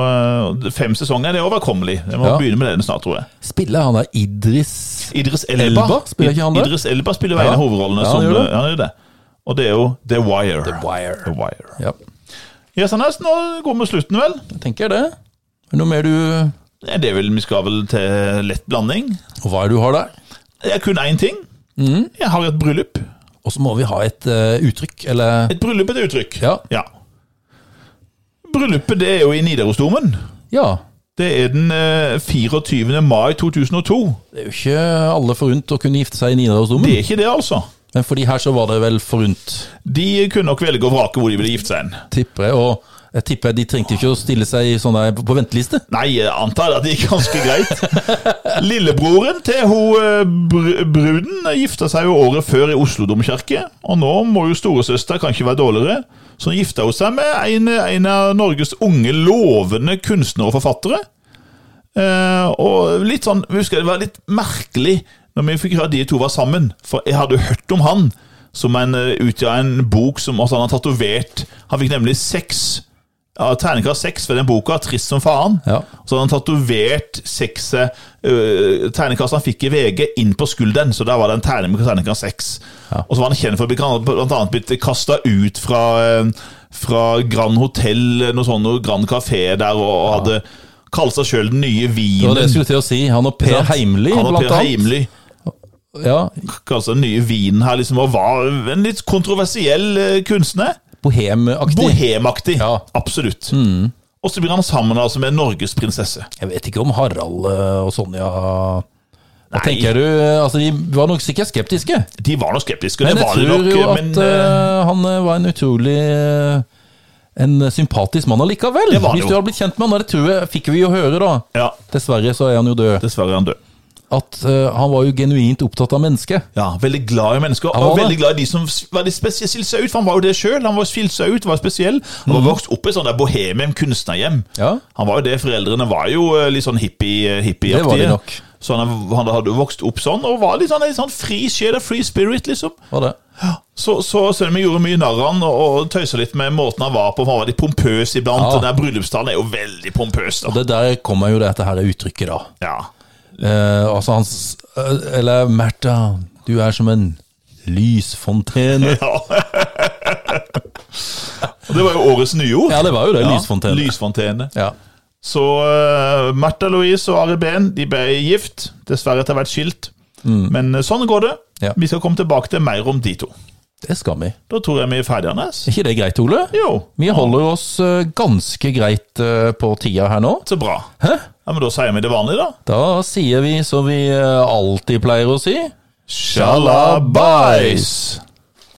Speaker 2: øh, fem sesonger det er overkommelig. Jeg må
Speaker 1: Ja.
Speaker 2: begynne med den snart, tror jeg.
Speaker 1: Spiller han der Idris
Speaker 2: Idris Elba,
Speaker 1: Elba? Spiller ikke han det?
Speaker 2: Idris Elba spiller
Speaker 1: Ja.
Speaker 2: en av hovedrollene.
Speaker 1: Ja, han
Speaker 2: som,
Speaker 1: gjør det.
Speaker 2: øh, han gjør det. Og det er jo The Wire. The
Speaker 1: Wire.
Speaker 2: The Wire.
Speaker 1: Ja,
Speaker 2: Yes, Anders, nå går vi mot slutten, vel?
Speaker 1: jeg tenker det. Er det Noe mer du Og
Speaker 2: Nei, Det er vel, Vi skal vel til lett blanding.
Speaker 1: hva er det du har der?
Speaker 2: Jeg har kun én ting.
Speaker 1: Mm.
Speaker 2: Jeg har et bryllup.
Speaker 1: Og så må vi ha et eh, uttrykk, eller
Speaker 2: Et bryllup er et uttrykk.
Speaker 1: Ja.
Speaker 2: Bryllupet det er jo i Nidarosdomen.
Speaker 1: Ja.
Speaker 2: Det er den øh, 24. mai 2002.
Speaker 1: Det er jo ikke alle forunt å kunne gifte seg i
Speaker 2: Det
Speaker 1: Nidarosdomen,
Speaker 2: er ikke det, altså.
Speaker 1: men for de her så var det vel forunt,
Speaker 2: De kunne nok velge og vrake hvor de ville gifte seg. hen.
Speaker 1: tipper jeg. Og jeg tipper de trengte ikke å stille seg i sånne på venteliste.
Speaker 2: Nei, jeg antar at det gikk ganske greit. Lillebroren til hun eh, br bruden gifta seg jo året før i Oslo domkirke, og nå må jo storesøster kan ikke være dårligere, så gifta hun seg med en, en av Norges unge lovende kunstnere og forfattere. Eh, og litt sånn, jeg husker det var litt merkelig når vi fikk høre at de to var sammen, for jeg hadde jo hørt om han som en eh, utgjør en bok som også han har tatovert. Han fikk nemlig seks ja, terningkast seks ved den boka, trist som faen.
Speaker 1: Ja.
Speaker 2: Så hadde han tatovert seks eh, øh, terningkast han fikk i VG, inn på skulderen, så der var det en terning med terningkast seks. Og så var han kjent for å bli blant annet blitt kasta ut fra eh, fra Grand Hotel, noe sånt, og Grand Café der, og, og hadde kalt seg sjøl den nye
Speaker 1: Det var det jeg
Speaker 2: vinen.
Speaker 1: skulle til å si. Han og Per Heimly,
Speaker 2: Han og
Speaker 1: blant
Speaker 2: Per
Speaker 1: annet.
Speaker 2: Heimly
Speaker 1: Ja,
Speaker 2: kalte seg den nye vinen her, liksom, og var en litt kontroversiell eh, kunstner.
Speaker 1: Bohemaktig.
Speaker 2: Bohemaktig.
Speaker 1: Ja. Mm.
Speaker 2: Absolutt. Og så blir han sammen altså med Norges prinsesse.
Speaker 1: Jeg vet ikke om Harald eh, og Sonja Hva tenker du? Altså, de var nok sikkert skeptiske.
Speaker 2: De var nok skeptiske,
Speaker 1: Men
Speaker 2: det
Speaker 1: jeg
Speaker 2: var de
Speaker 1: tror
Speaker 2: nok.
Speaker 1: jo at
Speaker 2: Men eh,
Speaker 1: eh, han eh, var en utrolig eh, en sympatisk mann allikevel.
Speaker 2: Det var han
Speaker 1: Hvis
Speaker 2: jo.
Speaker 1: du hadde blitt kjent med han, og det tror jeg, fikk vi jo høre, da.
Speaker 2: ja,
Speaker 1: Dessverre så er han jo død.
Speaker 2: dessverre er han død.
Speaker 1: At eh, han var jo genuint opptatt av mennesket.
Speaker 2: Ja, Veldig glad i mennesker,
Speaker 1: Han var
Speaker 2: og
Speaker 1: det.
Speaker 2: veldig glad i de som s- var litt spesielt skilt seg ut. For han var jo det sjøl. Han var skilt seg ut, var spesiell. Han var vokst opp i sånn der bohemian kunstnerhjem.
Speaker 1: Mhm. Ja.
Speaker 2: Han var jo det. Foreldrene var jo eh, litt sånn hippie,
Speaker 1: Det var de
Speaker 2: hippieaktige.
Speaker 1: nok.
Speaker 2: Så han, han hadde jo vokst opp sånn, og var litt sånn, litt sånn fri sjel, free spirit, liksom.
Speaker 1: Var det.
Speaker 2: Så, så selv om jeg gjorde mye narr av han og, og tøysa litt med måten han var på, for han var litt pompøs iblant.
Speaker 1: Ja.
Speaker 2: og Den der bryllupstalen er jo veldig pompøs.
Speaker 1: Og
Speaker 2: da.
Speaker 1: det der kommer jo dette her uttrykket, da.
Speaker 2: Ja.
Speaker 1: Eh, altså hans eh, Eller Märtha, du er som en lysfontene.
Speaker 2: [LAUGHS] ja. og det var jo årets nyord.
Speaker 1: Ja, det var jo det.
Speaker 2: Ja,
Speaker 1: Lysfontene.
Speaker 2: lysfontene.
Speaker 1: Ja.
Speaker 2: Så uh, Märtha Louise og Ari Behn de ble gift. Dessverre etter hvert skilt. Men eh, sånn går det.
Speaker 1: Mm. Ja.
Speaker 2: Vi skal komme tilbake til mer om de to.
Speaker 1: Det skal vi.
Speaker 2: Da tror jeg vi er ferdige, Anders.
Speaker 1: Er ikke det greit, Ole?
Speaker 2: Jo,
Speaker 1: Vi holder oss eh, ganske greit eh, på tida her nå.
Speaker 2: så bra.
Speaker 1: Hæ?
Speaker 2: Ja, Men da sier vi det vanlige, da.
Speaker 1: Da sier vi som vi eh, alltid pleier å si.
Speaker 2: Sjalabais!